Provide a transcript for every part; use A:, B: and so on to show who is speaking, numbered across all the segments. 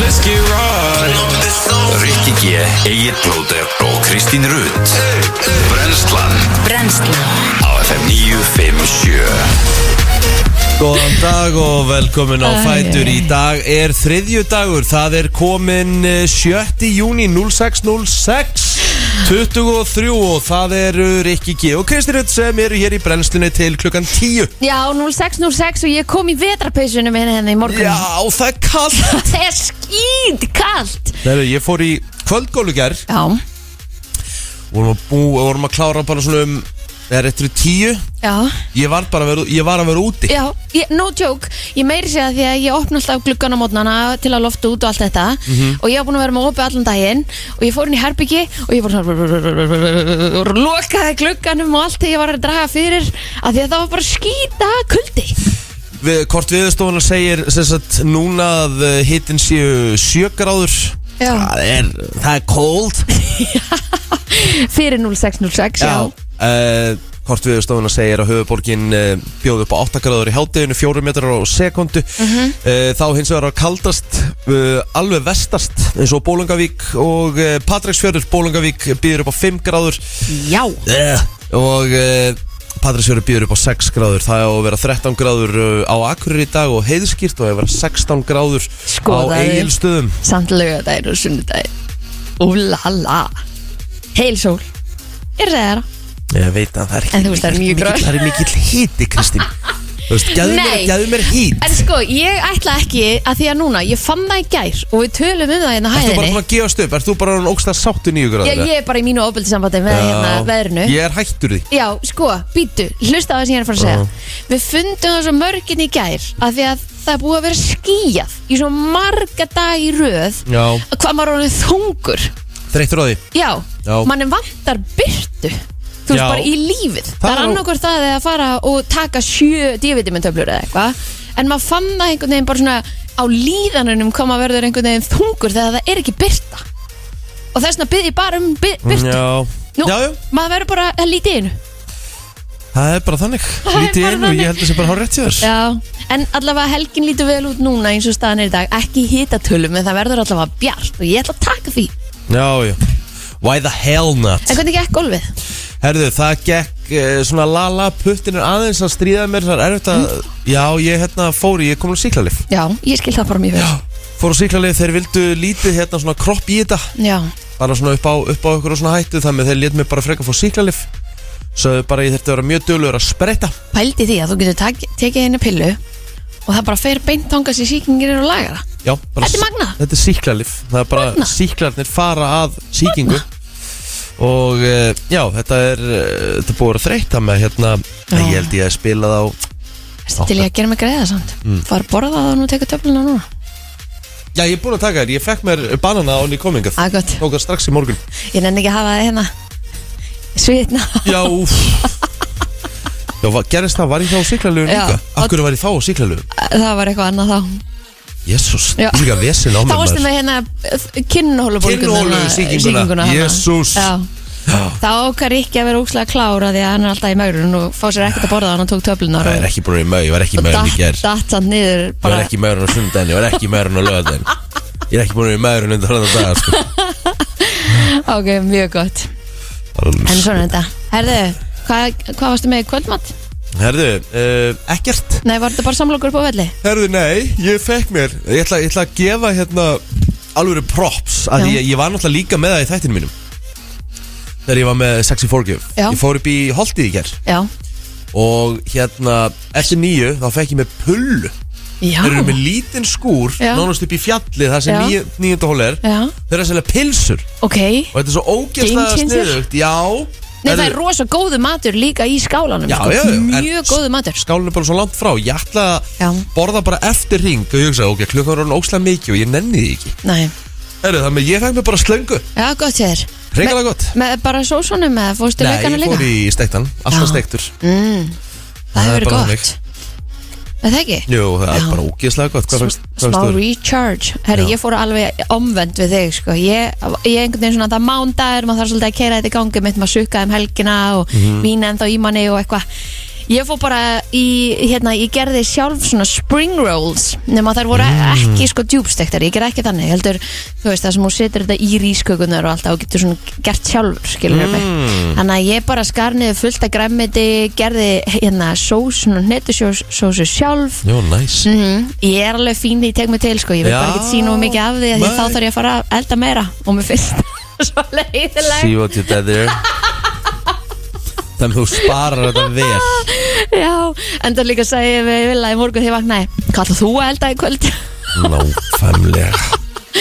A: Let's get right
B: Rikki G, Egil Blóter og Kristín Rutt Brenslan
C: Brennslan
B: á FM 957
D: Góðan dag og velkomin á Fætur Í dag er þriðju dagur Það er komin eh, 7. júni 0606 23 og það eru Rikki G og Kristi Rutt sem eru hér í brennslunni til klukkan 10
C: Já, 0606 og ég kom í vetrapeysunum henni henni í morgun
D: Já, það er kall
C: Það er skýt kallt
D: Þegar ég fór í kvöldgólu í gær
C: Já,
D: vorum að, bú, vorum að klára bara svona um eða réttur í 10
C: já,
D: Ég var bara að vera, ég var að vera úti
C: já ég, No joke, ég meiri segja því að ég opna alltaf gluggan á mótnana til að lofta út og allt þetta og ég var búin að vera með opið allan daginn og ég fór inn í herbyggi og ég var svona og lokaði glugganum og allt þegar ég var að draga fyrir af því að það var bara skýta kuldi
D: við, Kort viðstofuna segir sem sagt, núna að eh, hitinn séu 7 gráður
C: Já.
D: Það er, það er cold
C: fyrir 0606, já,
D: Já uh, Hvort viðstofuna segir að höfuborgin uh, bjóð upp á 8 gráður í hátteginu 4 metrar á sekundu mm
C: Mhm.
D: Þá hins vegar að kaldast uh, alveg vestast eins og Bólungavík og uh, Patræksfjörður Bólungavík býður upp á 5 gráður
C: já.
D: uh, og uh, Patræksfjörður býður upp á 6 gráður það á að vera 13 gráður eh, á Akureyri í dag og heiðskýrt og að vera 16 gráður
C: Skoðaði.
D: á Egilstöðum
C: samt lögadaginn og sunnudaginn Úlala Heil sól Ég segja það
D: ég veit að það er ekki
C: En þú veist, það er mjög gráður.
D: það er mikill híti Kristín þú veist, gæðu mér,
C: Nei.
D: gæðu mér hít
C: En sko, ég ætla ekki að því að núna Ég fann það í gær og við tölum um það hérna á
D: Ertu bara búin
C: hæðinni
D: að gefast upp? Ertu bara að ógsta sáttu nýju
C: ég,
D: gráður?
C: ég er bara í mínu ofbeldi sambandi með hérna veðrinu
D: Ég er hættur því
C: Já, sko, býtu, hlusta á það sem ég er að fara að segja Við fundum það svo mörgin í gær Af því að það er búið að vera skýjað Í svo marga dag í röð
D: Já,
C: að Hvað maður er orðið þungur
D: þreyttur á því
C: Já,
D: Já.
C: mann vantar byrtu Þú veist
D: Já.
C: bara í lífið Það,
D: Það er
C: er
D: nú-
C: annarkvort það eða að fara og taka sjö divitamintöflur eða eitthvað En maður fann það einhvern veginn bara svona á líðanunum hvað maður verður einhvern veginn þungur þegar það er ekki byrta Og þess vegna byrði ég bara um byr- byrtu
D: Mm, Já,
C: Nú,
D: já, já,
C: maður verður bara að líti innu
D: það er bara þannig
C: er
D: Lítið
C: bara
D: inn og
C: þannig.
D: ég held að sé bara hár rétt í þér
C: Já, en allavega helgin lítur vel út núna eins og staðan er í dag Ekki hitatölum en það verður allavega bjart og ég ætla að taka því
D: Já, já Why the hell not?
C: En hvernig gekk golfið?
D: Herðu, það gekk uh, svona lala puttin er aðeins að stríða mér þar er þetta,
C: Mm.
D: já, ég hérna fór í- ég kom á síklarlif,
C: Já, ég skil það bara mjög vel
D: fór á síklarlif þeir vildu lítið hérna svona kropp í þetta
C: Já,
D: bara svona upp á, upp á ykkur og svona hættu þannig að þeir létt mig bara frekar fór síklarlif sögðu bara ég þurfti að vera mjög dölur að spretta
C: pældi því að þú getur tak, tekið einu pillu og það bara fer beint þangað sem sýkingin er og lagar það
D: já, bara,
C: Þetta er magnað.
D: þetta er síklarlif, það er bara
C: Magnað.
D: síklarnir fara að síkingu og uh, já, þetta er uh, þetta er búið að þreytta með hérna,
C: Já.
D: ég held ég að spila þá
C: Ertu til ég að gera mig greiða samt mm. fara að borða það og nú teka töfluna núna
D: Já, ég er búin að taka þér, ég fekk mér banana án í komingað
C: Það er gott,
D: Tók það strax í morgun
C: ég nenni ekki að hafa það hérna svitna
D: Já, úf Já, va- gerðist það, var ég þá á síklarlöfum
C: Já.
D: líka? Af hverju var ég þá á síklarlöfum?
C: það var eitthvað annað þá
D: Jésús,
C: Já.
D: líka vesin á
C: þá
D: mér
C: varstu með hérna kinnhólubólguna
D: Kinnhólufsýkinguna. Jesús.
C: þá okkar ekki að vera úkslega klára því að hann er alltaf í maurun og fá sér ekkert að borða þannig að hann tók töflunar
D: Það er
C: og,
D: ekki bara í maður, ég var ekki í
C: og
D: maður í
C: datt,
D: ger
C: datt hann niður
D: Ég
C: bara,
D: var ekki í maður á sundaginn, ég var ekki í maður á lögadaginn Ég er ekki búin að vera í maður undir hraðan dag sko.
C: ok, mjög gott En svona er þetta Herðu, hvað, hvað varstu með í kvöldmatt?
D: Herðu, uh, ekkert
C: Nei, var þetta bara samlokur upp á velli?
D: Herðu, nei, ég fekk mér Ég ætla, ég ætla að gefa hérna alvöru props að
C: Já.
D: ég, ég var náttúrulega líka með það í þættinu mínum Þegar ég var með Sexy Forgive
C: Já.
D: Ég fór upp í Holtið í ger
C: Já
D: Og hérna, eftir nýju þá fekk ég með pullu
C: Já
D: Þeir eru með lítinn skúr,
C: Já.
D: nánast upp í fjallið Það sem
C: Já.
D: níu, nýjönda hól er
C: Já,
D: Þeir eru að selja pilsur
C: ok Nei,
D: Og þetta er svo ógeðslega
C: Game changer.
D: sniðugt Já
C: það
D: Herðu,
C: er rosa góðu matur líka í skálanum
D: Já,
C: sko.
D: já, já, en-
C: Mjög góðu matur
D: skálinn er bara svo langt frá Ég ætla
C: Já.
D: að borða bara eftir ring Og ég hugsaði, ok, klukkan var hann ógeðslega mikið Og ég nenni því ekki
C: Nei,
D: Herru, þannig að ég fekk mér bara slöngu
C: já, gott ég þér
D: Reykjalega gott
C: Með bara sósunum eða fórstu
D: Nei,
C: veikana
D: ég
C: líka?
D: fór í steiktan, alltaf
C: Já.
D: steiktur
C: mm, Það
D: Það er
C: hefur verið
D: bara
C: gott Er það ekki?
D: Jú, það er
C: Já.
D: bara ógeðslega gott Hvað fannst hvað
C: Smá
D: fannst þú?
C: recharge Herri,
D: Já.
C: ég fór alveg omvend við þig sko. ég, ég einhvern veginn svona það
D: Mhm.
C: mándagur maður þarf svolítið að keira þetta í gangi mitt maður sukkaði um helgina og mm. mín ennþá í manni og eitthvað Ég fór bara í, hérna, ég gerði sjálf svona spring rolls nema þær voru
D: Mm.
C: ekki sko djúbstektar ég gerði ekki þannig, heldur, þú veist það sem hún setur þetta í rískökunar og alltaf og getur svona gert sjálfur, skilur mm. mig þannig að ég bara skar niður fullt að græmmiti gerði hérna sós svona netusjósu sjálf
D: Jó, næs
C: mm, ég er alveg fín í tek mig til sko, ég vil
D: Já.
C: bara ekki sína mikið af því af því
D: Nei.
C: þá þarf ég að fara að elda meira og mér finnst það svo leiðileg
D: See what you did there Þannig að þú sparar þetta vel
C: Já, en það líka sagði ég við vilja í morgun því ég vaknaði Hvað ætlar þú að elda í kvöld?
D: Náfæmlega
C: Sko,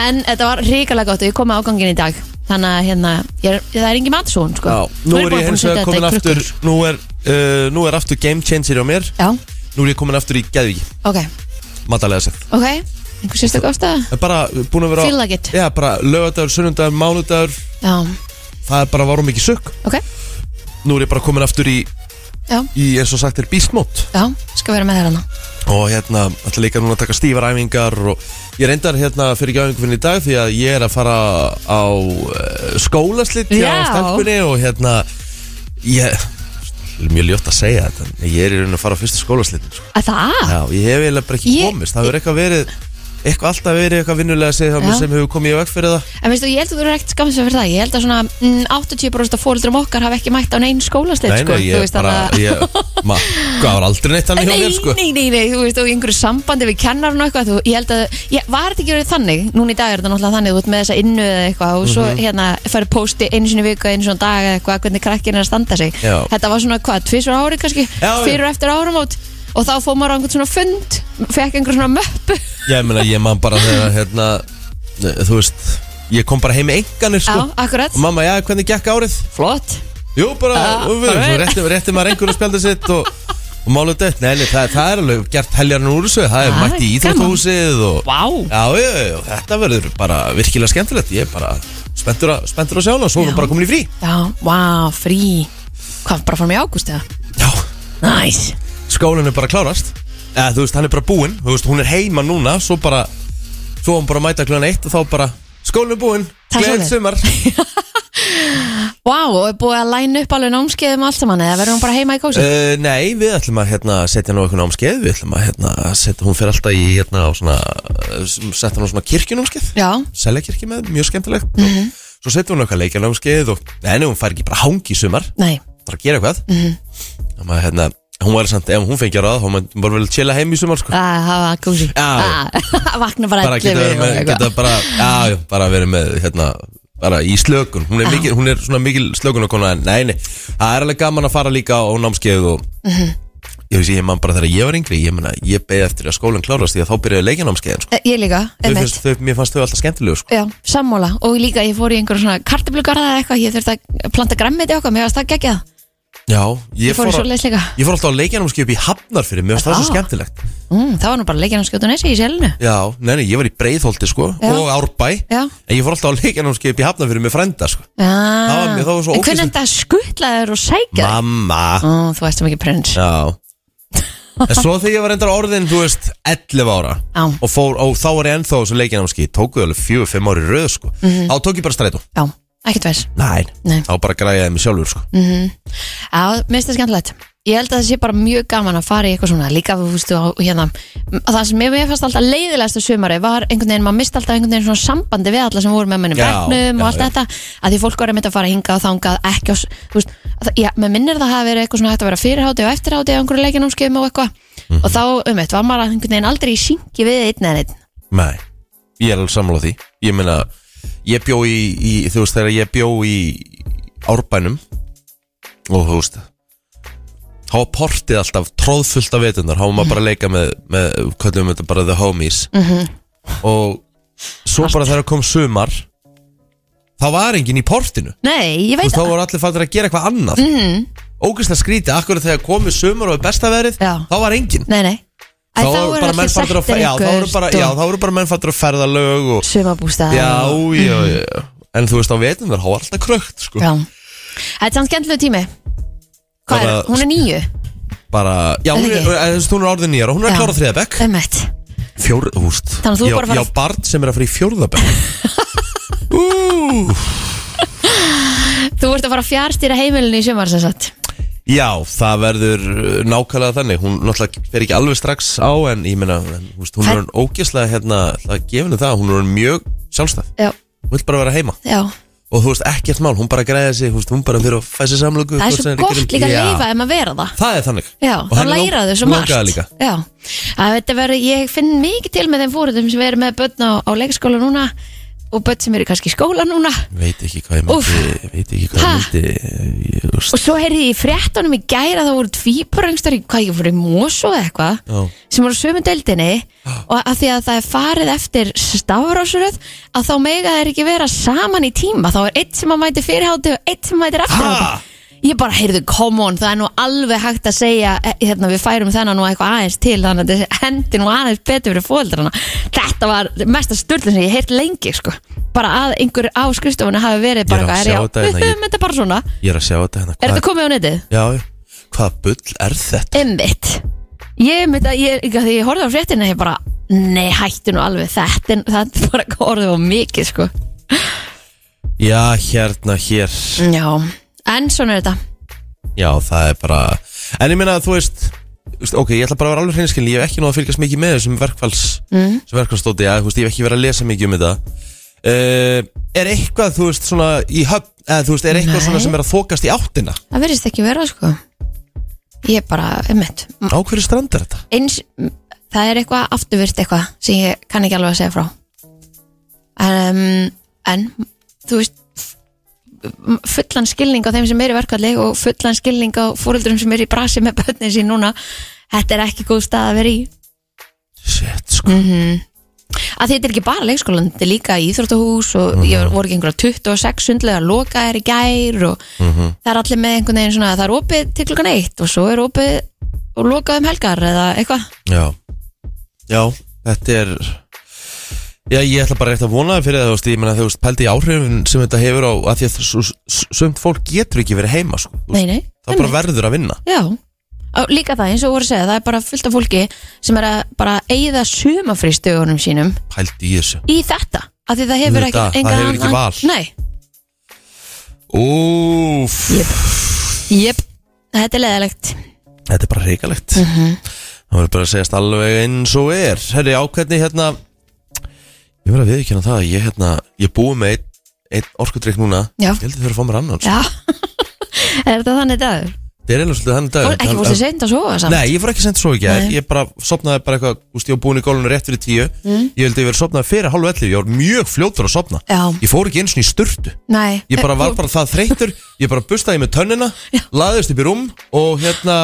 C: en þetta var ríkalega gott og ég kom með ágangin í dag Þannig að hérna, ég er, það er engin matsón sko.
D: Já, nú
C: Nú
D: er
C: bara
D: ég
C: búin
D: hins
C: setja
D: vegar
C: þetta í
D: komin aftur
C: krukkur.
D: nú er, uh, nú er aftur game changer á mér
C: Já,
D: Nú er ég komin aftur í Geðvík,
C: ok,
D: matalega sett
C: ok Einhver sérstu gósta?
D: Það er bara búin að vera
C: Feel like it.
D: Já, bara lögadagur, sunnundagur, mánudagur
C: Já,
D: Það er bara varum ekki sukk
C: ok,
D: Nú er ég bara komin aftur í,
C: já,
D: í eins og sagt er bísmót
C: já, skal vera með þér hana
D: Og hérna, ætla líka núna að taka stífar æfingar Og ég reyndar hérna fyrir ekki æfingu fyrir í dag Því að ég er að fara á uh, skólaslitt
C: Já.
D: Hjá stelpunni og hérna Ég, mjög ljótt að segja þetta en Ég er í raun að fara á fyrsta skólaslitt sko.
C: Að það?
D: Já, ég hef eiginlega bara ekki
C: Ég-
D: komist Það hefur eitthvað verið, eitthvað alltaf verið eitthvað vinnulega að segja
C: Já.
D: sem hefur komið í veg fyrir það
C: En veistu, ég held að þú eru ekkert skamsum fyrir það Ég held að svona mm, 80% af fóreldrum okkar hafa ekki mætt á neinn skólasleit
D: Nei,
C: sko,
D: nei,
C: þú
D: ég
C: veist,
D: bara
C: þannig að-
D: ég, ma, Hvað var aldrei neitt hann hjá
C: Nei,
D: mér sko
C: nei, nei, nei, þú veist, og í einhverju sambandi við kennarinn og eitthvað, þú, ég held að, ég, var þetta ekki verið þannig, núna í dag er þetta náttúrulega þannig, þú ert með þessa innu eða eitthvað og
D: Mhm.
C: svo hérna færi posti einu sinni í viku, einu sinni á dag eða eitthvað, hvernig krakkin er að standa sig.
D: Já.
C: Þetta var svona hvað, tvisur ári kannski,
D: Já, já.
C: fyrir og eftir áramót og þá fór maður á einhvern svona fund, fekk einhver svona möppu.
D: Ég meina, ég man bara þegar hérna Þú veist, ég kom bara heim með enganir
C: Já,
D: sko
C: akkurat.
D: Og mamma, já, hvernig gekk árið?
C: Flott.
D: Jú, bara,
C: Já,
D: og við,
C: bara
D: svo
C: vel.
D: rétti, rétti maður einhverju spjaldið sitt og, og máluð dött, nei, nei, það, það er alveg gert heljarinn úr þessu, það er
C: Já,
D: mætt í
C: gaman.
D: íþróttahúsið og
C: Vá.
D: Já, já, já, já, þetta verður bara virkilega skemmtilegt, ég er bara spenntur að, spenntur að sjá hana og svo erum
C: Já.
D: við bara komin í frí
C: Já, vá, frí. Hvað, bara fórum í ágúst eða?
D: Já,
C: Næs.
D: skólinn er bara að klárast eða þú veist, hann er bara búinn, þú veist, hún er heima núna svo bara, svo hún bara að mæta kljóðan eitt og þá bara, skólinn er búinn
C: Það er
D: gleðið
C: svoleiðis.
D: sumar
C: Vá, og er búið að læna upp alveg námskeiðum og allt saman eða verðum bara heima í kósi?
D: Uh, nei, við ætlum að hérna, setja nú eitthvað námskeið Við ætlum að hérna, setja, hún fer alltaf í hérna, á svona, uh, setja hún á svona kirkjunámskeið
C: Já,
D: Selja kirkju með, mjög skemmtilegt mm Svo setja hún eitthvað leikjanámskeið og, Nei, nei, hún fær ekki bara hangi í sumar
C: nei,
D: Það er að gera eitthvað mm að, hérna, Hún var samt, ef hún fengi að ráða Hún var- hún var vel að chilla heim í sumar sko.
C: að Ah, hafa kósi
D: Já.
C: Að vakna bara
D: Bara geta, verið með, geta bara, já, já, bara verið með hérna, bara í slökun Hún er, mikil, hún er svona mikil slökun en nei, nei, það er alveg gaman að fara líka á námskeið og
C: Mhm.
D: ég veist, ég man bara þegar ég var yngri ég, meina, ég beði eftir að skólan klárast því að þá byrjaði leikjanámskeiðin sko.
C: Eh, Ég líka,
D: Þau
C: einmitt
D: finnst- þau- Mér fannst þau alltaf skemmtilegu sko.
C: Já, sammála og líka ég fór í einhverjum svona kartablugarða eða eitthvað, ég þurfti að planta græmmiti okkar, mér varst það geggjað
D: Já, ég,
C: Ég fór í
D: að-
C: svoleiðis líka.
D: Ég fór alltaf á leikjanámskeið upp í Hafnarfyrir Mér fannst það svo
C: Ah.
D: skemmtilegt
C: mm, Það var nú bara leikinn á skjótunesi í selinu
D: Já, nei, nei, ég var í Breiðholti sko
C: Já.
D: og Árbæ
C: Já.
D: En ég fór alltaf á leikjanámskeið upp í Hafnarfyrir með frænda sko. Það var
C: ah.
D: mér- það var svo
C: En hvernig
D: ógeðslegt.
C: þetta skuttlaður og sækja
D: Mamma
C: Ó, Þú veist það mikið prins
D: Já En svo þegar ég var endar orðin, þú veist, 11 ára
C: Já.
D: og, fór, og þá var ég ennþá á þessu leikinámski Tókuðu alveg 4-5 ári röð sko. Þá tók ég bara strætó
C: Já, ekkert vers
D: Nei,
C: Mhm. Nei.
D: þá bara græjaði mig sjálfur sko.
C: Já, mér finnst það skemmtilegt Ég held að það sé bara mjög gaman að fara í eitthvað svona líka, þú veist, á, hérna m- það sem mér mér fannst alltaf leiðilegasta sumari var einhvern veginn, maður misti alltaf einhvern veginn svona sambandi við alla sem voru með mennum
D: Já,
C: bekknum
D: já,
C: og allt
D: já.
C: þetta, að því fólk var einmitt að fara hingað og þangað ekki á, s- þú veist, að það, já, með minnir það hafi verið eitthvað svona hægt að vera fyrirháti og eftirháti á einhverju leikinámskeiðum og eitthvað
D: Mhm.
C: og þá, um var maður einhvern veginn aldrei í syngi við einn eða einn
D: Nei, ég er alveg sammála því Ég meina, ég bjó í, í þú veist, þegar ég bjó í Árbænum og þú veist þá var portið alltaf tróðfullt af vetunar þá var maður bara að leika með, með hvað við þetta bara the homies -hmm.
C: Mhm.
D: og svo bara þegar kom sumar þá var enginn í portinu
C: Nei, ég
D: Þú
C: veit
D: veist, þá
C: það Mhm.
D: voru allir fattir að gera eitthvað annað mm -hmm. ógæslega skrítið, akkur þegar komið sumar og besta verið,
C: Já.
D: þá var enginn
C: Nei, nei Æ,
D: þá
C: þá
D: voru
C: eru
D: bara
C: allir
D: menn fattir að,
C: settir
D: já, þá voru
C: einhvers
D: bara, já, þá voru bara menn fattir að ferða lög og
C: sumarbústað
D: Já,
C: og-
D: já, já En þú veist á vetum þar, há alltaf krökt sko.
C: Já Þetta er samt skemmtilegu tími Hvað er,
D: Bara-
C: hún er nýju
D: Bara, já, hún er,
C: Þetta
D: eh, þú veist, hún er orðin nýjar og hún er
C: Já.
D: að klára þriða bekk
C: Ömmett
D: Fjór, húst
C: Þannig að þú
D: já,
C: bara fara-
D: já, barn sem er að fara í fjórða bekk Ú,
C: Þú ert að fara að fjárstýra heimilinu í sumar sem sagt
D: Já, það verður uh, nákvæmlega þannig Hún náttúrulega fer ekki alveg strax á En ég meina, en, þú veist, hún er orðin ógeðslega hérna, Það gefinu það, hún er orðin mjög sjálfstæð
C: Já,
D: Hún vil bara vera heima
C: já
D: Og þú veist, ekkert mál, hún bara greiða sig þú veist, Hún bara fyrir að fæsa samlöku
C: Það er
D: hvort
C: svo
D: sem
C: gott
D: gerum-
C: líka að
D: Já,
C: leifa ef maður vera það
D: Það er þannig
C: Já,
D: Og
C: þá
D: hann lang-
C: læra þau svo margt
D: langaði líka.
C: Já, að þetta verður, ég finn mikið til með þeim fóruðum sem eru með börn á, á leikskóla núna og börn sem eru kannski í skóla núna
D: Veit ekki hvað ég
C: Úff.
D: myndi, veit ekki hvað
C: Ha?
D: ég myndi ég, þú veist,
C: og svo heyrði ég í fréttunum í gæra það voru tvíparöngstar í hvað ég fór í Mosó eða eitthvað
D: Já.
C: sem voru á sömu deildinni og að því að það er farið eftir stafrásröð að þá mega þeir ekki vera saman í tíma þá er eitt sem að mæti fyrirhátti og eitt sem mætir
D: Ha?
C: eftirhátti Ég bara, heyrðu, come on, það er nú alveg hægt að segja, eh, hérna, við færum þennan nú eitthvað aðeins til, þannig að þessi hendi nú aðeins betur fyrir fóldrana. Þetta var mesta sturlun sem ég heirt lengi, sko. Bara að einhver á skrifstofunni hafi verið bara
D: Ég er að sjá
C: eitthvað, "Herra, já,
D: þetta hérna,
C: við
D: ég-
C: höfum þetta bara svona.
D: ég er að sjá þetta hérna
C: Er
D: Hvað-
C: þetta komið á netið?
D: Já, já, hvað bull er þetta?
C: Einmitt Ég myndi að ég, ekki að því ég horfði á fréttina ég bara, nei hættu nú alveg þetta en það er bara orðið á mikið sko
D: Já, hérna, hér
C: Já, en svona er þetta
D: Já, það er bara En ég meina að þú veist þú veist, Ok, ég ætla bara að vera alveg hreinskil Ég hef ekki náða að fylgjast mikið með þessum verkfalls mm. sem verkfallstóti, já, þú veist, ég hef ekki verið að lesa mikið um þetta uh, Er eitthvað, þú veist, svona í höfn eða þú veist, er eitthvað
C: Nei.
D: svona sem er að þokast í áttina
C: Það verðist ekki vera sko Ég bara, einmitt
D: Á hverju strandar þetta?
C: eins, m- það er eitthvað afturvirt eitthvað sem ég kann ekki alveg að segja frá um, en þú veist f- m- fullan skilning á þeim sem eru í verkvalli og fullan skilning á fóröldurum sem eru í brasi með börnin sín núna þetta er ekki góð stað að vera í
D: Shit, sko mm.
C: að þetta er ekki bara leikskólan, þetta er líka íþróttahús og
D: Mhm.
C: ég voru ekki einhverja 26 sundlega lokaðir í gær og
D: Mhm.
C: það er allir með einhvern veginn svona það er opið til klukkan eitt og svo er opið og lokað um helgar eða eitthvað
D: Já, já, þetta er Já, ég ætla bara rétt að vona það fyrir það, þú veist, ég meina þú veist, pældi í áhrifin sem þetta hefur á, að því að s- s- sumt fólk getur ekki verið heima, sko, Þú veist,
C: Nei, nei,
D: það bara verður að vinna.
C: Já, Á, líka það eins og voru að segja það er bara fullt af fólki sem er að bara eigða sumafrístögunum sínum
D: Pældi í þessu.
C: í þetta, af því það hefur ekki
D: Auðvitað, það
C: engan
D: hefur ekki
C: annan-
D: val.
C: Nei,
D: Úf,
C: jöp, þetta er leðilegt
D: þetta er bara reikalegt
C: Mhm.
D: Það verður bara að segjast alveg eins og er Herri, á hvernig hérna Ég verður að viðkjöna það að Ég, hérna, ég búi með einn ein orkudrykk núna
C: Já.
D: Ég held að þurfa að fá mér annan sko.
C: Já, er þetta þannig dagur?
D: Það er eiginlega svolítið þannig dag
C: Fór, ekki fórstu seint að sofa samt?
D: Nei, ég fór ekki sent svo ekki
C: Nei.
D: Ég bara sopnaði bara eitthvað úst, Ég var búin í gólunum rétt fyrir tíu Ég held að ég verið sopnaði fyrir hálf ellu Ég var mjög fljótur að sopna
C: Mm. Já.
D: Ég fór ekki eins og í sturtu
C: Nei, Eh,
D: Ég bara var bara það þreytur Ég bara bustaði með tönnina Laðist upp í rúm Og hérna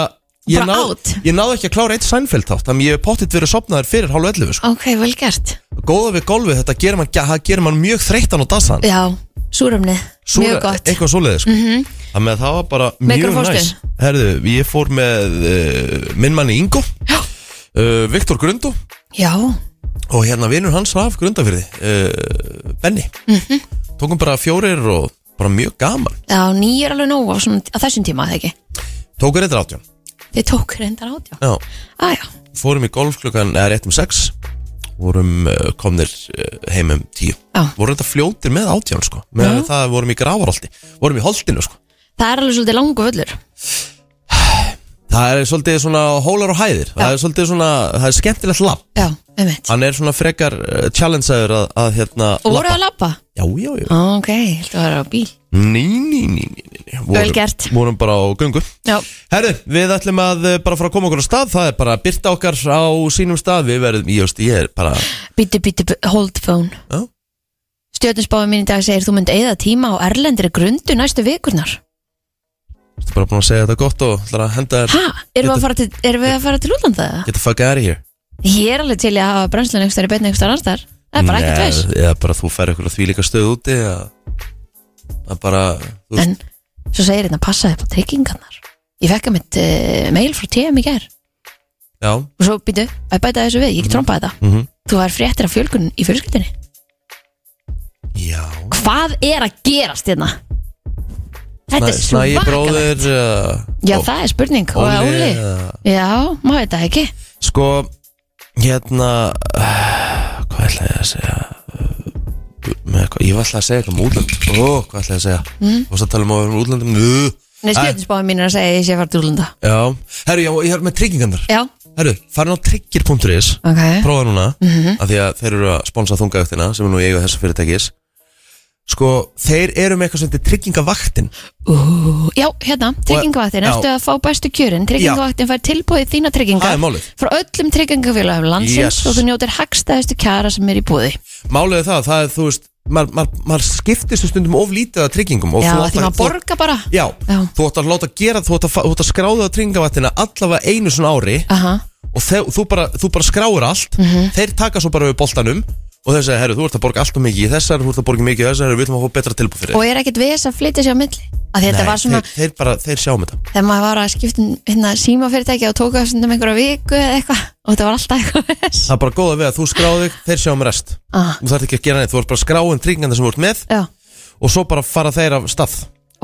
D: Ég,
C: Bara out.
D: ég náði ekki að klára eitt Seinfeld þátt Þannig ég hef pottitt verið sopnaður fyrir hálf 11 sko.
C: ok, vel gert
D: Góða við golfið þetta gerir mann, það gerir mann mjög þreytan og dassan
C: Já, súrumni, mjög gott Mhm.
D: Eitthvað svoleiði sko. mm -hmm. Það var bara
C: Með
D: mjög
C: hverju fórstu?
D: næs Herðu, ég fór með uh, minn manni Ingo
C: Já.
D: uh, Viktor Grundu
C: Já,
D: Og hérna vinur hans af Grundafyrði uh, Benny
C: Mhm.
D: Tókum bara fjórir og bara mjög gaman
C: já, nýjur alveg nóg á, svona, á þessum tíma, eða ekki?
D: Tókum reyndar átján
C: Þið tók reyndar átjá
D: Já
C: ah, já.
D: fórum í golf klukkan eða rétt um 6 vorum uh, komnir uh, heim um 10
C: Já.
D: vorum þetta fljótir með átján sko með það vorum í gravarholti, vorum í holtinu sko
C: Það er alveg svolítið langu völlur
D: það er svolítið svona hólar og hæðir það er svolítið svona, það er skemmtilegt lapp
C: Já, einmitt
D: hann er svona frekar uh, challengeaður að, að hérna
C: Og voruð að
D: labba.
C: labba?
D: já, já, já,
C: Ok, heldur að vera á bíl
D: ný, ný, ný, ný, ný, ný.
C: Vel gert.
D: vorum bara á göngu
C: Já,
D: Herru, við ætlum að uh, bara fara að koma okkur á stað það er bara að byrta okkar á sínum stað við verðum, ég veist, ég er bara
C: bítu, bítu, bítu- hold phone
D: já,
C: Stjörnusbáði mín í dag segir þú mynd eigða tíma á erlendri grundu næstu vikurnar
D: Þú bara búin að segja þetta gott og ætlar að henda þér
C: Ha, erum við
D: Þetta-
C: að fara til, erum við að fara til útlanda eða?
D: Get the fuck out of here
C: Ég er alveg til í að hafa brennslan einhver stær í beinni einhver stær annar Það er bara ekkert
D: Nei,
C: veist
D: Eða bara þú fær ykkur að því líka stöð úti að, að bara þú veist,
C: En svo segir hérna passaði upp á tryggingarnar Ég fekk að mitt uh, mail frá TM í ger
D: Já,
C: Og svo býtu, að bæta þessu við, ég ekki trompaði þetta
D: mhm,
C: Þú var fréttir af fjölgun í fjölskyldinni
D: já
C: Hvað er að gerast hérna? Þetta er
D: Snæ- Snæi
C: svakalegt
D: bróðir uh,
C: Já,
D: og-
C: það er spurning Og Óli
D: uh,
C: Já, maður veit það ekki
D: Sko, hérna uh, Hvað ætla ég að segja uh, með, hvað, Ég var ætla að segja eitthvað um útlönd Ó, hvað ætla ég að segja mm. Og svo tala um að vera um útlöndum uh,
C: Nei, stjórnspáin mín er að segja að ég sé að fara til útlanda
D: Já, herru, já, ég er með tryggingandar
C: Já,
D: Herru, farin á tryggir.is
C: ok
D: Prófa núna,
C: Mhm.
D: af því að þeir eru að sponsa þungaugtina sem er nú í eigu þessa fyrirtækis Sko, þeir eru með eitthvað sem þetta er tryggingavaktin
C: Ú, Já, hérna, tryggingavaktin
D: Já.
C: Ertu að fá bestu kjörin Tryggingavaktin fær tilbúið þína trygginga
D: Það er málið.
C: Frá öllum tryggingafélagum landsins
D: Yes.
C: Og þú njótir hagstæðistu kjara sem er í búði
D: Málið er það, það er, þú veist, maður mað, mað skiptist um stundum of lítið að tryggingum og
C: Já,
D: þú átt
C: því
D: að-
C: maður
D: þú-
C: borga bara
D: Já,
C: Já.
D: þú ætti að láta gera, þú ætti að, fa- þú ætti að skráða á tryggingavaktina allavega einu svona ári
C: Aha,
D: og þe, þú, bara, þú bara skráir allt
C: Mhm.
D: þeir taka svo bara við boltanum og þeir segja, herru, þú ert að borga alltaf mikið í þessar þú ert að borga mikið í þessar, herru, við ætlum að fá betra tilbúð fyrir þig."
C: og er ekkert ves að flytja sér á milli Af því þetta
D: Nei,
C: var svona
D: þeir, þeir bara, þeir sjáum þetta
C: þegar maður var að skipta um, hérna, símafyrirtæki og tóka þessum einhverja viku eða eitthvað og þetta var alltaf eitthvað ves
D: Það er bara góða við að þú skráðu þig, þeir sjáum rest
C: ah,
D: Þú þarf ekki að gera neitt, þú ert bara að skráðum tryggingandi sem þú ert með
C: Já,
D: og svo bara fara þeir af stað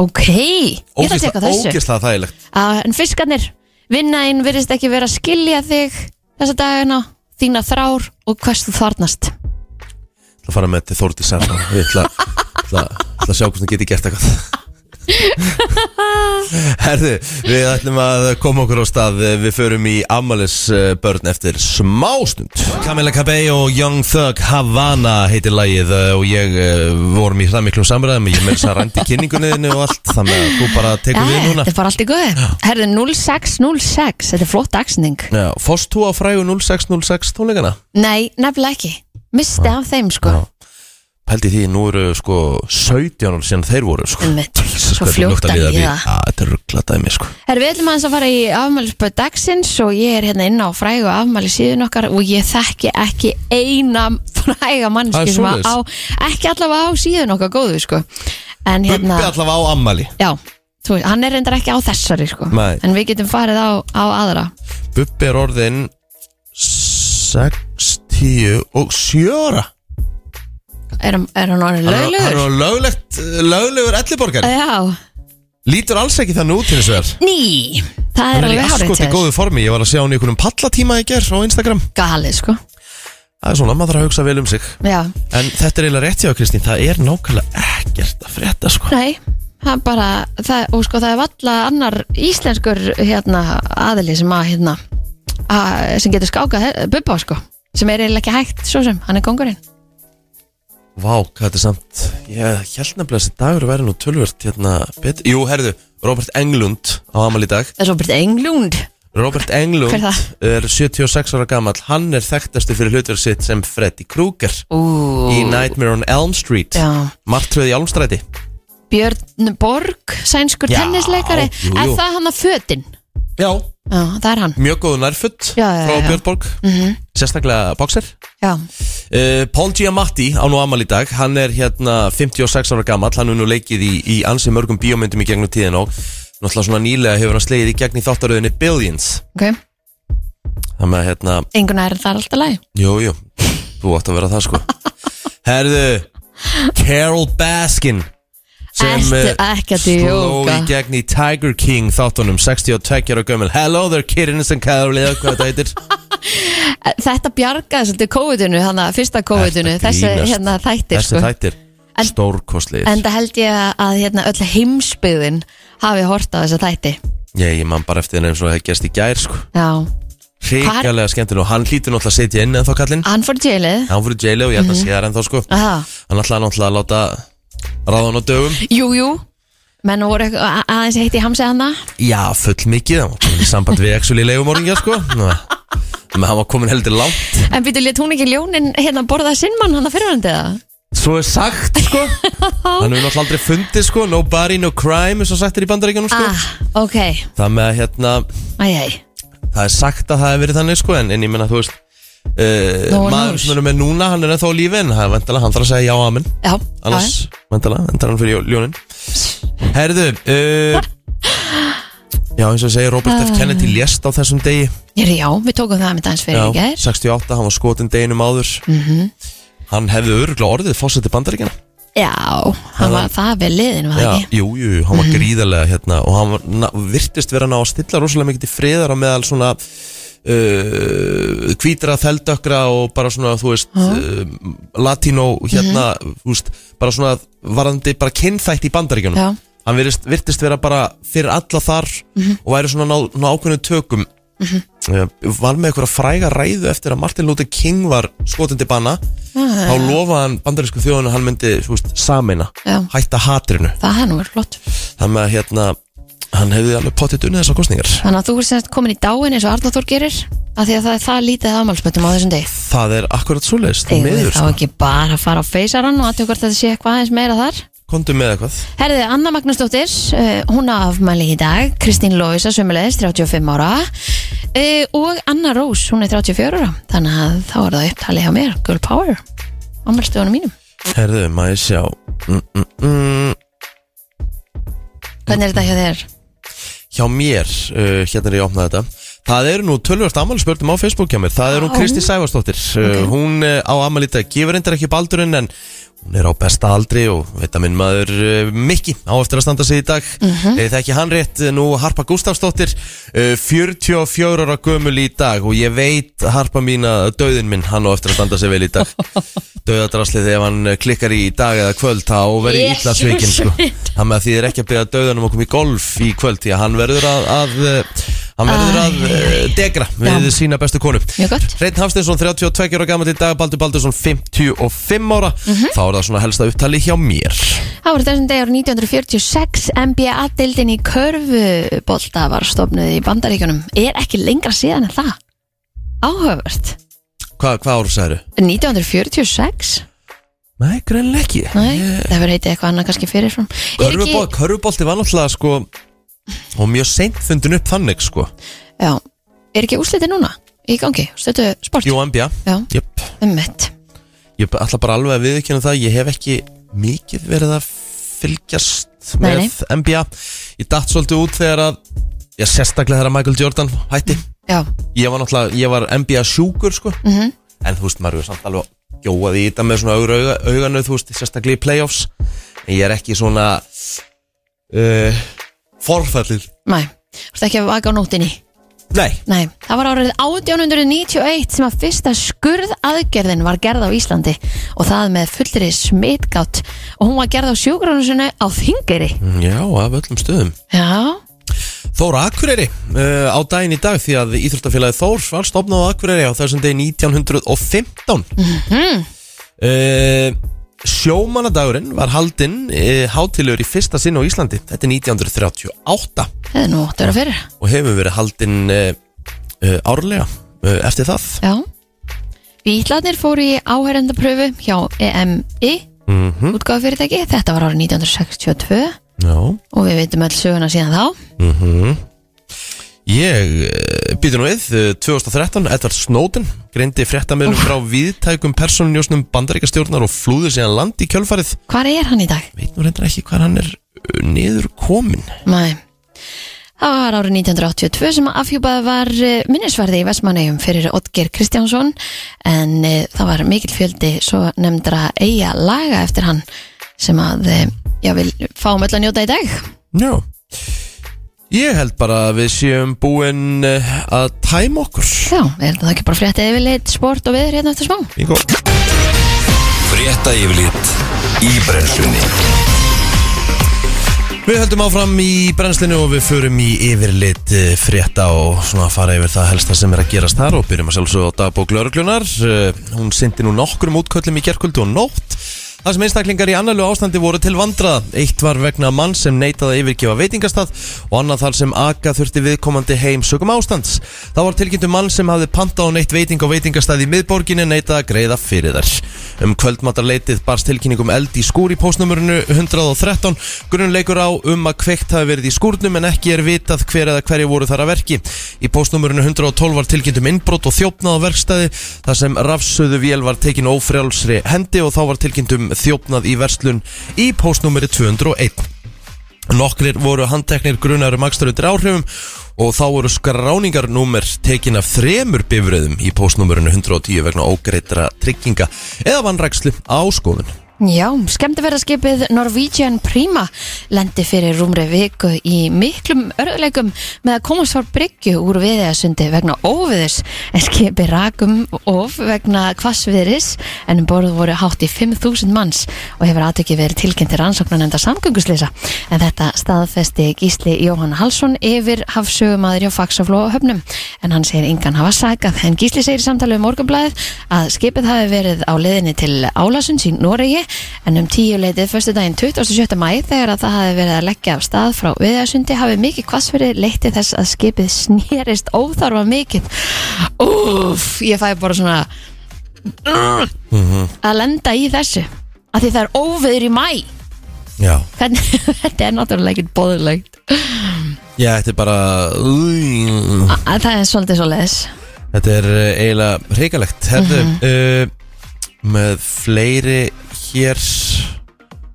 C: ok Ég ætla að teka á þessu
D: ógislega þægilegt
C: ah, En fiskarnir, vinnaðin virðist ekki vera að skilja þig þessa dagina þína þrár og hvers þú þarnast
D: Það fara með til Þórti Sara Ég ætla, ætla, ætla að sjá hvernig geti gert eitthvað Herðu, við ætlum að koma okkur á stað Við förum í Amalis börn eftir smástund Camila Cabello og Young Thug Havana heitir lagið eh, og ég eh, vorum í það miklum samræðum ég með þess að rændi kynningunniðinu og allt þannig að þú bara tekur við núna
C: Eh, Þetta er bara allt í góði Herðu 0606, þetta er flott dagsning
D: Já, fórst þú á frægu 0606 tónleikana?
C: Nei, nefnilega ekki Misti af þeim sko
D: Já. Pældi því, nú eru sko 17 ár síðan þeir voru sko
C: Einmitt.
D: Jesus,
C: Svo
D: hvað þetta
C: fljótt
D: luktar
C: að
D: við
C: líða.
D: við- Já, Þetta er rugglatað mér sko
C: Herru, við ætlum aðeins að fara í afmælisböð dagsins og ég er hérna inn á frægu afmæli síðun okkar og ég þekki ekki eina fræga
D: Það er
C: mannski sem að á,
D: svoleiðis.
C: ekki allavega á síðun okkar góðu, sko. En hérna,
D: Bubbi allavega á ammali
C: já, þú, veist, hann er reyndar ekki á þessari, sko.
D: Nei.
C: En við getum farið á, á aðra.
D: Bubbi er orðin 60 og 7 ára
C: Er, hann- er hann orðin
D: Hann er- Hann
C: löglegur?
D: er löglegt, löglegur elliborgari
C: Já,
D: Lítur alls ekki þannig út til þess vegar
C: ný, það
D: Hann
C: er
D: er í
C: alveg hárið
D: askoti
C: til
D: góðu formi Ég var að sjá hann í einhvernum pallatíma í gerð á Instagram
C: Galið, sko.
D: Það er svona, maður þarf að hugsa vel um sig
C: Já,
D: En þetta er eiginlega rétt hjá Kristín Það er nákvæmlega ekkert að frétta sko
C: nei. Það er bara, það, og sko það er valla annar íslenskur hérna aðili sem að hérna að, sem getur skákað he- bubba sko sem er eiginlega ekki hægt svo sem, hann er kongurinn
D: Vá, hvað þetta er samt Ég held nefnilega að þessi dagur væri nú tölvört hérna betur Jú, herðu, Robert Englund á amal í dag
C: Það er svo byrðið englund
D: Robert Englund
C: Hver það?
D: er 76 ára gamall Hann er þekktastu fyrir hlutverð sitt sem Freddy Krueger
C: Ú,
D: Í Nightmare on Elm Street
C: Já.
D: Martröð í Almstræti
C: Björn Borg, sænskur
D: Já,
C: tennisleikari
D: jú,
C: Er
D: jú.
C: það hann að fötin?
D: Já
C: Já, það er hann
D: Mjög góðu nærfutt
C: Já, já, Mhm.
D: frá
C: já.
D: Björnborg -hmm. Sérstaklega bóksir
C: Já,
D: Uh, Paul Giamatti á nú amal í dag hann er hérna 56 ára gamall hann er nú leikið í, í ansi mörgum bíómyndum í gegnum tíðin og náttúrulega svona nýlega hefur hann slegið í gegn í þáttaröðinni Billions
C: ok
D: þannig að hérna,
C: Engun er það er alltaf læg
D: jú, jú þú átt að vera það sko herðu, Carol Baskin sem
C: Ertu
D: eh,
C: ekki að
D: sló í
C: djóka?
D: gegn í Tiger King þáttunum 62 ára gömul Hello there kittens and Carol eða hvað þetta heitir
C: Þetta bjargaði svolítið COVID-unu, þannig að fyrsta COVID-unu
D: Ertu að
C: Þessi
D: grínast?
C: hérna þættir
D: þessi
C: sko
D: þættir
C: En-
D: stórkostlegir
C: En það held ég að hérna, öll heimsbyðin hafi hort á þessa þætti
D: ég, ég man bara eftir þeim eins og það gerst í gær sko
C: Já,
D: Ríkalega skemmtileg og hann hlýtur náttúrulega að setja inn ennþá kallinn
C: hann fór í jailið
D: Hann fyrir jailið og ég held að sé það ennþá sko
C: Ah. Mhm. Aha.
D: Hann ætlaði náttúrulega að láta ráða hann á dögum
C: Jú, jú Menn voru eitthvað- a- aðeins heitt í hamsi hana
D: Já, full mikið, hann var komin í samband við Exul í leigumorgingja sko Nú, Men hann var komin heldur langt
C: En býtu, létt hún ekki ljónin hérna borða sinn mann hann að fyrirvændi það?
D: Svo er sagt sko Hann hefur náttúrulega aldrei fundið sko No body, no crime, eins og sagt er í bandaríkjanum sko
C: Ah, ok,
D: Það með að hérna,
C: æjæj
D: það er sagt að það hefur verið þannig sko En, en ég menna, þú veist Uh,
C: Nó er
D: maður
C: nós.
D: sem erum með núna, hann er ennþá á lífi en það er vantala, hann þarf að segja já amen
C: Já,
D: annars
C: já,
D: vendala, endar hann fyrir ljó- ljónin Herðu uh, Já, eins og ég segi, Robert
C: Ah.
D: F. Kennedy lést á þessum degi
C: já, já, við tókum það með dans fyrir
D: Já,
C: í gær Mhm.
D: 68, hann var skotin deginum áður -hmm. Hann hefði öruglega orðið fórseti bandaríkjana
C: Já, hann var það vel liðin, var það
D: Já,
C: ekki?
D: jú, jú, hann var
C: Mhm.
D: gríðarlega hérna og hann var, na, virtist vera ná að stilla rosalega mikið til friðar á meðal svona uh, hvítra þeldökra og bara svona, þú veist uh,
C: Mhm.
D: latínó, hérna, þú veist bara svona varandi bara kynþætt í bandaríkjunum
C: Já.
D: Hann virtist, virtist vera bara fyrir alla þar
C: Mhm.
D: og væri svona ná, ná ákveðnum tökum mm Var með einhverja fræga ræðu eftir að Martin Luther King var skotin til banna
C: Ah.
D: Þá lofaði hann bandarísku þjóðinu að hann myndi þú veist, sameina,
C: Já.
D: hætta hatrinu
C: Það er nú verið flott
D: Þannig að hérna, hann hefði alveg pottitt unnið þessar kostningar
C: Þannig að þú er semst komin í dáin eins og Arnaþór gerir af því að það er það lítið afmálspöndum á þessum deg
D: Það er akkurat svo leiðist, það
C: Þegar við
D: meður
C: þá
D: sko.
C: ekki bara að fara á feysarann og aðtjóð hvort þetta sé eitthvað aðeins meira þar
D: Komdu með eitthvað
C: Herðið, Anna Magnúsdóttir, uh, hún á afmæli í dag, Kristín Lóisa sömulegis, 35 ára uh, og Anna Rós, hún er 34 ára, þannig að þá er það upptalið hjá mér, Girl Power, ámælstöðunum mínum.
D: Herðu, maður sjá mm, mm, mm.
C: Hvernig er þetta hjá þér?
D: Hjá mér, uh, hérna er ég að opna þetta Það eru nú tölvört ammálspörnum á Facebook hjá mér Það er hún
C: Á.
D: Kristi Sævarsdóttir uh, Hún uh, á ammál í dag, gefur reyndar ekki baldurinn En hún er á besta aldri Og veit að minn maður uh, Mikki Á eftir að standa sig í dag mm -hmm. Það ekki hann rétt, nú Harpa Gustafsdóttir uh, 44 ára gömul í dag Og ég veit Harpa mín að Dauðin minn, hann á eftir að standa sig vel í dag Dauðadraslið ef hann uh, klikkar í dag Eða kvöld, þá verið yes, illa
C: Jesus
D: svikin sko. Það með að því er ekki að byrja döðunum okkur í golf í kvöld Því að hann verður að, að eh, Hann verður að eh, degra við sína bestu konu
C: Mjög gott.
D: Reinn Hafstinsson, 32 ára gammal í dag Baldur Baldursson, 55 ára
C: Mhm.
D: Þá er það svona helsta upptali hjá mér
C: Þá var þessum degi árið 1946 NBA-dildin í körfubolta var stofnuð í bandaríkjunum. Er ekki lengra síðan en það? Áhugavert.
D: Hva, Hvað ára særu?
C: 1946?
D: Nei, greinlega ekki
C: Nei, það verður heitið eitthvað annað kannski fyrirfram. Er ekki-
D: Körfubol, Körfubolti var náttúrulega sko Og mjög seint fundin upp þannig sko
C: Já, er ekki úslitið núna? Í gangi, stötu sport
D: Jú, NBA
C: Já,
D: Jöp
C: um mitt
D: Ég ætla bara alveg að viðkynna það Ég hef ekki mikið verið að fylgjast
C: Nei,
D: með NBA Ég datt svolítið út þegar að Já, sérstaklega þegar að Michael Jordan hætti
C: Já,
D: Ég var náttúrulega, ég var NBA sjúkur sko
C: Mhm.
D: -hmm. En þú veist, maður er samt alveg Gjóað í þetta með svona augur auga, auganu Þú veist, sérstaklega í playoffs En ég er ekki svona uh, Forfællir
C: næ, þú ert ekki að vaka á nótinni
D: Nei,
C: Nei, það var árið 1891 sem að fyrsta skurð aðgerðin var gerð á Íslandi og það með fullri smitgátt og hún var gerð á sjúkránusinu á Þingeri
D: Mm, já, af öllum stöðum
C: Já,
D: Þóra Akureyri uh, á daginn í dag því að Íþróttafélagi Þór var stofnað á Akureyri á þessum degi 1915 mm Sjómanadagurinn Uh, var haldinn uh, hátilur í fyrsta sinn á Íslandi þetta er 1938
C: það er nú átt að vera fyrir
D: og hefur verið haldinn uh, uh, árlega uh, eftir það
C: Já Bílarnir fóru í áherendapröfu hjá EMI mm -hmm. útgáfufyrirtæki, þetta var árið 1962
D: Já
C: og við veitum öll söguna síðan þá
D: Ég uh, býtu nú við, eh, 2013, Edvard Snowden greindi fréttamiðlum frá viðtækum persónunjósnum bandaríkastjórnar og flúði síðan land í kjölfarið
C: Hvar er hann í dag?
D: veit nú reyndar ekki hvað hann er uh, niður komin
C: Nei. Það var árið 1982 sem afhjúpað var eh, minnisvarði í Vestmannegjum fyrir Oddger Kristjánsson en e, það var mikil fjöldi svo nefndra eiga laga eftir hann sem að e, já, við fáum öll að njóta í dag.
D: Já Ég held bara að við séum búin eh, að tæma okkur
C: Já, er það ekki bara fréttið yfirleitt, sport og viður hérna eftir smá?
D: Bingo
B: Frétta yfirlit í brennslunni
D: Við höldum áfram í brennslinu og við förum í yfirlit eh, frétta og svona fara yfir það helsta sem er að gerast þar og byrjum að sjálfsögða á dagbók lauruglunar Hún syndi nú nokkrum útköllum í gerkvöldu og nótt Það sem einstaklingar í annarlu ástandi voru til vandraða Eitt var vegna mann sem neitaði að yfirgefa veitingastað og annað þar sem aga þurfti viðkomandi heim sögum ástands Það var tilkynntu mann sem hafði pantað og neitt veiting á veitingastað í miðborginni neitaði að greiða fyrir þær Um kvöldmatarleitið barst tilkynning um eld í skúr í postnumurinu 113 Grunnleikur á um að kveikt hafi verið í skúrnum en ekki er vitað hver eða hverju voru þar að verki Í postnumurinu 112 var tilkynnt um innbrot og þjófnað á verkstæði þar sem rafsöðu vél var tekin ófrjálsri hendi og þá var tilkynnt um þjófnað í verslun í postnumeri 201 Nokkrir voru handteknir grunar um akstur undir áhrifum og þá voru skráningarnúmer tekin af þremur bifröðum í postnúmerinu 110 vegna ógreitra trygginga eða vannrækslu á skoðun.
C: Já, skemmtiferðarskipið Norwegian Prima lendi fyrir rúmri viku í miklum örðuleikum með að komast frá bryggju úr viðeðasundi vegna óviðis en skipi rakum of vegna kvassviðris en um borð voru hátt í 5.000 manns og hefur aðtökið verið tilkynntir rannsóknan enda samgönguslýsa en þetta staðfesti Gísli Jóhann Halsson yfir hafsögumadur hjá Faxafló og höfnum en hann segir engan hafa sakað en Gísli segir í samtali um morgunblæðið að skipið hafi verið á leiðinni til Álasunds í Noregi en um tíu leitið fyrstu daginn 27. mæ þegar að það hafi verið að leggja af stað frá viðasundi hafi mikið kvassverið leitti þess að skipið snerist óþarfa mikið Úf, ég fæ bara svona að lenda í þessu að því það er óveður í mæ
D: Já
C: Hvernig, þetta er náttúrulega ekkert bóðulegt
D: Ég ætti bara
C: að það er svolítið svo leðis
D: Þetta er eh, eiginlega hrikalegt Herðu uh, Með fleiri hér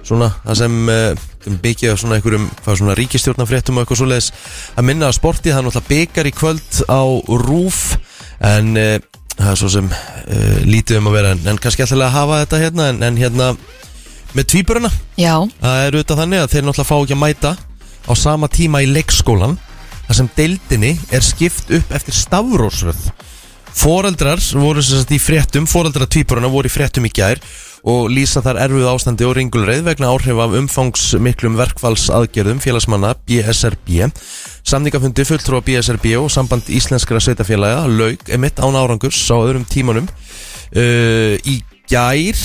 D: Svona Það sem uh, byggja á svona einhverjum Hvað svona ríkistjórnafréttum og eitthvað svoleiðis Að minna að sportið, það er náttúrulega byggar í kvöld Á rúf En uh, það er svo sem uh, Lítið um að vera, en, en kannski ætlilega að hafa þetta hérna En, en hérna Með tvíburuna
C: Já,
D: Það er auðvitað þannig að þeir náttúrulega fá ekki að mæta á sama tíma í leikskólan þar sem deildinni er skipt upp eftir stafrósröð Foreldrar voru sem sagt í fréttum, foreldrar tvíburana voru í fréttum í gær og lýsa þar erfið ástandi og ringulreið vegna áhrif af umfangsmiklum verkfallsaðgerðum félagsmanna BSRB. Samningafundi fulltrúa BSRB og samband íslenskra sveitafélaga lauk emitt án árangurs á öðrum tímanum uh, í gær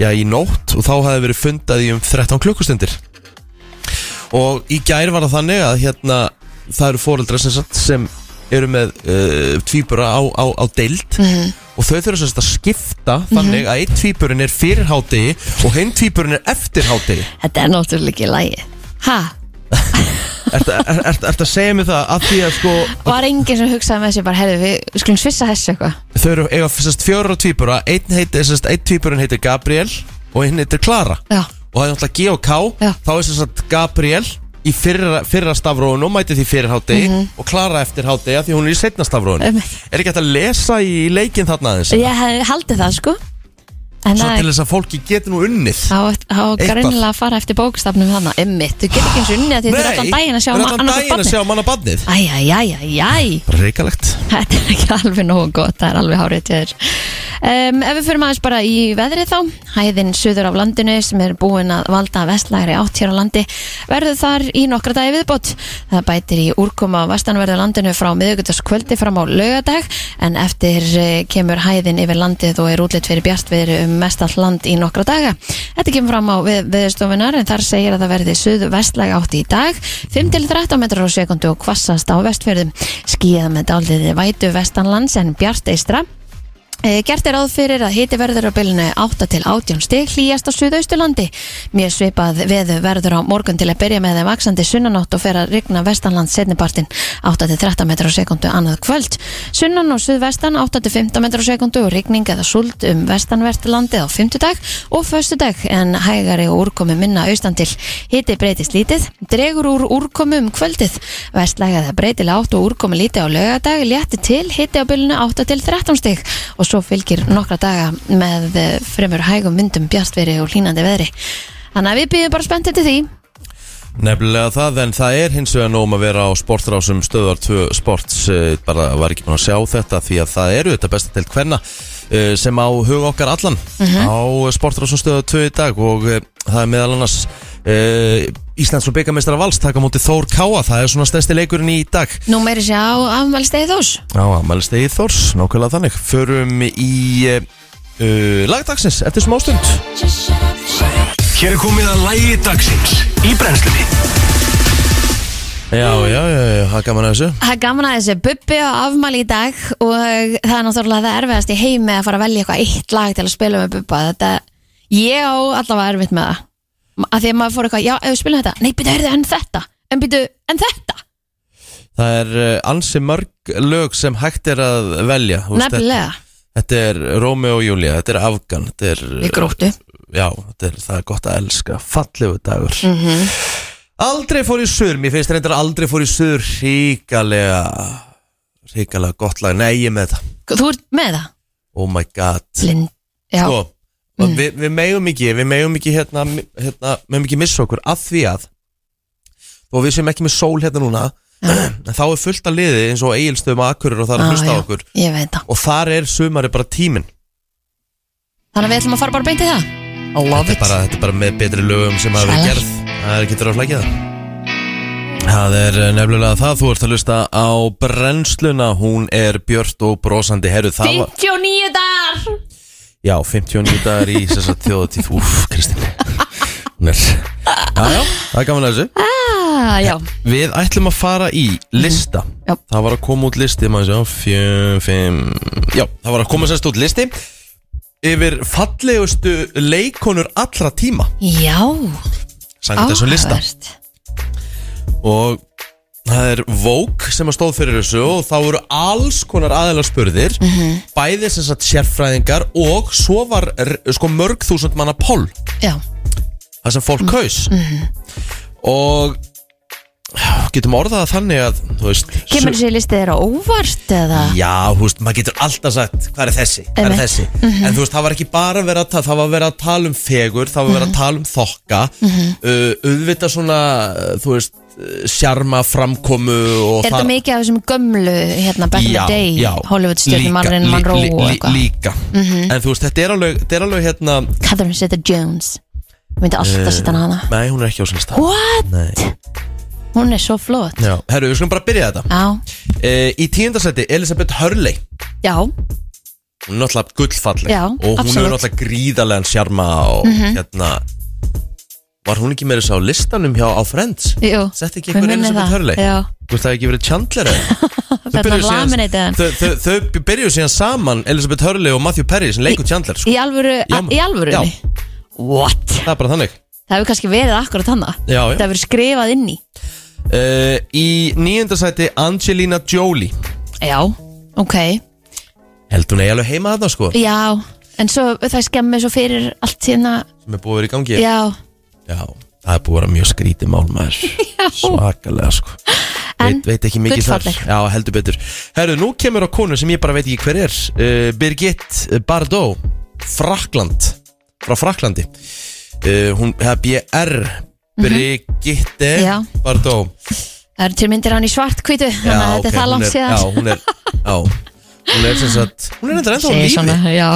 D: já, í nótt og þá hafði verið fundað í um 13 klukkustundir og í gær var það þannig að hérna, það eru fóreldra sem, sagt, sem eru með uh, tvíbura á, á, á deild og þau þurfa sem sagt að skipta þannig að einn tvíburinn er fyrir hádegi og hinn tvíburinn er eftir hádegi
C: þetta er náttúrulega ekki lægi Ha,
D: Ertu er, er, er, að segja mér það að því að sko
C: var enginn sem hugsaði með sér bara, heyrðu, við skulum svissa þessu eitthvað
D: þau eru eiga sem sagt, fjóra tvíbura einn, heiti, sem sagt, einn tvíburinn heitir Gabriel og hinn heitir Klara
C: Já,
D: og það er náttúrulega G og K
C: Já.
D: þá er sem sagt Gabriel í fyrra, fyrra stafróinu og mæti því fyrir hádegi og Klara eftir hádegi af því hún er í setna stafróinu
C: Mhm. Einmitt.
D: er ekki hægt að lesa í leikin þarna aðeins
C: ég hefði haldið það sko En
D: svo til
C: það
D: þess að fólki getur nú unnið
C: Há, há
D: Eitthvað.
C: greinlega að fara eftir bókstafnum þannig Emmitt, þú getur ekki eins og unni að því þú er allan daginn að sjá
D: það er allan
C: annars
D: daginn að
C: barni
D: sjá um manna badnið
C: Æjæjæjæjæj
D: Ríkalegt
C: Þetta er ekki alveg nógu gott, það er alveg hárið til þér. Um, ef við fyrir maður bara í veðrið þá, hæðin suður af landinu sem er búin að valda vestlægri átt hér á landi verður þar í nokkra dagi viðbót. Það bætir í úrkoma á vestanverðu landinu frá miðugutaskvöldi fram á laugadag en eftir eh, kemur hæðin yfir landið og er útlitt fyrir bjartviðri um mest all land í nokkra daga. Þetta kemur fram á við, viðstofunar en þar segir að það verði suðu vestlæg átt í dag 5-13 metrar á sekundu og hvassast á vestfjörðum. Skíða með dálíði vætu vestanlands en bjart eistra Eh, Gert er áð fyrir að hiti verður á bylunu 8 til 18 stig hlýjast á suðausturlandi. Mér svipað veðu verður á morgun til að byrja með þeim vaksandi sunnanátt og fer að rigna vestanland setnipartin 8 til 13 metrar á sekundu annað kvöld. Sunnan og suðvestan 8 til 15 metrar á sekundu og rigning eða sult um vestanvert landið á 5. dag og 1. dag en hægari og úrkomi minna austan til. Hiti breytist lítið, dregur úr úrkomi um kvöldið. Vestlæg eða breytilega átt og úrkomi lítið á lögadag létti til hiti á bylunu 8 til 13 stig og svo fylgir nokkra daga með eh, fremur hægum myndum bjartveri og hlínandi veðri þannig að við býðum bara spennt til því
D: Nefnilega það, en það er hins vegar nóg um að vera á sportrásum stöðar 2 sports, eh, bara var ekki búin að sjá þetta því að það eru þetta besta til hvenna sem á hug okkar allan á sportrásum stöðar 2 í dag og eh, það er meðal annars uh, Íslands og byggamestara Vals taka á móti Þór Káa, það er svona stærsti leikurinn í dag
C: Nú meiri sér á afmælstegið þós
D: á ammælstegi Þórs, nákvæmlega þannig förum í uh, uh, lagdagsins eftir smástund
B: Hér er komið að lægi dagsins í brennslunni
D: Já, já, já, já, það er gaman að þessu
C: Það er gaman að þessu bubbi á afmæli í dag og það er náttúrulega það erfiðast í heimi að fara að velja eitthvað eitt lag til að spila með bubba þetta, ég á allavega erfitt með það að því að maður fór eitthvað, já, ef við spilum þetta nei, byrju, heyrðu, en þetta, en byrju, en þetta
D: Það er eh, ansi mörg lög sem hægt er að velja þú veist,
C: nefnilega,
D: Þetta er Rómi og Júlia, þetta er Afgan Þetta er,
C: við gróttu
D: já, þetta er, það er gott að elska Fallegu dagur
C: Mm. Mhm.
D: Aldrei fór í sur, mér finnst reyndar aldrei fór í sur Ríkalega Ríkalega gott lag, nei ég er með þetta
C: þú ert með það,
D: Oh my god
C: Lind já,
D: Sko, og
C: Mm.
D: við, við megum ekki við megum ekki hérna, hérna megum ekki missa okkur að því að og við sem ekki með sól hérna núna en þá er fullt að liði eins og eigilstöðum að akkurir og það er að
C: Já,
D: hlusta á
C: Mm. Ah, já,
D: okkur
C: Ég veit það
D: og þar er sumari bara tíminn
C: Þannig að við ætlum að fara bara beint í það I
D: þetta
C: love
D: er,
C: it
D: bara, þetta er bara með betri lögum sem hafa verið
C: Svalar.
D: gerð það er getur að flækja það Það er eh, nefnilega það, þú ert að lusta á brennsluna, hún er björt og brosandi, herru það var
C: 59 dagar
D: Já, 59 dagar í þess að þjóðatíð, úf, Kristín Hún er, já, já, það er gaman að þessu
C: ah, Já,
D: Við ætlum að fara í lista
C: Já.
D: Það var að koma út listi maður sjá, fjö, fimm, Já, það var að koma sérst út listi Yfir fallegustu leikonur allra tíma
C: já
D: Sangat
C: Ah,
D: þessum lista
C: áhugavert.
D: Og það er Vogue sem að stóð fyrir þessu Og þá voru alls konar aðeinslega spurðir Bæði sem sagt sérfræðingar Og svo var r- sko mörg þúsund manna poll
C: Já,
D: Það sem fólk kaus Og getum orðað það þannig að þú veist,
C: kemur
D: su-
C: þessi listi þér á óvart eða
D: Já, þú veist, maður getur alltaf sagt hvað er þessi, hvað er
C: Einmitt. Mhm.
D: þessi En þú veist, það var ekki bara verið að tala Það var verið að tala um fegur, það var verið
C: Mhm.
D: að tala um þokka uh, Auðvitað svona, uh, þú veist, uh, sjarma framkomu og
C: Er þetta mikið af þessum gömlu hérna back in the day Hollywood stjórnum
D: líka,
C: Marilyn
D: lí-
C: Monroe
D: lí-
C: og
D: lí-
C: eitthvað Mhm.
D: Líka, en þú veist, þetta er alveg, þetta er alveg hérna
C: Catherine Zeta-Jones Ég myndi alltaf
D: eh,
C: að setja hana hana
D: Nei, hún er ekki á sinni stað
C: What?
D: Nei.
C: Hún er svo flott
D: Já, herru, við skulum bara byrja þetta
C: Já,
D: uh, Í tíundasæti, Elisabeth Hurley
C: já,
D: hún er náttúrulega gullfalleg
C: Já,
D: og hún
C: absolutt. Mhm.
D: er náttúrulega gríðarlegan sjarma og hérna var hún ekki meira þess á listanum hjá á Friends?
C: jú
D: Sett ekki
C: Mér
D: eitthvað
C: minnir
D: Elisabeth
C: það,
D: Hurley?
C: Já,
D: Þú veist það hefði ekki verið Chandler eða? Þau
C: Þarna
D: byrjuðu síðan-
C: laminated hann.
D: þau- Þau þau byrjuðu síðan saman Elisabeth Hurley og Matthew Perry sem leikur Chandler sko.
C: í alvöru,
D: Já,
C: í alvöru
D: já.
C: What?
D: Það er bara þannig
C: Það hefur kannski verið akkurat þannig
D: Já, já.
C: Það hefur verið skrifað inn í
D: uh, Í nýjöndasæti Angelina Jolie
C: Já, ok
D: Held hún eigi alveg heima þarna sko
C: Já, en svo það skemmir svo fyrir allt hérna
D: sem er búið að vera í gangi
C: Já,
D: Já, það er búið að vera mjög skrítið mál maður Svakalega sko
C: En
D: veit, veit ekki mikið þar
C: gullfalleg.
D: Já, heldur betur Herru, nú kemur á konu sem ég bara veit ekki hver er uh, Birgit Bardot Frakland Frá Fraklandi uh, Hún, það er BR Brigitte
C: Mhm. Já.
D: Bardot
C: það eru til myndir af hann í svart kvítu Þannig að þetta
D: ok,
C: er það
D: hún
C: langt
D: Já,
C: síðan
D: hún er Já, hún er sem sagt Hún er enda ennþá á
C: Segir
D: lífi
C: svona, Já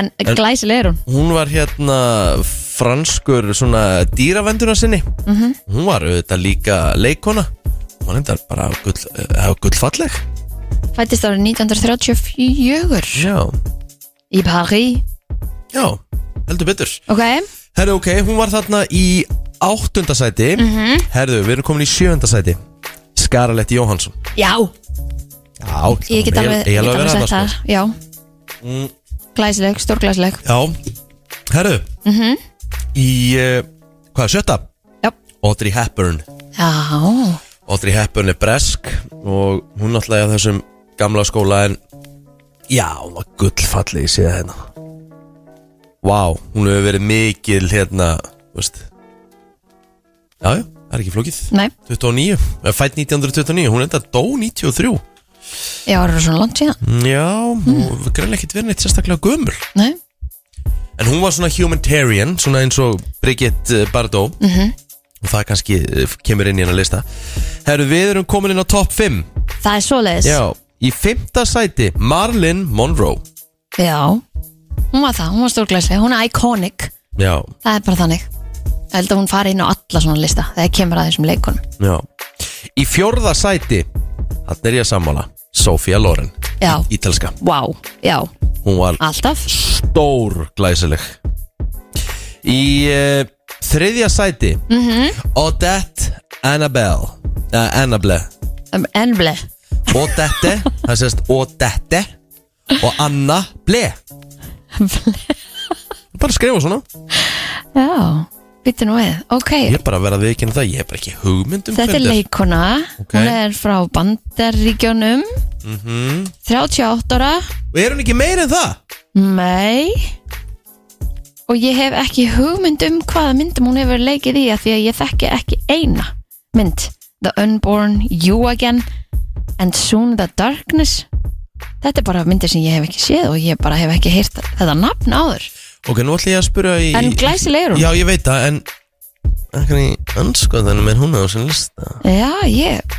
C: En glæsileg er hún
D: Hún var hérna franskur svona dýravenduna sinni
C: Mhm.
D: Hún var auðvitað líka leikona Hún var enda bara gull, uh, gullfalleg
C: Fættist árið 1934
D: Já,
C: Í Paris
D: já, heldur betur
C: Ok,
D: Herðu, ok, hún var þarna í áttunda sæti
C: Mhm.
D: Herðu, við erum komin í sjöunda sæti Skaralett Jóhansson
C: já
D: Já,
C: Ég get
D: hún-
C: alveg,
D: ég
C: ég
D: alveg
C: get
D: verið
C: alveg
D: þarna, Mm.
C: sagt það
D: sko.
C: Já Glæsileg, stórglæsileg
D: Já, herðu
C: Mhm.
D: Í, uh, hvað, sjötta?
C: Já,
D: Audrey Hepburn
C: já
D: Audrey Hepburn er bresk og hún náttúrulega er á þessum gamla skóla en já, hún var gullfallið í síða hérna Vá, hún hefur verið mikil hérna, þú veist Já, já, það er ekki flókið
C: Nei,
D: 29, eh, fædd 1929, hún enda dó 93
C: já, það eru svona langt síðan
D: Já, hún mm. greinlega ekkert verið neitt sérstaklega gömur
C: Nei,
D: En hún var svona humanitarian, svona eins og Brigitte eh, Bardot Og það kannski eh, kemur inn í hennar lista Herru, við erum komin inn á topp 5
C: það er svoleiðis
D: Já, í fymta sæti Marlin Monroe
C: já Hún var það, hún var stórglæsileg, hún er iconic
D: Já,
C: Það er bara þannig Ég held að hún fari inn á alla svona lista Þegar kemur að þessum leikunum
D: já Í fjórða sæti Þannig er ég að sammála Sofía Loren
C: Já,
D: Ítalska
C: vá, já,
D: Hún var
C: alltaf
D: stór glæsileg Í uh, þriðja sæti -hmm. Odette Annabelle uh, Annable
C: um, Enble
D: Odette Það sést Odette Og Anna Ble Bara skrifa svona
C: Já, býttu nú við Ok,
D: Ég er bara að vera að viðkynna það Ég er bara ekki um hugmyndum
C: þetta er leikuna
D: Ok. Mhm.
C: Hún er frá Bandaríkjónum 38 ára
D: Og er hún ekki meir en það?
C: Nei Og ég hef ekki hugmynd um hvaða myndum hún hefur leikið í af Því að ég þekki ekki eina mynd The Unborn, You Again And Soon the Darkness Þetta er bara myndir sem ég hef ekki séð og ég bara hef ekki heyrt þetta nafn áður
D: Ok, nú ætla ég að spyrja í
C: En glæsileg er hún.
D: Já, ég veit það, en En hvernig anskotanum er hún á þessum lista
C: Já, ég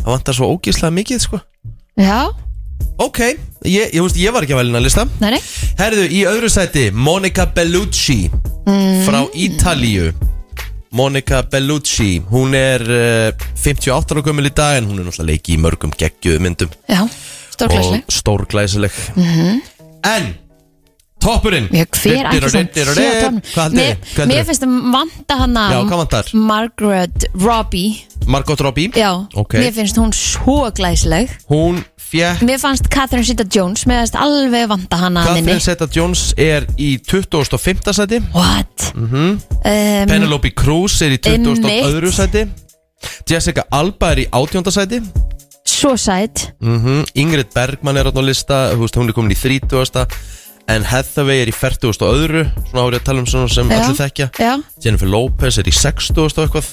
D: Það vantar svo ógíslega mikið, sko
C: Já,
D: Ok, ég, ég, veist, ég var ekki að velja hennar lista
C: nei, nei
D: Herðu, í öðru sæti Monica Bellucci Frá
C: Mm.
D: Ítalíu Monica Bellucci Hún er uh, 58 ára gömul í dag En hún er náttúrulega leiki í mörgum geggjuðu myndum
C: Já, stórglæsileg
D: Og stórglæsileg En Toppurinn
C: Já, hver ætti
D: Diddir og
C: samt
D: diddir og
C: sé á
D: didd.
C: tánum?
D: Hvað heldur
C: Mér-
D: þið? Hvað
C: Mér
D: heldur þið?
C: finnst að vanta hana um,
D: Já, hvað vantar?
C: Margaret Robbie
D: Margot Robbie
C: Já,
D: Ok.
C: mér finnst hún svo glæsileg
D: Hún fjekk
C: Mér fannst Catherine Zeta-Jones Mér finnst alveg vanta hana að minni
D: Catherine Zeta-Jones er í 2005. sæti
C: What? Mm
D: Mhm.
C: -hmm. um,
D: Penelope Cruz er í 2002.
C: Einmitt.
D: sæti Jessica Alba er í 18. sæti
C: svo sætt
D: Mhm, Ingrid Bergman er þarna á lista þú veist, hún er komin í 30. en Hathaway er í 40. og öðru svona árið að tala um svona sem allir þekkja
C: Já,
D: Jennifer Lopez er í 60. og eitthvað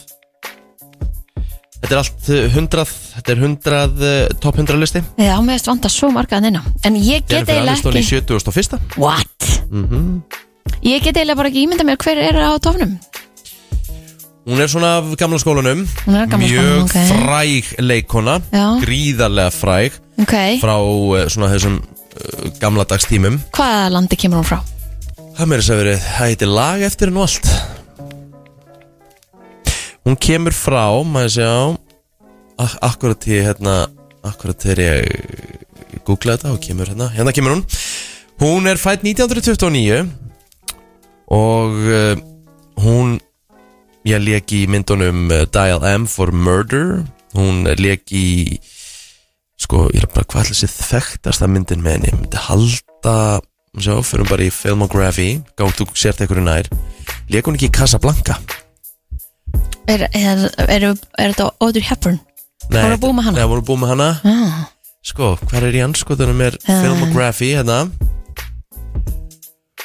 D: Þetta er allt eh, 100 þetta er 100 eh, top 100 listi
C: já, mér finnst vanta svo marga að nynna En ég get
D: Jennifer
C: eiginlega
D: Aniston í Mhm.
C: ekki
D: 70. og fyrsta
C: What? Ég get eiginlega bara ekki ímynda mér hver er á tofnum
D: Hún er svona af gamla skólanum
C: Hún er af gamla
D: Mjög
C: skólanum, ok.
D: fræg leikona
C: Já.
D: Gríðarlega fræg
C: Ok,
D: Frá eh, svona þessum uh, gamla dagstímum
C: hvaða landi kemur hún frá?
D: Það meira þess að verið, það heitir lag eftir hennu allt Hún kemur frá, maður sé á Akkurat ég hérna Akkurat þegar ég googlaði þetta og kemur hérna, hérna kemur hún Hún er fætt 1929 og uh, hún ég leik í myndunum uh, Dial M for Murder hún leik í sko, ég er bara hvað allir sér þekktasta myndin með henni, ég myndi halda sjá, fyrir bara í filmography gáttu sért ekkur nær leik hún ekki í Casablanca
C: Er, er, er, er þetta Audrey Hepburn? Voru að búa með hana?
D: Nei, voru að búa með hana
C: Ah,
D: Sko, hvað er í anskotunum er filmography hérna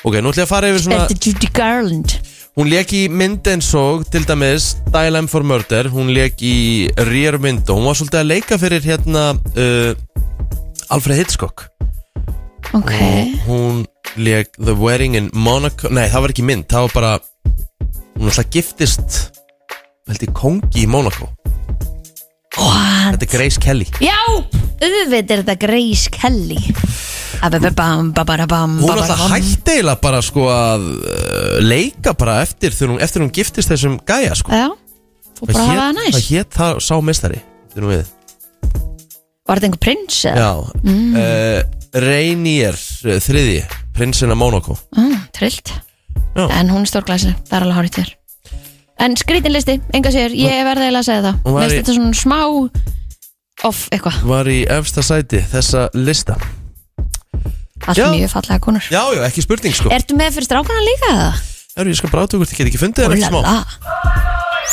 D: Ok, nú ætlum ég að fara yfir
C: er
D: svona
C: þetta Judy Garland?
D: Hún leik í mynd eins og til dæmis Dial M for Murder, hún leik í Rear Window, hún var svolítið að leika fyrir hérna uh, Alfred Hitchcock
C: Ok,
D: Hún leik The Wedding in Monaco, nei það var ekki mynd, það var bara Hún alltaf giftist, held ég, kongi í Monaco
C: what?
D: Þetta er Grace Kelly
C: Já, auðvitað er þetta Grace Kelly Abababam, babarabam
D: Hún alltaf
C: babarabam.
D: hætti eiginlega bara sko að uh, leika bara eftir þegar hún, eftir hún giftist þessum gæja sko
C: Já, þú Eh, bara hafa það
D: það
C: næst
D: hét það sá mestari, þetta er nú við
C: Var þetta einhver prins eða?
D: Já mm. Reinier eh, þriði Prinsinn af Monaco
C: Mm, trillt
D: Já.
C: En hún er stórglæsi, það er alveg hárið þér En skrítin listi, enga sér, ég verði eiginlega að segja það
D: Hún
C: Mér
D: var
C: finnst
D: í-
C: þetta svona smá Off eitthvað,
D: Var í efsta sæti þessa lista
C: allt
D: Já.
C: mjög fallega konur
D: Já, já, ekki spurning sko
C: Ertu með fyrir strákana líka það?
D: Erðu, ég skal bara átökur, ég get ekki fundið það eftir smá
C: Úlala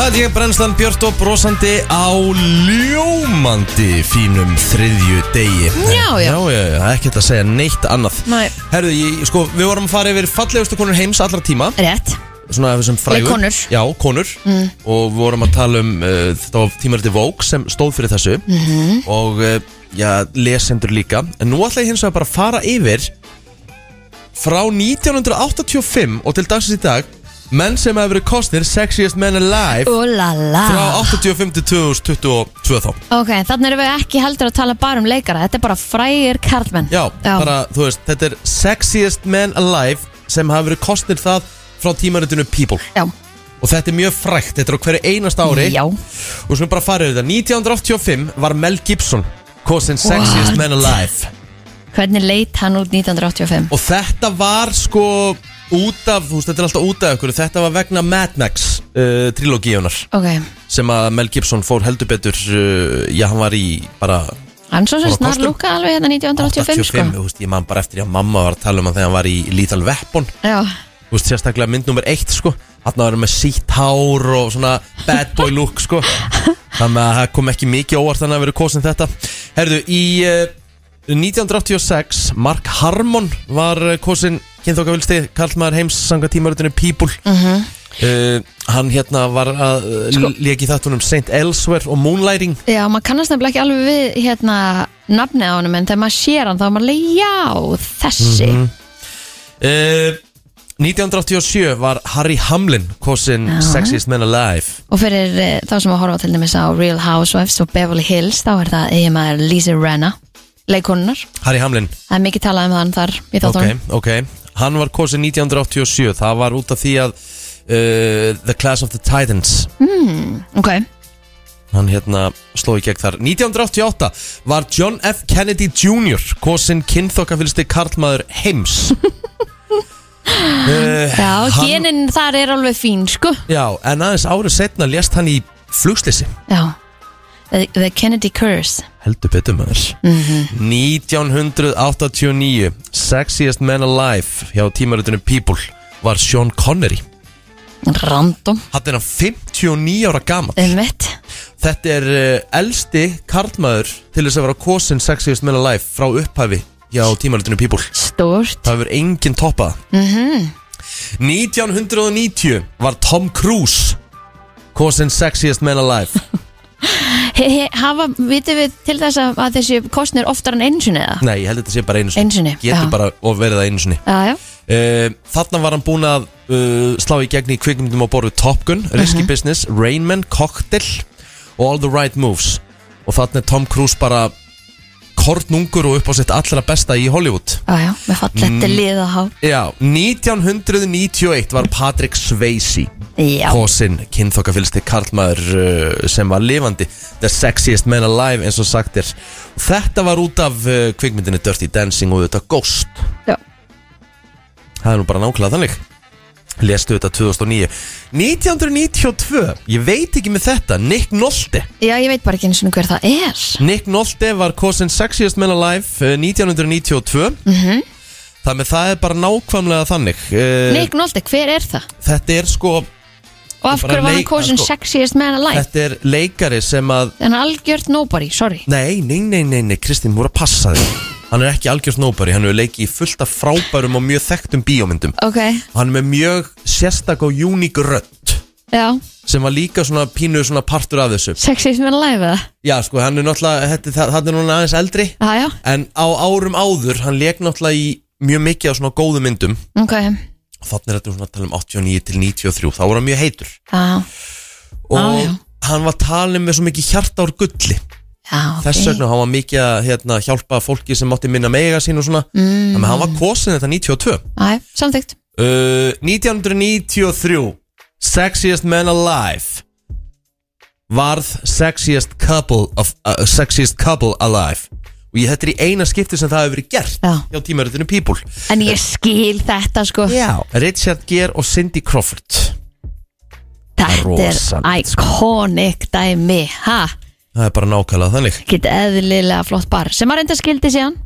D: Það er ég brennslan Björn og brosandi á ljómandi fínum þriðju degi
C: Já, já.
D: Já, já, já, ekki þetta að segja neitt annað
C: Nei.
D: Herðu, ég, sko, við vorum að fara yfir fallegustu konur heims allra tíma
C: Rétt,
D: svona af þessum frægur
C: Nei, konur. Mm.
D: Já, konur Og við vorum að tala um uh, Þetta var tímariti Vogue sem stóð fyrir þessu
C: Mhm.
D: -hmm. Og uh, já, lesendur líka En nú ætla ég hins vegar bara að fara yfir Frá 1985 og til dagsins í dag Menn sem hefur verið kostnir Sexiest Men Alive
C: úlala
D: Frá 85 til 2022 þá
C: Ok, þannig erum við ekki heldur að tala bara um leikara Þetta er bara frægir karlmenn
D: Já, bara, þú veist, þetta er Sexiest Men Alive Sem hafa verið kostnir það frá tímaritinu People
C: Já,
D: Og þetta er mjög frækt, þetta er á hverju einasta ári
C: já,
D: Og sem bara farið þetta 1985 var Mel Gibson Kosin Sexiest
C: What?
D: Man Alive
C: hvernig leit hann út 1985?
D: Og þetta var sko út af, þú veist, þetta er alltaf út af ykkur Þetta var vegna Mad Max uh, trilogíunar
C: Ok,
D: Sem að Mel Gibson fór heldur betur uh, Já, hann var í bara
C: Hann svo sem
D: Fór á
C: snar
D: kostum.
C: lúka alveg hérna 1985 sko
D: þú veist, Ég man bara eftir því að mamma var að tala um hann Þegar hann var í Lethal Weapon
C: Já,
D: Þú veist, sérstaklega mynd nummer eitt, sko Þarna var hann með sítt hár og svona bad boy look, sko Þannig að það kom ekki mikið óvart þannig að vera kosin þetta eh, Herðu, í uh, 1986 Mark Harmon var kosin kynþóka vilsti Karlmaður heims sanga tímarutinu People uh, Hann hérna var að sko. leki þáttunum St. Elsewhere og Moonlighting
C: Já, maður kannast nefnilega ekki alveg við hérna nafnið á honum en þegar maður sér hann þá er maður alveg já, þessi
D: Mhm. uh, 1987 var Harry Hamlin kosin
C: Já.
D: Sexiest Man Alive
C: Og fyrir e, þá sem að horfa til dæmis á Real Housewives og Beverly Hills þá er það eigin maður Lisa Renna leikonunnar,
D: Harry Hamlin,
C: það er mikið talað um hann þar í
D: ok,
C: þáttunum
D: ok Hann var kosin 1987, það var út af því að uh, The Class of the Titans
C: ok,
D: hann hérna sló í gegn þar 1988 var John F. Kennedy Jr. kosin kynþokkafylsti karlmaður heims uh,
C: já,
D: hann-
C: genin þar er alveg fín, sko
D: Já, en aðeins árið setna lést hann í flugslissi
C: Já, The, the Kennedy Curse
D: heldur betur maður
C: Mhm.
D: 1989 Sexiest Man Alive hjá tímarutinu People var Sean Connery
C: Random,
D: Hatt er hann 59 ára gaman
C: einmitt
D: Þetta er uh, elsti karlmaður til þess að vera kosin Sexiest Man Alive frá upphæfi hjá tímarutinu People
C: Stort
D: Það hefur enginn toppað mm
C: Mhm.
D: 1990 var Tom Cruise Kosin Sexiest Man Alive
C: he, he, Hafa, vitið við til þess að, að þessi kostnir oftar en einu sinni eða?
D: Nei, ég held að þetta sé bara einu sinni
C: Einu sinni,
D: Getur
C: já.
D: bara of verið það einu sinni
C: Já, já,
D: uh, Þarna var hann búin að uh, slá í gegn í kvikmyndum á borðu Top Gun Risky Business, Rain Man, Cocktail og All the Right Moves Og þarna er Tom Cruise bara kornungur og upp á sitt allra besta í Hollywood
C: já, já, með fallegt mm. lið að hafa
D: Já, 1991 var Patrick Swayze
C: Já,
D: Kosin, kynþokkafylsti karlmaður uh, sem var lifandi The sexiest man alive eins og sagt er Þetta var út af uh, kvikmyndinni Dirty Dancing og þetta Ghost
C: Já.
D: Það er nú bara nákvæmlega þannig Lestu þetta 2009 1992, ég veit ekki með þetta Nick Nolte
C: já, ég veit bara ekki eins og hver það er
D: Nick Nolte var kosin sexiest man alive uh, 1992 mm -hmm. Það með það er bara nákvæmlega þannig uh,
C: Nick Nolte, hver er það?
D: Þetta er sko
C: Og af
D: bara
C: hverju var hann
D: leik-
C: kosin
D: sko-
C: sexiest man alive?
D: Þetta er leikari sem að
C: En algjört nobody, sorry
D: Nei, nei, nei, nei, nei, Kristín voru að passa þig Hann er ekki algjörst nóbari, hann hefur leikið í fullt af frábærum og mjög þekktum bíómyndum
C: Ok,
D: Hann er með mjög sérstak og uník rödd
C: já,
D: sem var líka svona pínu svona partur af þessu
C: sexiest man alive eða?
D: Já, sko, hann er náttúrulega, þetta, það, það er núna aðeins eldri
C: Já, já,
D: En á árum áður, hann leik náttúrulega í mjög mikið á svona góðum myndum
C: ok
D: Og þannig er þetta svona að tala um 89 til 93, þá voru hann mjög heitur
C: Já,
D: Og
C: Á, já.
D: hann var talin með svo mikið hjarta úr gulli
C: já, ok
D: Þess vegna hann var mikið að hérna, hjálpa fólki sem átti minna mega sín og svona mm. Þannig að hann var kosin þetta 92 uh,
C: Æ, samþykkt
D: Eh, 1993 Sexiest Man Alive Varð Sexiest Couple, of, uh, sexiest couple Alive Og ég þetta er í eina skipti sem það hefur verið gert
C: Já.
D: Hjá tímaritinu People
C: En ég skil þetta sko
D: Já. Richard Gere og Cindy Crawford
C: Þetta er
D: Rosalegt,
C: iconic dæmi ha,
D: Það er bara nákvæmlega þannig
C: Ekkert eðlilega flott bar sem að reynda skildi síðan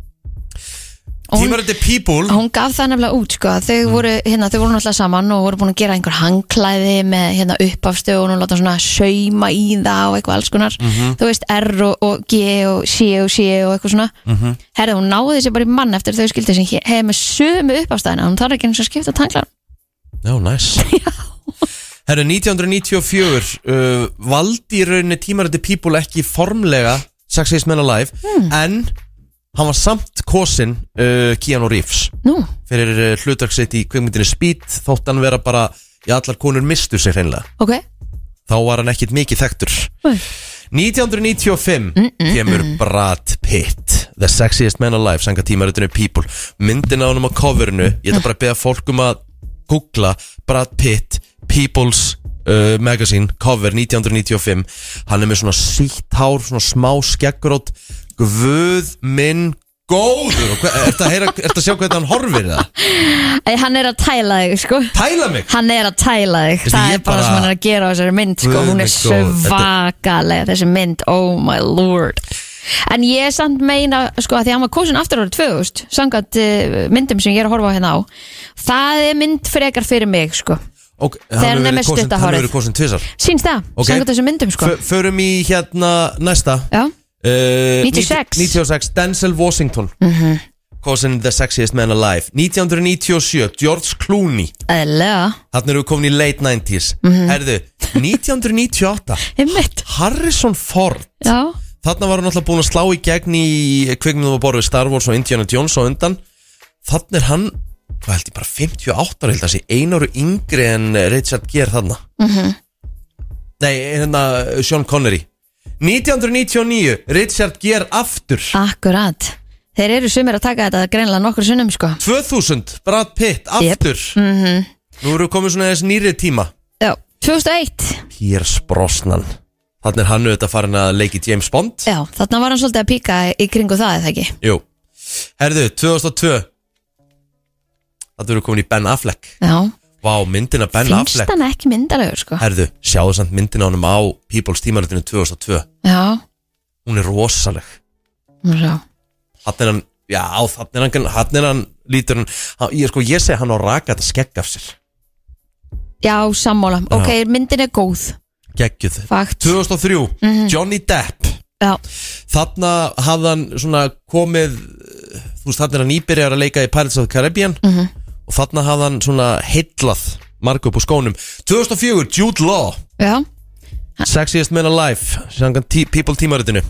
C: og hún,
D: Tímaritinu People
C: hún gaf það nefnilega út sko. að þau, voru, hérna, þau voru náttúrulega saman og voru búin að gera einhver hangklæði með hérna, uppafstöðun og láta svona sauma í það og eitthvað alls konar þú veist R og, og G og C og C og eitthvað svona mm -hmm. herði hún náði sér bara í mann eftir þau skildi sem hefði með sömu uppafstæðina hún þarf ekki eins og að skipta tanglar
D: Já, næs Herru, 1994 uh, valdi í rauninni tímaröndi People ekki formlega Success Men Alive en hann var samt kosin uh, Keanu Reeves
C: nú,
D: fyrir uh, hlutverk sitt í kveikmyndinni Speed þótt hann vera bara, já allar konur mistu sig hreinlega,
C: ok
D: þá var hann ekkit mikið þekktur
C: Nei.
D: 1995 kemur Brad Pitt The Sexiest Man Alive, sanga tímaröndinu People myndin á honum á coverinu ég ætla bara að beða fólkum að googla Brad Pitt, People's uh, Magazine, cover 1995 hann er með svona sítt hár svona smá skeggrót guð minn góður Og hva- ertu að, heyra, ertu að sjá hvernig hann horfir það
C: Æ, hann er að tæla þig sko
D: tæla mig
C: hann er að tæla þig
D: Veistu,
C: það
D: ég
C: er bara
D: bara-
C: það sem hann er að gera á þessari mynd sko.
D: Guð
C: hún
D: minn
C: er
D: góður, þetta-
C: svakalega þessi mynd, oh my lord en ég er samt meina sko að því að hann var kosin aftur árið 2000 sangat uh, myndum sem ég er að horfa á hérna á það er mynd frekar fyrir mig sko
D: og
C: hann
D: hann hefur
C: er með
D: verið kosin-
C: stutta
D: hann hefur
C: hárið.
D: verið kosin tvisar
C: sínst það,
D: Ok.
C: sangat þessum myndum sko
D: F- förum í hérna næsta
C: já,
D: Uh,
C: 96.
D: 96 Denzel Washington Kosin the sexiest man alive 1997, George Clooney
C: Eðlilega
D: Þannig erum við komin í late 90s Herðu, 1998
C: Einmitt
D: Harrison Ford
C: Já
D: Þarna var hann alltaf búin að slá í gegn í kvikmyndum að borðu Star Wars og Indiana Jones og undan Þannig er hann, hvað held ég, bara 58 ára held að sé Einar og yngri en Richard Gere þarna -hmm. Nei, hérna Sean Connery 1999, Richard Gere aftur
C: Ah. Akkurat Þeir eru sumir að taka þetta greinlega nokkur sunnum sko
D: 2000, Brad Pitt aftur mm -hmm. Nú eru komið svona þess nýri tíma
C: Já 2001
D: Piers Brosnan Þannig er hann auðvitað farin að leiki James Bond
C: Já þarna var hann svolítið að píka í kringu það eða ekki
D: Jú Herðu, 2002 Það eru komin í Ben Affleck
C: Já
D: Vá, myndina Ben
C: Finnst
D: Affleck
C: hann ekki myndalegur sko
D: Herðu, sjáðu samt myndina á honum á People's tímaritinu 2002
C: Já
D: Hún er rosaleg
C: Já
D: Þannig er hann, já, þannig er hann Þannig er hann, lítur hann hann- Ég sko, ég segi hann á raka þetta skegg af sér
C: Já sammála Ok myndin er góð
D: Geggjuð
C: Fakt Mhm.
D: 2003, Johnny Depp
C: Já
D: Þarna hafði hann svona komið Þú veist, þarna er hann íbyrjar að leika í Pirates of the Caribbean -hmm. Og þarna hafði hann svona heillað Mark upp úr skónum 2004, Jude Law
C: Já
D: Sexiest Man Alive Sjangan People tímaritinu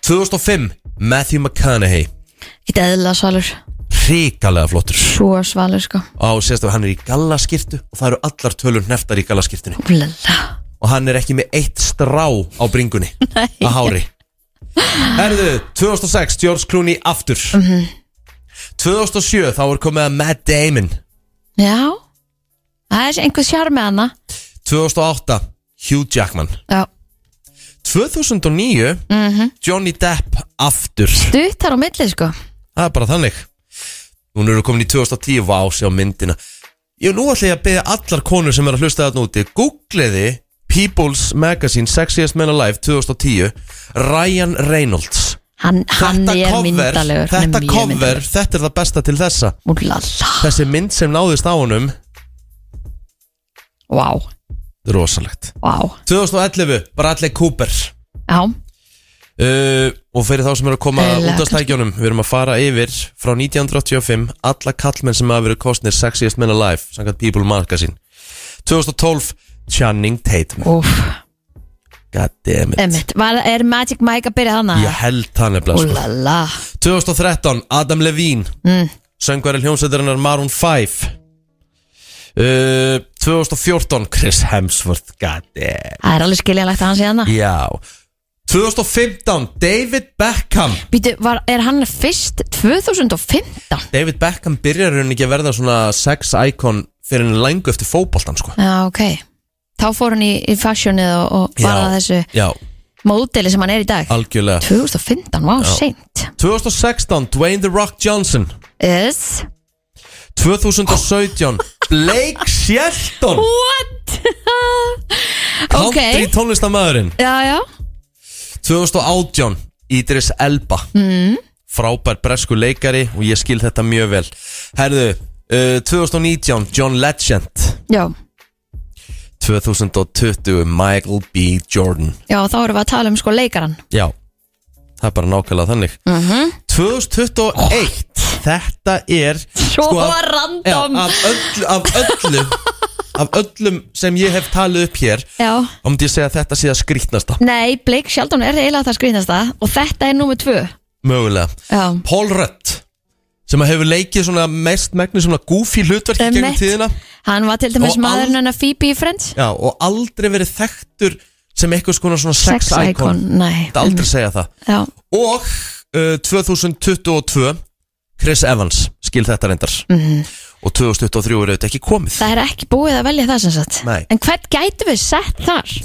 D: 2005, Matthew McConaughey
C: Eitt eðla svalur
D: Ríkalega flottur
C: Svo svalur sko
D: Og sérst að hann er í gallaskirtu Og það eru allar tölur neftar í gallaskirtunni
C: Úlala
D: Og hann er ekki með eitt strá á bringunni Að hári Herðu, 2006, George Clooney aftur 2007, þá er komið að Matt Damon
C: Já Það er einhver sjár með hana
D: 2008, Hugh Jackman
C: Já
D: 2009, Johnny Depp aftur
C: Duttar á milli sko
D: Það er bara þannig Núna eru komin í 2010 Vá, sjá myndina Ég nú ætla ég að beða allar konur sem er að hlusta þarna úti Googleði People's Magazine Sexiest Men Alive 2010 Ryan Reynolds
C: Hann, hann er myndalegur hann
D: þetta
C: er mjög
D: cover,
C: myndarlegur.
D: þetta er það besta til þessa
C: Úlala
D: Þessi mynd sem náðist á honum
C: Vá
D: þetta er Rosalegt
C: Vá
D: 2011, Bradley Cooper
C: Já
D: Uh, og fyrir þá sem eru að koma
C: Eðlilega,
D: út af stækjónum Við erum að fara yfir frá 1985 Alla kallmenn sem hafa verið kostnir Sexiest Men Alive, sangat People Magazine 2012 Channing Tatum
C: Úf
D: God damn it
C: Emmett Var- Er Magic Mike að byrja hana?
D: Ég held það nefnilega sko.
C: Úlala
D: 2013 Adam Levine mm. Söngvaril hljómsveitarinnar Maroon 5 uh, 2014 Chris Hemsworth God damn
C: Það er alveg skiljanlegt að hann sé hana
D: Já 2015 David Beckham
C: Býtu, var, er hann fyrst 2015?
D: David Beckham byrjar hún ekki að verða svona sex icon fyrir henni længu eftir fótboltan sko
C: Já, ok Þá fór hann í, í fashionið og, og var að þessu
D: Já,
C: módeli sem hann er í dag
D: algjörlega
C: 2015, vá, seint
D: 2016, Dwayne The Rock Johnson
C: Is
D: 2017, Blake Shelton
C: What? ok
D: Country tónlistamæðurinn
C: Já, já
D: 2018, Idris Elba mm. Frábær bresku leikari og ég skil þetta mjög vel Herðu, uh, 2019, John Legend
C: Já,
D: 2020, Michael B. Jordan
C: já þá erum við að tala um sko leikaran
D: Já, það er bara nákvæmlega þannig mm
C: Mhm.
D: 2021 Þetta er sko,
C: Svo
D: af-
C: random.
D: já, af, öll, af öllum Af öllum sem ég hef talið upp hér
C: Já
D: Þá myndi ég segja að þetta sé að skrýtnasta
C: Nei, Blake Sheldon er eiginlega það skrýtnasta og þetta er númer tvö
D: Mögulega
C: Já,
D: Paul Rudd Sem að hefur leikið svona mest megnu svona goofy hlutverk í gegnum
C: Emmett.
D: tíðina
C: hann var til dæmis
D: Og
C: maðurinn hennar Phoebe í Friends
D: Já, og aldrei verið þekktur sem eitthvað skona svona sex, icon,
C: nei
D: Þetta aldrei segja það
C: Já,
D: Og uh, 2022 Chris Evans, skil þetta reyndar -hmm. Og 2023 er auðvitað ekki komið
C: Mhm. það er ekki búið að velja það sem sagt
D: Nei.
C: En hvern gætum við sett þar?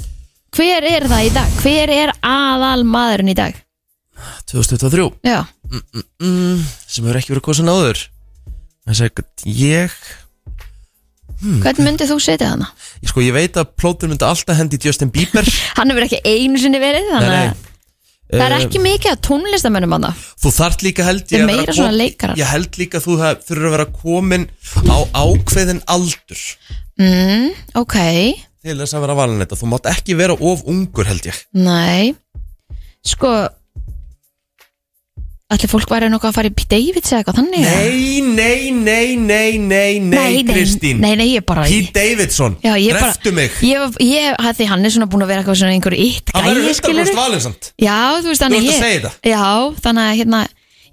C: Hver er það í dag? Hver er aðal maðurinn í dag?
D: 2023
C: Já,
D: sem hefur ekki verið kosin áður Þess að ég Hmm.
C: hvern myndið þú setja þarna?
D: ég, sko, ég veit að plótur myndi alltaf hendi Justin Bieber
C: Hann hefur ekki einu sinni verið þannig
D: Nei, eh, nei.
C: að það er ekki mikið að tónlistamönnum hann
D: Þú þart líka held
C: Þeir
D: ég að vera
C: meira
D: kom-
C: svona leikarar.
D: Ég held líka að þú hef- þurfur að vera komin á ákveðin aldur
C: mm, Ok,
D: til þess að vera valin þetta Þú mátt ekki vera of ungur held ég
C: nei Sko Ætli fólk væri nokkuð að fara í Pete Davids eða eitthvað þannig
D: Nei, nei, nei, nei, nei, nei, Kristín
C: Nei, nei, ég bara
D: Pete Davidson,
C: Já, ég bara
D: dreftu mig
C: Ég, var- ég, að því hann er svona búin að vera eitthvað svona einhver ytt
D: Hann verður
C: gæi,
D: 100%
C: skilurðu.
D: valinn samt
C: Já, þú veist, þannig
D: ert að
C: ég
D: segja þetta.
C: Já, þannig að hérna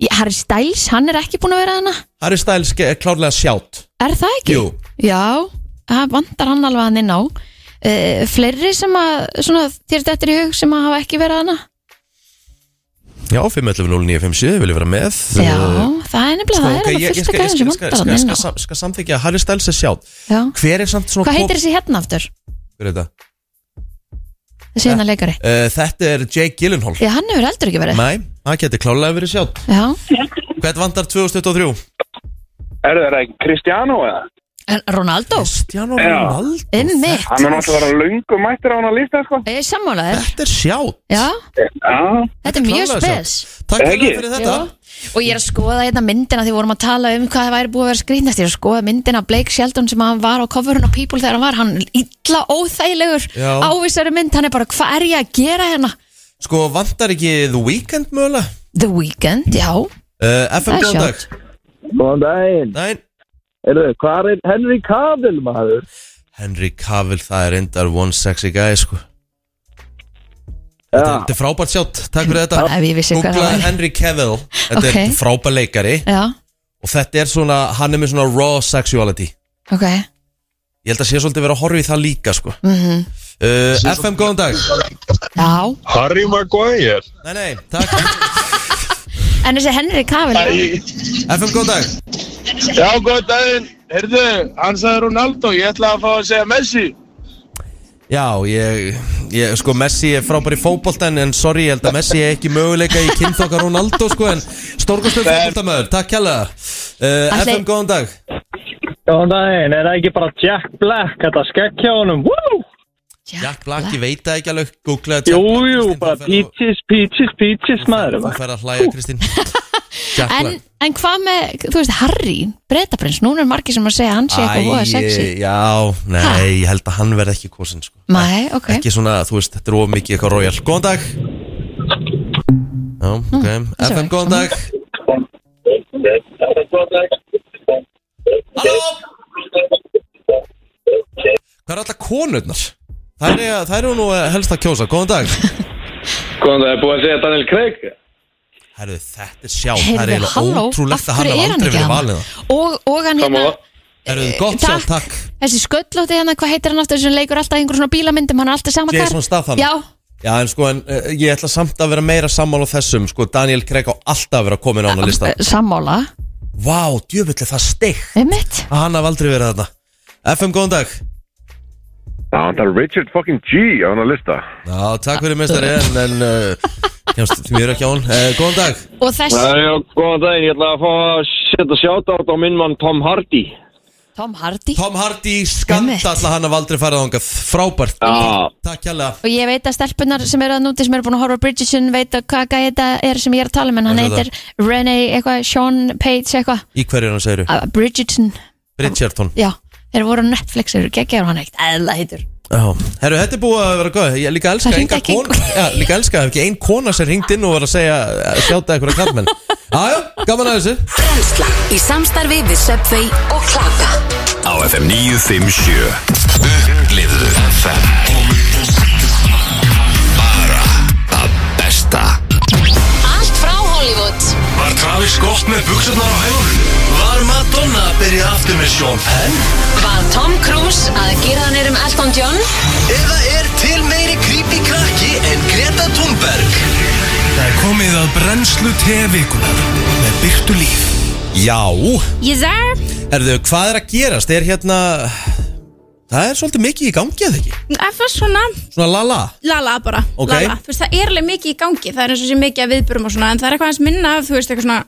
C: ég- Harry Styles, hann er ekki búin að vera hana
D: Harry Styles er klárlega sjátt
C: Er það ekki?
D: Jú.
C: Já, það vandar hann alveg hann inn á uh, Fleiri sem að svona, þér þetta er í hug sem að hafa ekki verið hana
E: Já, 5.11.09.57 vil ég vera með
C: Já, það er nefnilega, það er
D: Sko, Ok, ég-
C: alveg
D: ég
C: fyrsta
D: skal- ég
C: gæðin
D: skal-
C: sem
D: skal- skal-
C: vandar hann inn á
D: skal sam- Skal samþykja að Harry Styles er sjátt
C: Já.
D: Hver er samt svona
C: Hvað
D: kom-
C: heitir þessi hérna aftur?
D: Hver er þetta?
C: Þessi hérna leikari
D: Eh, Þetta er Jake Gyllenhaal
C: Já, hann hefur eldur ekki verið
D: Nei, það getur klárlega verið sjátt
C: Já,
D: Hvert vandar 2023?
F: Er það ekki Cristiano eða?
C: en Ronaldo
D: Cristiano
F: Já.
D: Ronaldo
C: Um mitt
F: Hann er náttúrulega löngu mættur á hann að lista sko.
C: Ég er sammálaður
D: Þetta er sjátt
C: Eh, Já,
F: Já,
C: þetta er mjög
D: Eh. klárlega
C: spes
D: Takk
F: Ekki?
D: fyrir þetta
C: Já. Og ég er að skoða hérna myndina því við vorum að tala um hvað það væri búið að vera skrýtnast Ég er að skoða myndina af Blake Shelton sem hann var á coverun á People þegar hann var Hann er illa óþægilegur
D: Já.
C: ávísari mynd Hann er bara, hvað er ég að gera hérna?
D: Sko, vandar ekki The Weeknd mögulega?
C: The Weeknd, já
D: Uh, FM,
C: Það er
D: góðan dag
C: sjátt.
G: Góðan daginn.
D: Nein,
G: Erðu, hvað er Henry Cavill, maður?
D: Henry Cavill, það er endar one sexy guy, sko Þetta þetta er frábært sjátt, takk fyrir þetta
C: Bara ef ég vissi hvað það
D: Googla
C: væri.
D: Henry Cavill, þetta
C: Ok.
D: er frábær leikari
C: Já,
D: Og þetta er svona, hann er með svona raw sexuality
C: ok
D: Ég held að sé svolítið verið að horfa í það líka, sko
C: Mhm.
D: uh, FM, góðan dag
C: Já,
H: Harry Maguire
D: Nei, nei, takk
C: en þessi Henry Cavill
D: FM, góðan dag
H: Já, góð daginn, heyrðu, hann sagði Ronaldo, ég ætla að fá að segja Messi
D: Já, ég, ég, sko, Messi er frábær í fótboltan En sorry, ég held að Messi er ekki möguleika í kynþokkar Ronaldo, sko En stórkostum fótboltamöður, takk kjalla uh,
C: Ætli-
D: FM, góðan dag
G: Góðan daginn, er það ekki bara Jack Black, þetta skekk hjá honum? Woo!
D: Jack Black, ég veit það ekki alveg Google
G: Jú, jú, bara peaches, peaches, peaches, maður.
D: Þú fer að hlæja, Kristín Jack
C: En,
D: Black
C: en hvað með, þú veist, Harry, breytaprins Núna er margir sem að segja að hann sé eitthvað
D: Æ,
C: voða sexy
D: Já,
C: Ha?
D: nei, ég held að hann verði ekki kosin sko.
C: Mæ, ok
D: Ekki svona, þú veist, þetta er of mikið eitthvað royal Góðan dag Já, ok,
C: Mm, þessi
D: FM,
C: var
D: góðan dag Halló Hvað er alltaf konurnar? Það eru það eru nú eh, helst að kjósa, góðan dag
F: Góðan það er búið að segja Daniel Craig
D: Herðu, þetta er sjá, það er
C: Heyrðu,
D: eiginlega
C: halló,
D: ótrúlegt
C: af
D: að hann hafa
C: hverju er hann
D: aldrei
C: ekki
D: verið
C: hann?
D: valið það
C: Og, og hann hérna
F: Sammála.
D: Herðu, gott sjá, takk
C: Þessi sköllóti hérna, hvað heitir hann aftur sem leikur alltaf í einhverjum svona bílamyndum, hann er alltaf sama
D: Jason Statham.
C: Já,
D: Já, en sko, en, uh, ég ætla samt að vera meira sammála á þessum Sko, Daniel Craig á alltaf að vera komin á hana lista
C: eh, sammála
D: Vá, djöfulli, það steik
C: Einmitt
D: Að hann haf aldrei verið þarna FM, góðan dag
F: Já, það er Richard fucking G á hann að lista
D: Já, takk fyrir mestari, en, en uh, Kemst, því mér ekki á hann uh, Góðan dag
C: Og þess,
H: Já, góðan daginn, ég ætla að fá að setja sjátátt á minn mann Tom Hardy
C: Tom Hardy
D: Tom Hardy, skandall að hann haf aldrei farið á hana Frábært
H: Já.
D: Takk hjálega
C: Og ég veit að stelpunar sem eru að núti sem eru búin að horfa á Bridgerton veit að hvað gæði þetta er sem ég er að tala um en hann
D: Hvað er
C: heitir Rene eitthvað, Sean Page eitthvað
D: Í hverju er hann segiru?
C: Að- Bridgerton,
D: Richardson
C: já, þeir voru á Netflix þeir eru geggjaður og hann eitt eðla heitur
D: Já, herru, þetta er búið að vera góð Ég líka elska
C: Það hringdi
D: enga
C: ekki
D: kona
C: einhver.
D: Já, líka elska ekki ein kona sem ringd inn og var að segja Sjáta eitthvað kallmenn Jájá, gaman að þessu
I: Brennslan í samstarfi við Subway og Klaka
B: Á FM 957 Upplifðu FM Bara að besta
I: Allt frá Hollywood
B: Var Travis gott með buksurnar á hægur? Var Madonna að byrja aftur með Sean Penn?
I: Var Tom Cruise að gera hann erum Elton John
B: Eða er til meiri creepy krakki en Greta Thunberg? Það er komið að brennslu tevikunar með byrtu líf
D: Já,
C: Yes sir
D: Herðu, hvað er að gerast? Er hérna Það er svolítið mikið í gangi eða ekki?
J: Eftir svona,
D: Svona lala
J: lala bara
D: Ok.
J: lala. Þú veist, það er alveg mikið í gangi það er eins og sé mikið að viðburum og svona en það er eitthvað aðeins minna af, þú veist, eitthvað svona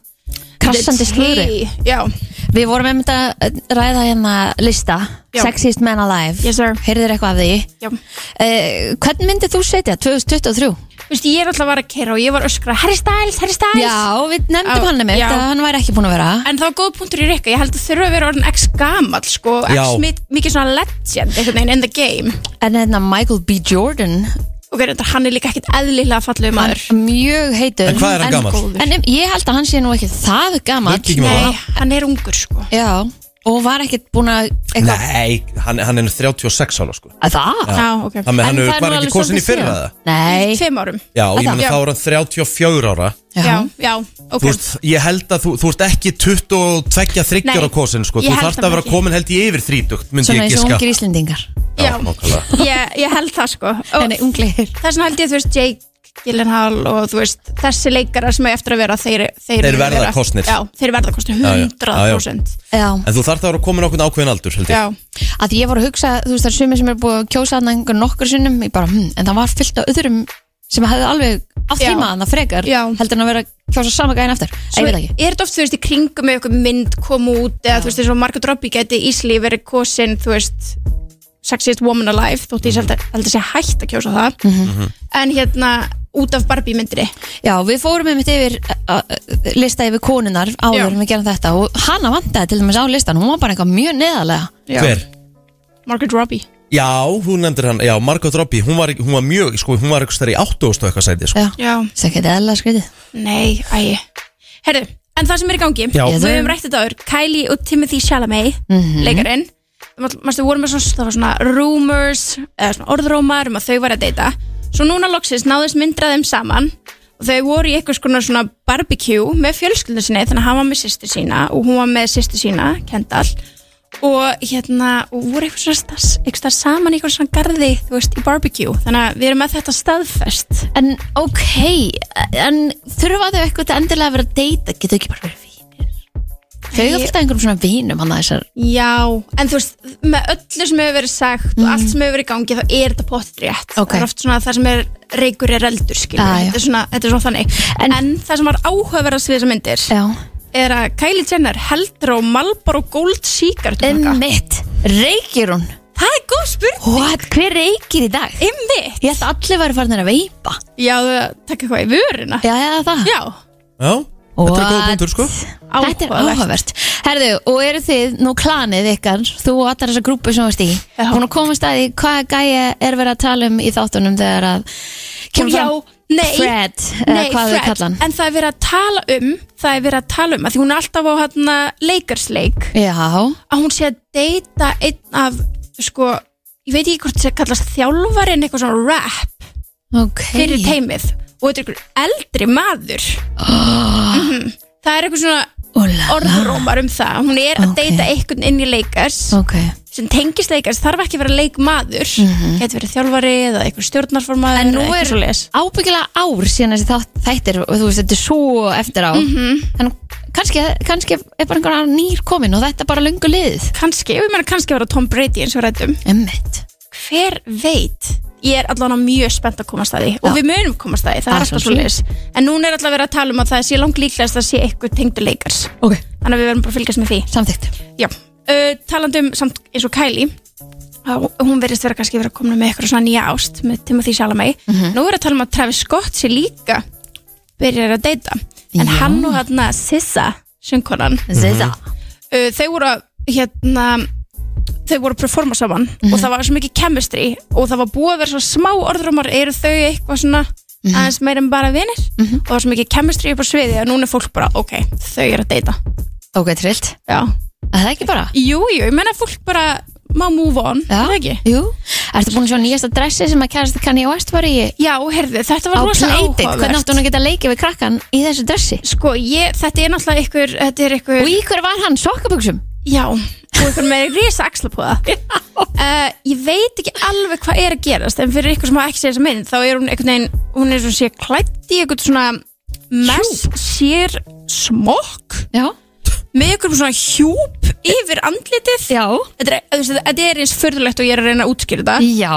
C: Krassandi
J: Hey,
C: slúri
J: Já,
C: Við vorum einmitt að ræða hérna lista
J: Já.
C: Sexiest Men Alive
J: Yes, sir.
C: Heyrðir eitthvað af því
J: já
C: uh, Hvern myndið þú setja 2023?
J: Þú veist, ég er alltaf að vara að kera og ég var öskra Harry Styles, Harry Styles
C: Já, við nefndum
J: Á,
C: hann um eitt
J: já.
C: að hann væri ekki búin að vera
J: En það var góð punktur í Rikka, ég held að þurfa að vera orðin X gamall, sko,
D: Já.
J: X mi- mikið svona legend, einhvern veginn, in the game
C: En hérna Michael B. Jordan
J: ok, reyndar, hann er líka ekkit eðlilega fallegu maður
C: Mjög heitur
K: En hvað er hann
C: en,
K: gamall?
C: góður. En em- ég held að hann sé nú ekki það gammal
K: Við kíkjum á
J: Nei,
K: það.
J: hann er ungur sko
C: Já, og var ekkert búin að eitthvað-
K: Nei, hann, hann er 36 ára sko
C: Að Það?
J: Já, ok
K: Hann, hann
C: En það
K: er-
C: er nú
K: var ekki
C: alveg
K: kosin í
C: svolítið
K: fyrra
C: síðan.
K: það
C: Nei
J: Tveim árum
K: Já, og ég
C: Það?
K: meina
J: Já.
K: þá er hann 34 ára
J: Já, já, ok
K: Þú veist, ég held að þú, þú ert ekki 22-30
J: Nei,
K: ára kosin sko.
J: ég
K: Þú
J: held
K: þarft
J: það
K: að vera
J: ekki.
K: komin held ég yfir 30 myndi
C: Svona
K: ég
C: eins og
K: giska
C: ungir íslendingar
J: Já,
K: nákvæmlega.
J: ég, ég held það sko og
C: Nei, unglegir
J: Það er svona held ég, þú veist, Jake Gyllenhaal og þú veist, þessi leikara sem er eftir að vera þeir, þeir,
K: Þeir
J: munu
K: verða
J: vera-
K: kosnir.
J: Já, þeir verða kostnir
K: Já, já.
J: 100%
C: Já,
K: En þú þarft að vera komin okkur ákveðin aldur held ég
J: Já,
C: að ég voru að hugsa Þú veist það er sumir sem er búið að kjósa hann einhver nokkur sinnum ég bara, hm, En það var fyllt af öðrum sem hefði alveg átt
J: Já.
C: tíma hann að frekar
J: Já.
C: heldur en að vera að kjósa sama gæðin eftir Svo,
J: Svo
C: Ég
J: er
C: veit ekki
J: þetta oft, þú veist, í kringum með eitthvað mynd kom út eða þú veist, eins og Margot Robbie geti ísli verið kosin, þú veist Sexiest Woman Alive, þótt ég held að held að sé hægt að kjósa það
C: Mhm.
K: Mhm.
J: en hérna, út af Barbie myndinni
C: Já, við fórum einmitt yfir uh, uh, lista yfir konunar
J: Já.
C: áður en við gerum þetta og hana vantaði til dæmis á listan hún var bara eitthvað mjög neðalega
J: Já.
K: Hver?
J: Margot Robbie
K: Já, hún nefndir hann, já, Margot Robbie Hún var, hún var mjög, sko, hún var eitthvað stær í 80 og eitthvað sæti sko.
C: Já,
J: Já,
C: það getið eðla skrítið
J: nei, ægi Herðu, en það sem er í gangi
K: Já.
J: Við höfum rætt þetta áður, Kylie og Timothy Chalamet leikarinn Mastu, vorum með svona, það var svona rumors eða svona orðrómar um að þau væri að deyta Svo núna loksins náðist myndraðum saman og þau voru í eitthvað skona svona barbecue með fjölskyldinu sinni þannig að hann var með sýstu sína og hún var með sýstu sína Kendall og hérna, og voru eitthvað svona stas, eitthvað stas saman í eitthvað svona garði, þú veist, í barbecue þannig að við erum með þetta staðfest
C: En ok, en þurfa þau eitthvað til endilega að vera að deyta getur ekki bara verið vínir Þau eru fullt af einhverjum svona vínum hann að þessar
J: Já, en þú veist, með öllu sem hefur verið sagt og allt sem hefur verið í gangi þá er þetta pottir rétt.
C: Ok.
J: Það er oft svona það sem er reykur er eldur, skilur.
C: Ah, já.
J: þetta, er svona, þetta er svona þannig. En, það sem var áhugaverðast við þessar myndir
C: Já,
J: er að Kylie Jenner heldur á Malboro Gold Seeker.
C: emmitt, reykir hún
J: Það er góð spurning.
C: What? Hver reykir í dag?
J: Einmitt.
C: Ég ætti að allir væri farin að veipa
J: Já, það takk eitthvað í vöruna.
C: Já, já, það
J: Já,
K: Já, þetta er góð
C: What?
K: punktur sko
C: Þetta er áhugavert Herðu, og eru þið nú klanið ykkar þú og allar þessar grúpu sem þú varst í
J: Já.
C: hún að komast að því hvað gæja er verið að tala um í þáttunum þegar að kemur
J: Já,
C: fram
J: nei.
C: Fred, eða hvað þau
J: Fred,
C: kalla hann
J: en það er verið að tala um, það er verið að tala um, að því hún er alltaf á hérna leikarsleik.
C: Já,
J: að hún sé að deyta einn af sko, ég veit ekki hvort það kallast þjálfarinn eitthvað svona rap
C: ok
J: fyrir teimið og þetta er einhver eldri maður oh.
C: Ah.
J: það er eitthvað svona
C: Úlala.
J: orðrómar um það hún er að
C: Ok.
J: deyta einhvern inn í leikars
C: Ok,
J: sem tengist leikars þarf ekki að vera leikmaður mm -hmm. getur verið þjálfari eða einhver stjórnarformaður
C: Mhm. en nú
J: eða
C: er
J: eitthvað svoleiðis.
C: ábyggilega ár síðan þessi þátt, þættir og þú veist, þetta er svo eftir á
J: Mhm.
C: en kannski, kannski er bara einhver nýr komin og þetta er bara löngu liðið
J: kannski, ég meina kannski að vera Tom Brady eins og við ræddum
C: Emmitt
J: hver veit ég er allavega mjög spennt að komast að því og
C: Já.
J: við munum komast að því, það
C: Það
J: er
C: er
J: alltaf
C: svo
J: svo leis en núna er allavega verið að tala um að það sé langt líklegast að sé eitthvað tengdu leikars
C: Ok,
J: þannig að við verðum bara að fylgjast með því
C: samþygt
J: Já, uh, talandi um samt eins og Kylie að hún verðist vera kannski vera komin með eitthvað svona nýja ást með Timothy Chalamet
C: Mhm.
J: nú er að tala um að Travis Scott sé líka byrjar að deyta en
C: Já.
J: hann og hann Sissa söngkonan
C: Ziza
J: uh, þau voru að, hérna þau voru að performa saman
C: Mhm.
J: og það var svo mikið chemistry og það var búið að vera svona smá orðrumar eru þau eitthvað svona
C: Mhm.
J: aðeins meira en bara vinir og það var svo mikið chemistry upp á sviði og núna er fólk bara, ok, þau eru að deyta
C: Ok, trillt,
J: já,
C: að það ekki bara
J: jú, jú, ég menna fólk bara má move on, er það ekki
C: Jú, ertu búin að sjá nýjasta dressi sem að kærast Kanye West var í
J: já, herðu, þetta var
C: á
J: rosa
C: Playtid hvernig áttu hún
J: áhugavert
C: að geta leikið við krakkan í þessu dressi
J: sko, ég, þetta er náttúrulega ykkur, þetta er ykkur
C: og í hver var hann sokkabuxum
J: Já, og einhvern með risa axla på það uh, Ég veit ekki alveg hvað er að gerast En fyrir ykkur sem hafa ekki séð þessa mynd Þá er hún einhvern veginn, hún er svona sér klætt í einhvern svona Mess sér smokk
C: já,
J: Með einhvern svona hjúp yfir andlitið
C: já,
J: Þetta er, þú veist, þetta- þetta er eins furðulegt og ég er að reyna að útskýra þetta
C: já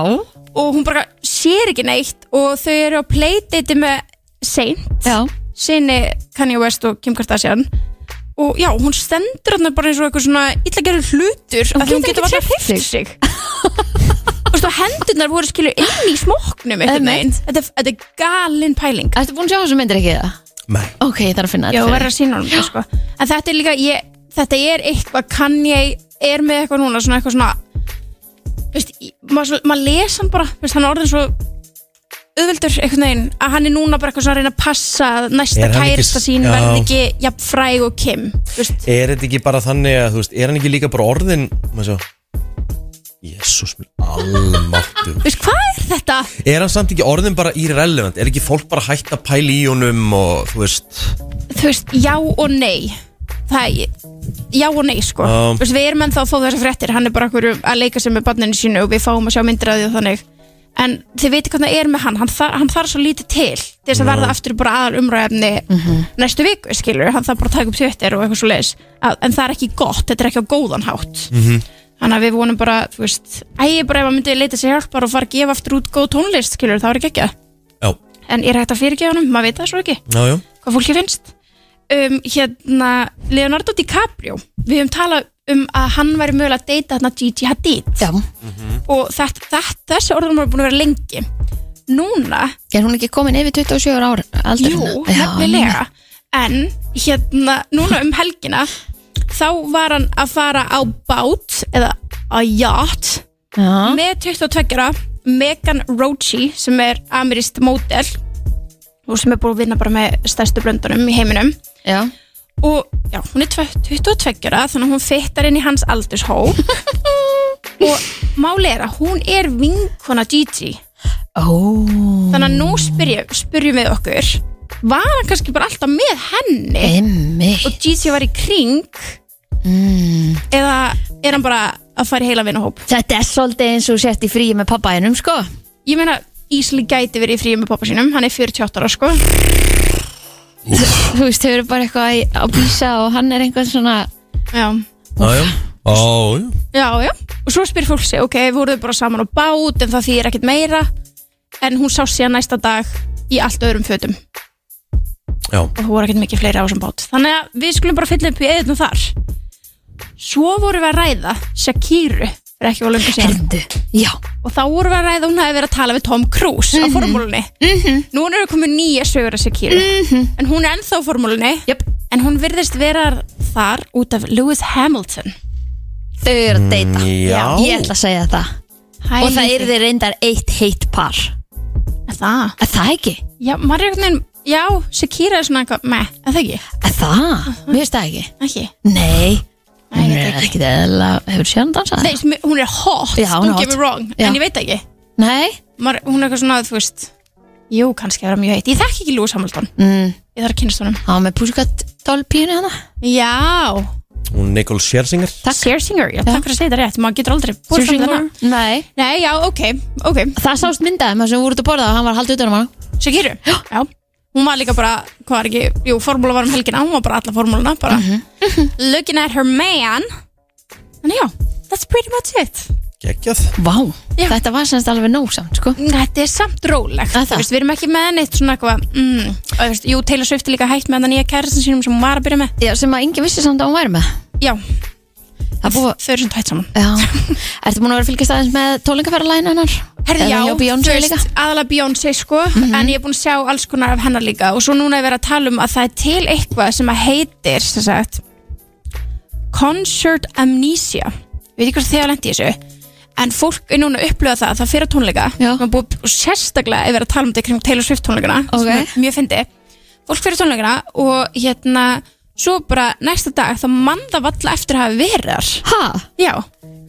J: Og hún bara sér ekki neitt Og þau eru á playdate með Saint
C: já,
J: sinni Kanye West og Kim Kardashian og já, hún stendur hann bara eins og eitthvað svona illa gerður hlutur
C: Hún
J: af því
C: getur
J: hún getur
C: ekki
J: varla
C: hreyft
J: hreyft sig og stóð hendurnar voru skilur inn í smóknum eitthvað
C: Einmitt.
J: megin þetta, er- þetta er galin pæling
C: ertu búin að sjá þessu myndir ekki það
K: Nei.
C: ok, ég þarf að finna
J: já,
C: þetta
J: verður að sína honum það, sko. en þetta er líka, ég, þetta er eitthvað Kanye er með eitthvað núna svona eitthvað svona þú veist, í- maður svo- maður les hann bara, þú veist, hann er orðin svo auðvöldur einhvern veginn að hann er núna bara eitthvað svona að reyna að passa að næsta
K: Er hann ekki-
J: kærista sín
K: Já.
J: verði ekki jafn fræg og Kim þú veist,
K: Er þetta ekki bara þannig að, þú veist, er hann ekki líka bara orðin maður svo Jésús minn, almáttu
J: þú veist hvað er þetta?
K: Er hann samt ekki orðin bara irrelevant? Er ekki fólk bara hægt að pæla í honum og, þú veist
J: þú veist, já og nei það er já og nei sko
K: Já.
J: Þú veist, við erum ennþá að fá þessar fréttir hann er bara okkur að leika sér með barninu sínu og við fáum að sjá myndir af því og þannig en þið veitir hvernig það er með hann hann, þar, hann þarf svo lítið til til þess að verða aftur bara aðal umræðefni næstu viku skilur, hann þarf bara að taka upp tvittir og eitthvað svo leis en það er ekki gott, þetta er ekki á góðan hátt þannig að við vonum bara, þú veist ægir bara ef hann myndi leita sér hjálpar og fara að gefa aftur út góð tónlist skilur, það er ekki ekki
K: Já,
J: en er hægt að fyrirgefa hann, maður veit það svo ekki
K: já, já
J: hvað fólki finnst um, hérna Leonardo DiCaprio við höfum talað um að hann væri mögulega að deyta hérna Gigi Hadid Mhm.
C: Já,
J: og þetta, þetta, þessi orðum er búin að vera lengi núna,
C: er hún ekki komin yfir 27 ára ár aldur?
J: jú,
C: Já,
J: nefnilega en hérna, núna um helgina þá var hann að fara á bát eða á yacht
C: Já,
J: með 22 ára Megan Rochi sem er amirist módel og sem er búin að vinna bara með stærstu blöndunum í heiminum
C: já,
J: og já, hún er 22 ára þannig að hún fittar inn í hans aldurshó og máli er að hún er vinkona Gigi
C: ó,
J: þannig að nú spyrjum, spyrjum við okkur var hann kannski bara alltaf með
C: Eh.
J: henni
C: emmi
J: og Gigi var í kring eða er hann bara að fara í heila vinahóp
C: Þetta er svolítið eins og sett í fríi með pappaðinum, sko
J: ég meina Ísli gæti verið í fríum með pappa sínum, hann er 48 ára sko
C: Þú veist, þau eru bara eitthvað í- á bísa og hann er einhvern svona
J: já,
K: Já, já, já, já.
J: já, já og svo spyr fólk sig, ok, voruðu bara saman á bát en það þýðir ekkert meira en hún sá síðan næsta dag í allt öðrum fötum
K: Já.
J: og það voru ekkert mikið fleiri á þessum bát þannig að við skulum bara fylla upp í eðnum þar svo vorum við að ræða Shakiru fyrir ekki volum síðan
C: Herðu, já,
J: og þá vorum við að ræða að hún hafi verið að tala við Tom Cruise á formúlunni -hmm. nú er komið nýja sögur að Shakiru -hmm. en hún er ennþá á formúlunni
C: jöp
J: en hún virðist vera þar út af Lewis Hamilton
C: Þau eru að deyta
K: já.
C: Ég ætla að segja það
J: Hæ,
C: Og það eru þeir reyndar eitt heitt par
J: Er það
C: Er það ekki?
J: Já, maður er einhvern veginn, já, Shakira er svona eitthvað, með, er það ekki?
C: Er það? Mér veist það ekki
J: Ekki.
C: Nei,
J: Nei,
C: hún
J: ég veit
C: er
J: ekki.
C: ekkert eðla Hefur séð hann dansað?
J: Nei, sem- hún er hot,
C: Já, hún er
J: don't
C: hot.
J: get me wrong,
C: Já.
J: en ég veit það ekki.
C: Nei?
J: Maður, hún er eitthvað svona, þú veist, jú, kannski er það mjög heitt. Ég þekki ekki Lewis Hamilton,
C: Mm,
J: ég þarf að kynast honum.
C: Það var með púsikat dolpínu hana
J: Já,
K: Hún Nicole Scherzinger
C: Takk.
J: Scherzinger, já, takk fyrir að segja það rétt, maður getur aldrei borðað þarna.
C: Nei
J: Nei, já, ok, ok,
C: Það sást myndaðum þar sem voru út að borða og hann var haldið utan um hana
J: Shakira, já. Hún var líka bara, hvað er ekki, jú, formúla var um helgina, hún var bara alla formúluna, bara.
C: Mhm.
J: Looking at her man, en já, that's pretty much it.
K: Gekkjað
C: Vá,
J: Já.
C: þetta var semst alveg nóg samt sko
J: Þetta er samt rólegt
C: Er það?
J: Þú veist, Við erum ekki með neitt svona eitthvað mm, og þú veist, Jú, Taylor Swift er líka hægt með þann nýja kærastan sínum sem hún var að byrja með
C: Já, sem að enginn vissi samt að hún væri með
J: Já,
C: Það búið
J: þau eru svona hægt saman
C: Já, ertu búin að vera að fylgjast aðeins með tólingaferðalæðin hennar?
J: Herði,
C: Er
J: já,
C: hún hjá Beyoncé líka? Mhm.
J: aðalega Beyoncé sko En ég er búin að sjá alls konar af hennar líka Og svo núna er verið að tala um að það er til eitthvað sem að heitir sem sagt, Concert Amnesia Við veit ekki hvað þið að lendi þessu En fólk er núna að upplöða það, það fyrir að tónleika
C: Já.
J: Maður búið, og sérstaklega er verið að tala um þetta kring Taylor Swift tónleikana sem
C: Ok.
J: er Mjög fyndi fólk fyrir tónleikana og hérna svo bara næsta dag þá mann það valla eftir að hafa verið þar
C: Ha,
J: já,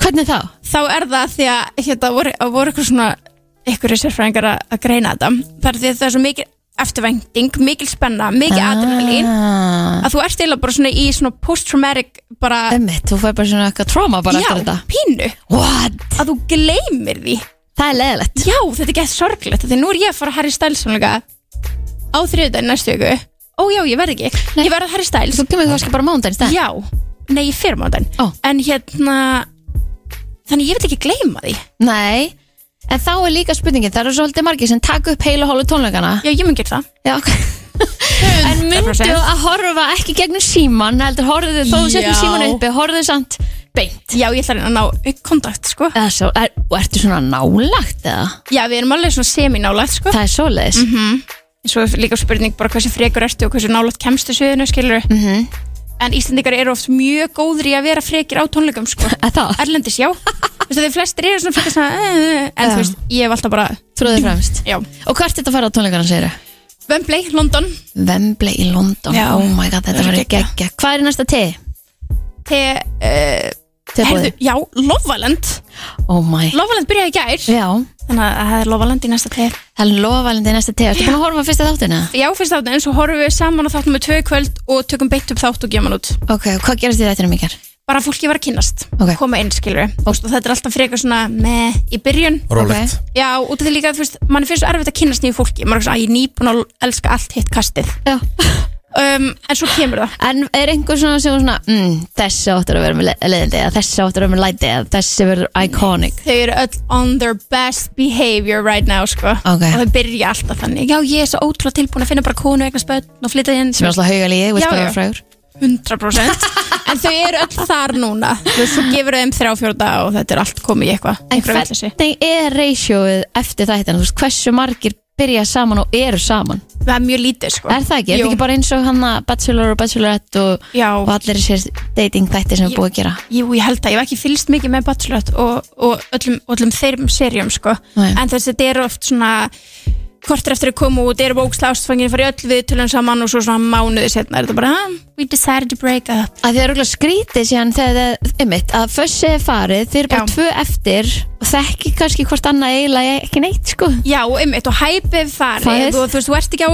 C: hvernig þá?
J: þá er það því að hérna voru, að voru eitthvað svona ykkur sérfræðingar að, að greina þetta það er því að það er svo mikil eftirvænting mikil spenna, mikil ah. adrenalín
C: Ah,
J: að þú ert eiginlega bara svona í svona post-traumatic bara,
C: Ömmit, þú fær bara svona eitthvað tróma bara
J: já,
C: eftir þetta
J: pínu
C: What?
J: að þú gleymir því
C: Það er leðilegt
J: já, þetta er gett sorglegt því nú er ég að fara að Harry Styles tónleika á þriðudaginn næstu ykkur ó já, ég verð ekki,
C: Nei.
J: ég verð að Harry Styles
C: Þú kemur kannski bara mándaginn stæð
J: Já, nei ég fyrir mándan
C: Ó.
J: En hérna Þannig ég vil ekki gleyma því
C: Nei, en þá er líka spurningin Það eru svolítið margir sem taka upp heila hólu tónleikana
J: Já, ég mun gera það
C: Já, ok En myndu
J: 100%.
C: að horfa ekki gegnum síman heldur horfðu þó þú setjum
J: Já.
C: síman uppi horfðu samt beint
J: Já, ég ætla að reyna að ná kontakt, sko
C: Eða svo, er, og ertu svona nálagt eða?
J: Já, við erum alveg svona semi-nálægt, sko
C: Það er svoleiðis
J: En svo er líka spurning bara hversu frekur ertu og hversu nálægt kemstu sviðinu, skilur
C: Mhm.
J: En Íslendingar eru oft mjög góðir í að vera frekir á tónleikum, sko
C: Er Það
J: Erlendis, já Þú veist að þið flestir eru svona frekar svona eh, eh, eh, En
C: Já.
J: þú veist, ég hef alltaf bara
C: Tróðið fremst
J: Já.
C: Og hvert er þetta að fara á tónleikana, segir þau?
J: Wembley, London
C: Vembley í London,
J: Já.
C: oh my god, þetta
J: Það er
C: verður
J: geggjað.
C: geggja Hvað er í næsta te?
J: Te, uh,
C: Tebúið?
J: herðu, já, Lovaland
C: Oh my
J: Lovaland byrjaði í gær
C: Já,
J: Þannig að það er Lovaland í næsta te
C: það er lofalindi í næsta te Ertu búin að horfa á fyrsta þáttina?
J: Já, fyrst þáttu, en svo horfum við saman á þáttum með tvö í kvöld og tökum beitt upp þátt og gefum hann út
C: Ok, hvað gerast þið þetta um ykkar?
J: Bara fólki var að kynnast,
C: Ok.
J: koma inn skilur og þetta er alltaf frekar svona með í byrjun
D: Rólegt
J: Já, út af því líka, þú veist, mann finnst svo erfitt að kynnast nýju fólki maður er svona, að ég er nýbúin að elska allt hitt kastið
C: Já.
J: um, En svo kemur það
C: En er einhver svona sem er svona mm, Þessi áttur að vera með leðindi eða Þessi áttur að vera með læti eða Þessi verður iconic
J: Þau eru öll on their best behavior right now, sko
C: Ok.
J: Og þau byrja alltaf þannig Já, ég er svo ótrúlega tilbúin að finna bara konu eignar spöld og flytja inn
C: Sem er alltaf hauga líði, vilt
J: Já,
C: bara
J: já.
C: vera frægur
J: 100% En þau eru öll þar núna Þú veist, Svo gefur þau þeim þrjá fjórða og þetta er allt komið í eitthvað
C: En
J: einhverja vitleysu.
C: hvernig er ratioið eftir þættina? Þú veist, hversu margir byrja saman og eru saman?
J: Það er mjög lítið sko
C: Er það ekki? Er
J: Jú.
C: það ekki bara eins og hann að Bachelor og Bachelorette og,
J: Já.
C: og allir þessir dating þættir sem er búið að gera?
J: Jú, ég held að ég hef ekki fylgst mikið með Bachelorette og, og öllum, öllum þeirrum serjum sko
C: Nei.
J: En þess að þetta eru oft svona Kortir eftir að koma út, eru bóksla ástfangin Fari öll við tölum saman og svo svona mánuði setna Er þetta bara, ah, we decided to break up
C: að því það er okkur skrítið síðan þegar það, einmitt, að fössi er farið, þeir eru bara
J: Já.
C: tvö eftir og þekki kannski hvort annað eiginlega ekki neitt, sko.
J: Já, einmitt, og hæpið
C: Farið.
J: farið og þú veist, þú ert ekki á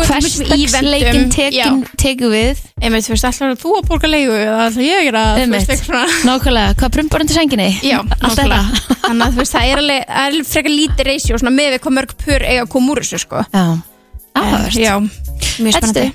C: Hverstagsleikin tekin,
J: Já,
C: teku við,
J: einmitt, þú veist, allar þú að borga leigu eða ætla ég að gera það, þú veist,
C: einmitt,
J: eitthvað svona-
C: nákvæmlega, hvað prumbar undir senginni?
J: Já,
C: Allt
J: nákvæmlega.
C: þetta.
J: Þannig að þú veist, það er alveg, það er alveg frekar lítið reysjó svona með við hvað mörg pör eiga að koma úr þessu sko. Eh,
C: Já, áhört.
J: Já, mjög
C: Ættu,
J: spennandi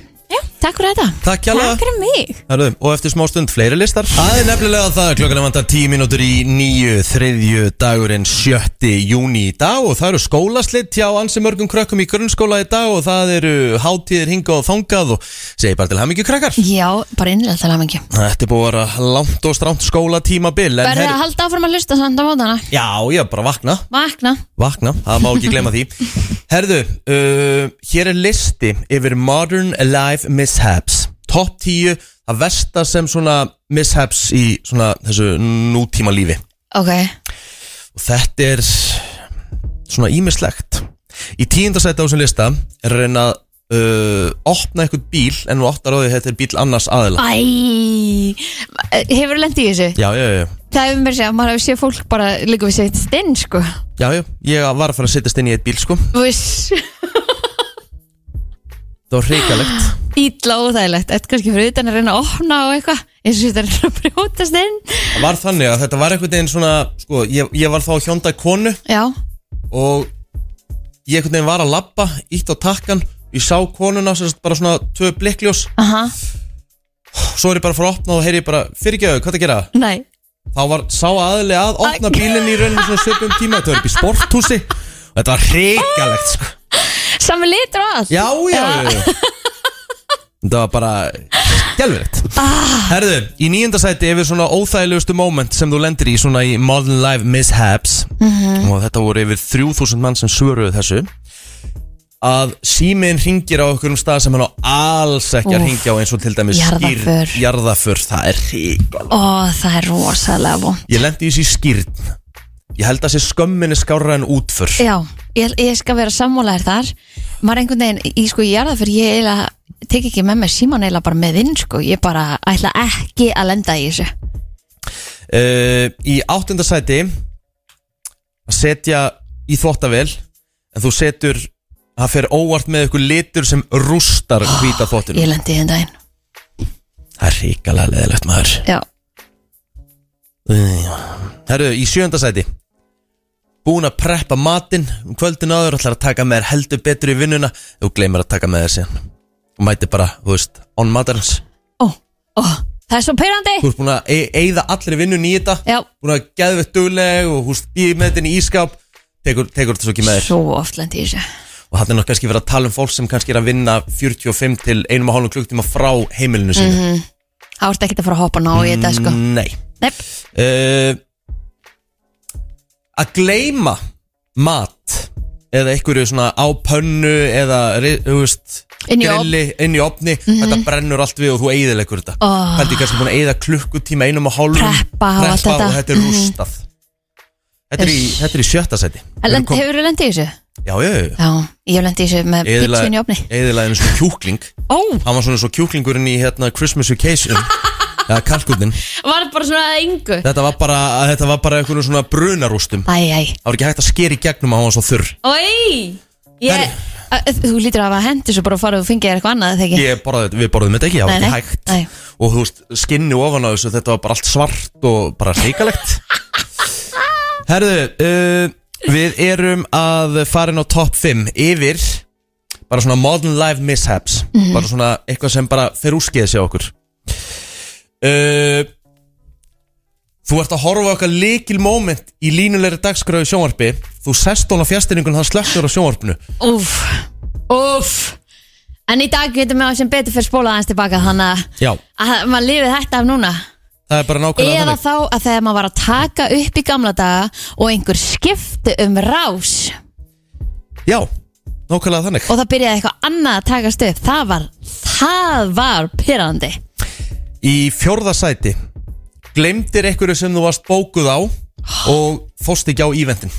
C: takk fyrir þetta.
D: Takk hjálpa
J: Takk fyrir mig
D: Herðu, og eftir smá stund fleiri listar Það er nefnilega það, klokkan er vantar 10 mínútur í nýju, þriðju dagurinn 7. júni í dag og það eru skólaslitt hjá ansi mörgum krökkum í grunnskóla í dag og það eru hátíðir hingað og þangað og segi bara til hamingju krakkar
C: Já, bara innlega til að um mingju.
D: Þetta er búið að vera langt og stránt skólatímabil en
C: Verðið að
D: herru-
C: halda áfram að hlusta samt á mótana.
D: Já, ég er bara að vakna
C: Vakna.
D: Vakna, það má ekki glemma því Herðu, uh, hér er listi yfir Modern Life Mishaps Top 10 að versta sem svona mishaps í svona þessu nútíma lífi
C: Ok,
D: Og þetta er svona ímislegt Í tíundasæti á þessum lista er að reyna að uh, opna einhvern bíl en nú áttar á því að þetta er bíl annars aðila
C: æ, hefur lendið í þessu?
D: Já, já, já, já
C: Það um hefur mér segjað, maður hefur séð fólk bara líka við séð stinn, sko.
D: Já, já, ég var að fara að setjast inn í eitt bíl sko
C: Viss.
D: Það var hrikalegt
C: Ítla óþægilegt, eitthvað kannski fyrir utan að reyna að opna og eitthvað, eins og þetta er að reyna að brjótast inn.
D: Það var þannig að þetta var einhvern veginn svona sko, ég, ég var þá að hjónda konu
C: Já,
D: og ég einhvern veginn var að labba, ítt á takkan ég sá konuna, sem sagt bara svona tvö blikkljós,
C: aha,
D: svo er ég bara að fara að opna og heyri ég bara, fyrirgjöðu, hvað það gera?
C: næ,
D: þá var sá aðli að opna bílinn í rauninu svona svipum tíma, þetta var upp í sporthúsi og þetta var hrikalegt sko.
C: sami litur og allt.
D: já, já, já, já. þetta var bara skjálfilegt
C: Ah.
D: herðu, í nýjunda sæti yfir svona óþægilegustu moment sem þú lendir í svona í Modern Life Mishaps
C: Mhm.
D: og þetta voru yfir 3000 mann sem svöruðu þessu að síminn ringir á okkur um stað sem hann á alls ekki að
C: Úff.
D: ringja á eins og til dæmis
C: Jarðarför.
D: skírn- jarðarför, það er hrikalegt
C: Ó, það er rosalega vond.
D: Ég lendi í þessi skýrn Ég held að sé skömminni skárra en útför
C: Já, ég, ég skal vera sammálaðir þar. Maður einhvern veginn, ég sko, ég er það fyrir ég eiginlega, tek ekki með mér síman eiginlega bara með inn, sko. Ég bara ætla ekki að lenda í þessu.
D: uh, Í áttunda sæti að setja í þvottavél en þú setur það fer óvart með ykkur litur sem rústar hvita þvottinu
C: Ah, Ég lendi í þenn daginn.
D: Það er ríkalega leðilegt maður
C: Já,
D: Herru, í sjönda sæti Búin að preppa matinn um kvöldin áður ætlar að taka með þér heldur betur í vinnuna þú gleymir að taka með þér síðan og mæti bara, þú veist, on matarins
C: ó, ó, það er svo peirandi.
D: Þú ert búin að e- eyða allri vinnun í þetta
C: Já,
D: búin að geðveitt dugleg og húst býði með þetta inn í ískáp tekur, tekur þetta svo ekki með þér
C: svo oft lendi í þessu.
D: og þetta er náttúrulega kannski verið að tala um fólk sem kannski er að vinna 45 til 1,5 klukktíma frá heimilinu sínu
C: Það vart ekki að fara að hoppa ná í þetta, sko.
D: Nei
C: Nei,
D: uh, Að gleyma mat eða einhverju svona á pönnu eða, ri- þú veist
C: Inn í Mhm. ofn.
D: grilli, inn í opni, þetta brennur allt við og þú eyðilegur þetta
C: Oh.
D: Þetta er kannski búin að eyða klukkutíma einum og hálfum
C: Preppa og allt
D: preppa
C: þetta.
D: og þetta er
C: Mhm.
D: rústað Þetta er í,
C: Uss.
D: þetta er í sjötta seti
C: En lend, hefur þú lendið í þessu?
D: Já, ég
C: Já, ég lendi þessu með pítsun í opni
D: Eðila einu svona kjúkling
C: Ó,
D: Hann var svona svo kjúklingurinn í hérna Christmas Vacation Eða kalkutin
C: var bara svona að engu
D: Þetta var bara, þetta var bara einhvern svona brunarústum
C: Æ, æ,
D: Það var ekki hægt að skeri gegnum að hann var svo þurr
C: oi ég,
D: Herri.
C: að, Þú lítur að hafa hendi svo bara að fara og fengið þér eitthvað annað eða ekki
D: Ég borðaði, Við borðum þetta ekki, það var
C: Nei,
D: ekki
C: nei,
D: hægt
C: nei.
D: Og þú veist, skinni ofan á þessu Þetta var bara allt svart og bara hrikalegt Herðu uh, Við erum að fara inn á top 5 Yfir Bara svona modern life mishaps Bara svona eitthvað sem bara fer úrskeiðis hjá okkur uh, Þú ert að horfa á okkar líkil moment Í línulegri dagskráðu sjónvarpi Þú sest hún á fjastinningun Það slöktur á sjónvarpinu
C: Úf, úf En í dag getum við á sem betur fyrir spóla aðeins tilbaka Þannig að-
D: Já,
C: að maður lifið þetta af núna
D: það er bara nákvæmlega
C: Eða
D: þannig.
C: þá að þegar maður var að taka upp í gamla daga og einhver skipti um rás
D: Já, nákvæmlega þannig
C: og það byrjaði eitthvað annað að takast upp það var, það var pyrrandi
D: Í fjórða sæti Glemdir einhverju sem þú varst bókuð á Og fóst ekki á íventin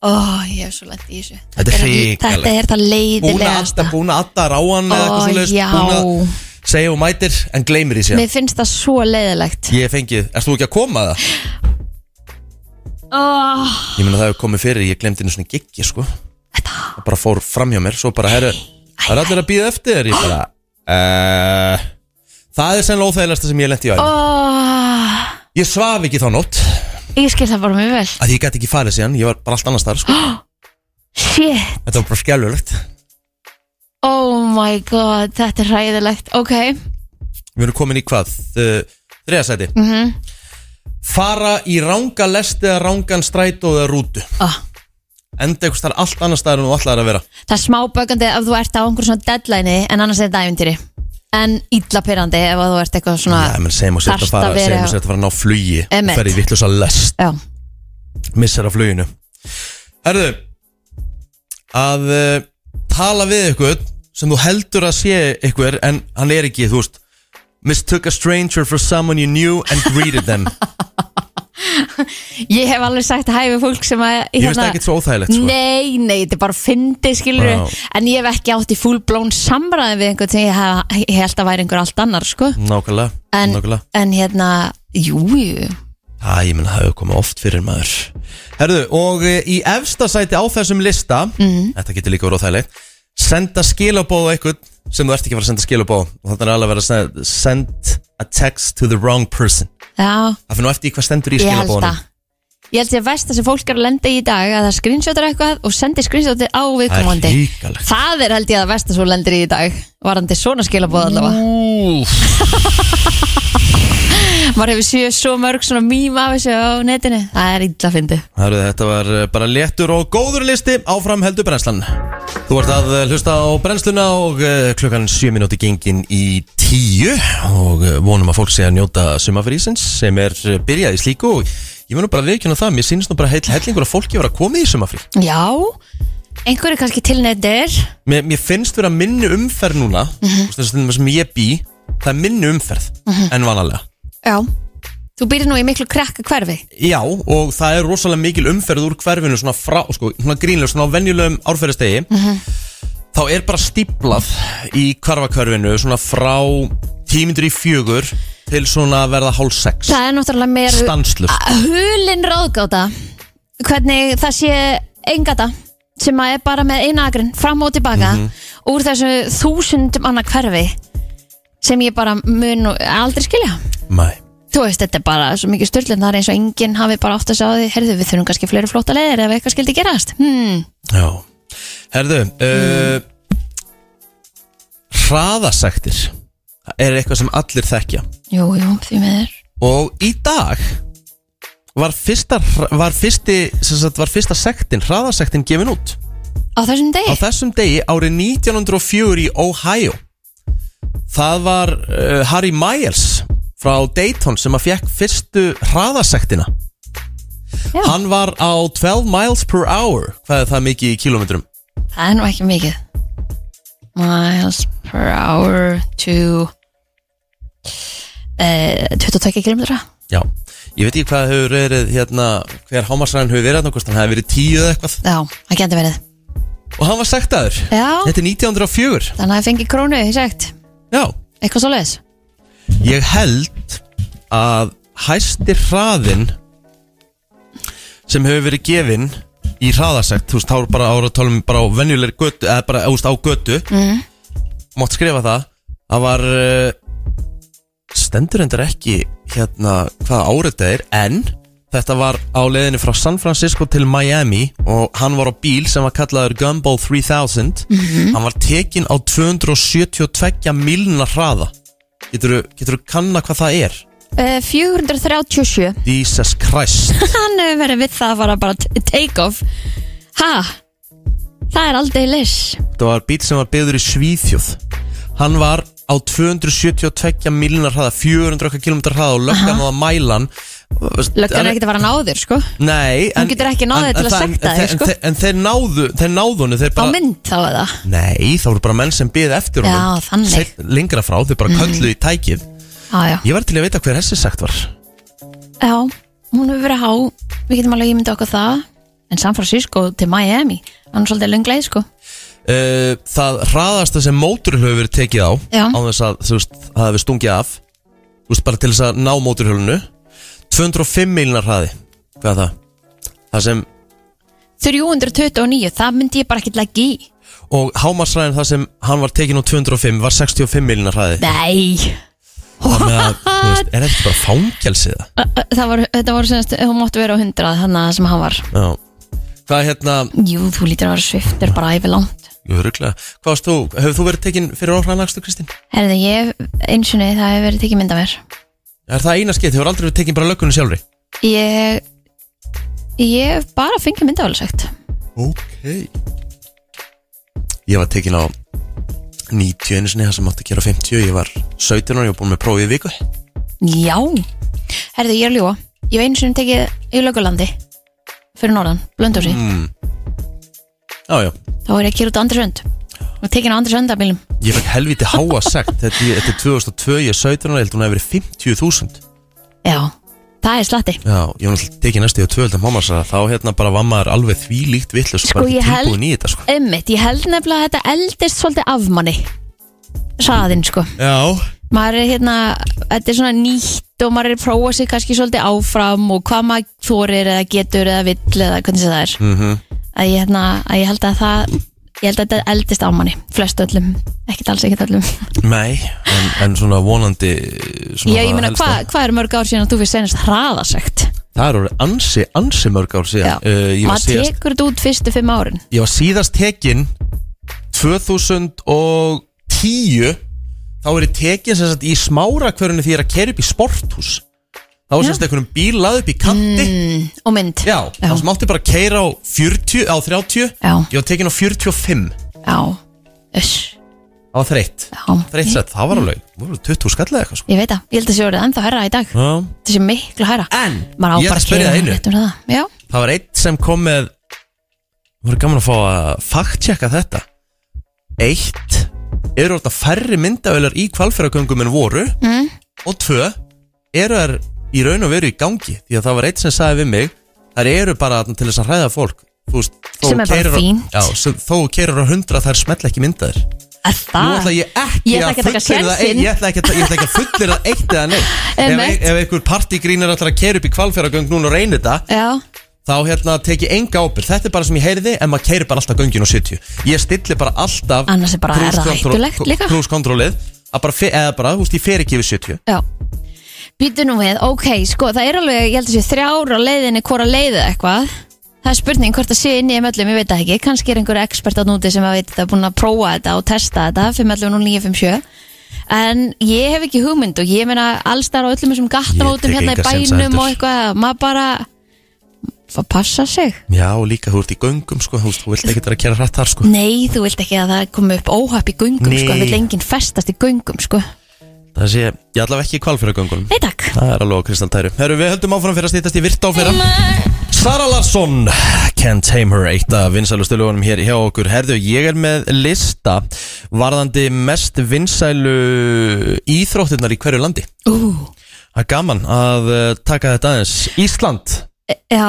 C: Ó, ég hef svo lent í þessu
D: Þetta er hrikalegt.
C: Þetta er það
D: Búna
C: leiðilegasta
D: alltaf, búna alltaf ráan eða
C: Ó,
D: eitthvað svoleiðis,
C: já.
D: Búin að segja og mætir En gleymir í sér
C: Mér finnst það svo leiðilegt
D: Ég hef fengið, erst þú ekki að koma að það?
C: oh,
D: Ég meina það hefur komið fyrir, ég glemdi einu svona giggi sko Það
C: Þetta,
D: bara fór fram hjá mér, svo bara herru Það er allir að býða eftir þér, ég bara uh, Það er sennilega óþægilegasta sem ég lendi í
C: ó,
D: aðeins Ég svaf ekki þá nótt
C: ég skil það bara mjög vel
D: að ég gæti ekki farið síðan, ég var bara allt annars þar sko.
C: Shit,
D: Þetta var bara skjálfurlegt
C: oh my god, þetta er ræðilegt Ok,
D: Við erum komin í hvað? Þriðasæti mm
C: Mhm.
D: Fara í ranga lest eða rangan strætó eða rútu
C: oh.
D: Enda einhvers þar allt annar staðar en þú allar að vera
C: það er smá bögandi ef þú ert á einhver svona deadline en annars er þetta ævintýri en illa pyrrandi ef að þú ert eitthvað svona
D: Já, menn segjum að setja að
C: Þarft
D: fara
C: að vera-
D: segjum að setja að fara að ná flugi
C: Emmett.
D: Ferði vittlust að lest,
C: já.
D: missar af fluginu Herðu Að uh, tala við ykkur sem þú heldur að sé ykkur en hann er ekki, þú veist Mistook a stranger for someone you knew and greeted them
C: ég hef alveg sagt hæfi fólk sem að hérna-
D: Ég veist ekki svo óþægilegt sko
C: Nei, nei, þetta er bara fyndið skilur
D: Já.
C: En ég hef ekki átt í fullblón samræði við einhvern sem ég, hef, ég held að væri einhver allt annar sko.
D: Nákvæmlega,
C: en,
D: nákvæmlega
C: en hérna, jú, jú
D: Æ, ég menn það hefur komið oft fyrir maður Herðu, og e, í efsta sæti á þessum lista
C: Mhm.
D: Þetta getur líka voru óþægilegt Senda skilabóð á einhvern sem þú ert ekki að fara að senda skilabóð og þannig er alveg að vera að senda Send a text to the wrong person
C: Já,
D: Það fyrir nú eftir í hvað stendur í
C: ég held
D: skilabóðunum
C: að Ég held ég veist að sem fólk er að lenda í í dag að það screenshotar eitthvað og sendir screenshotið á
D: Það er
C: viðkomandi
D: ríkalegt
C: Það er held ég að versta svo lendir í í dag Varandi svona skilabóð allavega Maður hefur séu svo mörg svona mím af þessu á netinu Það er illa fyndið
D: Herðu, þetta var eh, bara léttur og góður listi áfram heldur brennslan Þú ert að eh, hlusta á brennsluna og eh, klukkan 7 minúti gengin í 10 og eh, vonum að fólk sé að njóta sumafrísins sem er eh, byrjað í slíku og ég munum bara viðkjöna það, mér sýnist nú bara heil, hellingur að fólki vera að koma í sumafrí
C: Já, einhverju kannski tilnættir
D: Mér, mér finnst vera minni umferð núna mm -hmm. þess að sem ég bý það er minni umferð en vanalega
C: Já Þú byrðir nú í miklu krakka hverfi
D: Já, og það er rosalega mikil umferð úr hverfinu svona frá, sko, svona grínlega, svona á venjulegum árferðistegi þá er bara stíplað í hverfakverfinu svona frá tímindur í fjögur til svona að verða hálf sex
C: Það er náttúrulega meir
D: stanslust
C: Hulin ráðgáta Hvernig það sé eingata sem að er bara með eina agrinn fram og tilbaka úr þessu þúsundum annað hverfi sem ég bara mun og- aldrei skilja
D: Mæ,
C: Þú veist, þetta er bara svo mikið styrlun það er eins og enginn hafi bara átt að sjá því Herðu, við þurfum kannski fleiri flótta leiðir ef eitthvað skildi gerast hmm.
D: já Herðu, uh, hraðasektir er eitthvað sem allir þekkja
C: Jú, jú, því miður
D: og í dag var fyrsta, hra- var fyrsti, sem sagt, var fyrsta sektin, hraðasektin gefin út
C: Á þessum degi?
D: á þessum degi árið 1904 í Ohio það var uh, Harry Miles frá Dayton sem að fekk fyrstu hraðasektina
C: Já.
D: hann var á 12 miles per hour hvað er það mikið í kilometrum
C: Það er nú ekki mikið Miles per hour to uh, 22 km
D: já, ég veit ekki hvað hefur verið hérna, hver hámarsræðin hefur verið hérna, hvort hann hefur verið tíu eða eitthvað
C: Já, það getur verið
D: Og hann var sektaður
C: Já.
D: Þetta er 1904
C: Þannig að það fengi krónu, ég sagt
D: Já
C: Eitthvað svo leiðis
D: Ég held að hæsti hraðin sem hefur verið gefinn í hraðasekt, þú veist, þá er bara áratálum bara á venjulegri götu, eða bara þú veist, á götu mm. mátt skrifa það það var uh, stendur endur ekki hérna hvað árið þetta er, en þetta var á leiðinni frá San Francisco til Miami og hann var á bíl sem var kallaður Gumball 3000 hann var tekinn á 272 milna hraða getur þú kanna hvað það er?
C: uh, 437
D: Jesus Christ
C: Hann hefur verið við það að fara bara t- take off Ha? Það er aldrei leis
D: Þetta var bíl sem var byggður í Svíþjóð Hann var á 272 miljonar hraða, 400 okkar kilometrar hraða og löggan náði að mæla hann
C: Löggan er
D: En-
C: ekkert að fara að ná þér, sko
D: Nei
C: Hún getur ekki náð þér til að
D: það-
C: sekta
D: en-
C: þig,
D: en-
C: sko.
D: En, en þeir náðu, þeir náðu hann þeir
C: Á
D: bara,
C: mynd þá eða
D: Nei, þá voru bara menn sem byggði eftir
C: Já,
D: honum
C: þannig.
D: Seinn- Lengra frá, þeir bara kölluðu í tækið
C: Já, já
D: Ég var til að vita hver þessi sagt var
C: Já, hún hefur verið há Við getum alveg ímynda okkur það En San Francisco til Miami Hann er svolítið löngleið, sko
D: Uh, það hraðasta sem móturhjól hefur verið tekið á
C: Já.
D: á þess að þú veist það hefur stungið af þú veist bara til þess að ná móturhjólinu 205 milnar hraði hvað er það? það sem,
C: 329, það myndi ég bara ekki leggja í
D: og hámarsræðin það sem hann var tekin á 205 var 65 milnar hraði
C: Nei
D: þannig að þú veist, er þetta ekki bara fangjálsið
C: Ö, ö, Það var, þetta voru semst, hún mótti vera á 100 Þannig að sem hann var
D: það? hvað er hérna
C: Jú, þú lítur að vera sviftur bara æfi langt
D: Jörgla. hvað varst þú, hefur þú verið tekin fyrir óhraðanlagstu Kristín?
C: Herði, ég, eins og niður, það hefur verið tekið mynd af mér
D: er það eina skeið, þú hefur aldrei verið tekin bara löggunni sjálfri?
C: Ég Ég hef bara fengið mynd af alveg sagt
D: Ok Ég var tekin á 90 einu sinni, það sem átti að gera 50 Ég var 17 ára, ég var búin með prófið í viku
C: Já Herði, ég er að ljúa Ég hef eins og niður tekið í lögulandi Fyrir norðan, blöndósi
D: Já, já
C: Þá er ég að kýra út á Andrisönd Og tekin á Andrisönd af bílum
D: Ég fekk helviti háa sagt Þetta, ég- þetta er 2002, ég er 17 ára, ég held hún að verið 50.000
C: Já, það er slatti
D: Já, ég var náttúrulega tekin næstu í á 12. mámasara Þá hérna bara var maður alveg því líkt vitlu
C: Sko, ég held-
D: Tilbúin í þetta, sko
C: Ummitt, ég held nefnilega að þetta eldist svolítið af manni Saðinn sko
D: Já,
C: Maður er hérna, þetta er svona nýtt og maður er að prófa sig kannski svolítið áfram og hvað maður þorir eða getur eða vill eða hvernig sem það er
D: Mhm.
C: að, ég, hérna, að ég held að það ég held að þetta eldist á manni, flest öllum ekkert alls, ekkert öllum
D: nei, en, en svona vonandi svona
C: Já, ég
D: það
C: meina,
D: helsta.
C: hvað hva er mörg ár síðan að þú fyrir senast hraðasegt?
D: Það eru ansi, ansi mörg ár
C: Já,
D: síðan uh, ég var
C: maður
D: síðast-
C: tekur þetta út fyrstu fimm árin
D: Ég var síðast tekin 2010 Þá er ég tekin sem sagt í smára hverjunni því ég er að kerja upp í sporthús Þá var sem sagt einhvernum bíl lað upp í kanti
C: og mynd
D: Já, Já. þá sem átti bara að keira á 40, á 30
C: Já.
D: Ég var tekin á 45 Það
C: Já, uss,
D: var þreytt
C: já
D: Þreytt sett, það var alveg það var alveg 20 skallega eitthvað sko
C: Ég veit það, ég held að sé orðið ennþá herra í dag
D: Já.
C: Þetta sé miklu hæra
D: En,
C: Maður
D: Eh,
C: á
D: ég ætla
C: bara að
D: að spyrja það
C: gera
D: einu
C: rétt um það Já,
D: Það var eitt sem kom með Það var gaman að fá að fakttjekka þetta Eitt Eru orðna færri myndavelar í kvalfæragöngum en voru mm. Og tvö Eru þær í raun og veru í gangi Því að það var eitt sem sagði við mig Þær eru bara þarna til þess að hræða fólk Þú veist, þó
C: Sem er bara
D: keyrir á-
C: fínt.
D: Já, sem, þó kerur á hundra þær smell ekki myndaðir
C: að
D: Nú
C: það
D: ætla ég ekki
C: Ég ætla ekki að taka
D: fullyrða eitt-
C: sénsinn.
D: Ég ætla ekki að, ég ætla ekki að fullera eitt eða neitt Ef, e-
C: Emmett.
D: ef einhver partígrínir ætlar að kera upp í kvalfæragöng núna og reynir þetta
C: Já,
D: þá hérna teki enga ábyrg þetta er bara sem ég heyrði en maður keyrir bara alltaf göngin og 70 ég stilli bara alltaf
C: Annars er bara- er það hættulegt líka?
D: krúskontrólið að bara, fe- eða bara, þú veist, ég fer ekki yfir 70
C: já Býtu nú við, ok, sko, það er alveg, ég held að sé þrjár á leiðinni hvora leiðið eitthvað Það er spurning hvort það sé inn í þeim öllum, ég veit það ekki kannski er einhver expert á núti sem að veit það er búin að prófa þetta og testa þetta 5.11.09.57 En ég hef ekki hugmynd og ég meina allstar á öllum þessum gattanótum
D: Ég tek
C: hérna í
D: enga sénsa
C: bænum
D: heldur.
C: og eitthvað maður bara, maður passa sig
D: já og líka þú ert í göngum sko, þú veist, þú vilt ekki vera að kera hratt þar sko
C: Nei, þú vilt ekki að það komi upp óhæpp í göngum
D: Nei.
C: sko, það vil enginn festast í göngum sko.
D: það sé, ég allavega ekki í kvalfyrir göngunum
C: Nei takk
D: það er alveg kristaltæru herru við höldum áfram fyrir að stýttast í virta á fleira Sara Larsson, Can't Tame Her eitt af vinsælustu lögunum hér hjá okkur herðu, ég er með lista varðandi mest vinsælu íþróttirnar í hverju landi
C: Ú,
D: Það er gaman að eh, uh, taka þetta aðeins Ísland
C: E, já,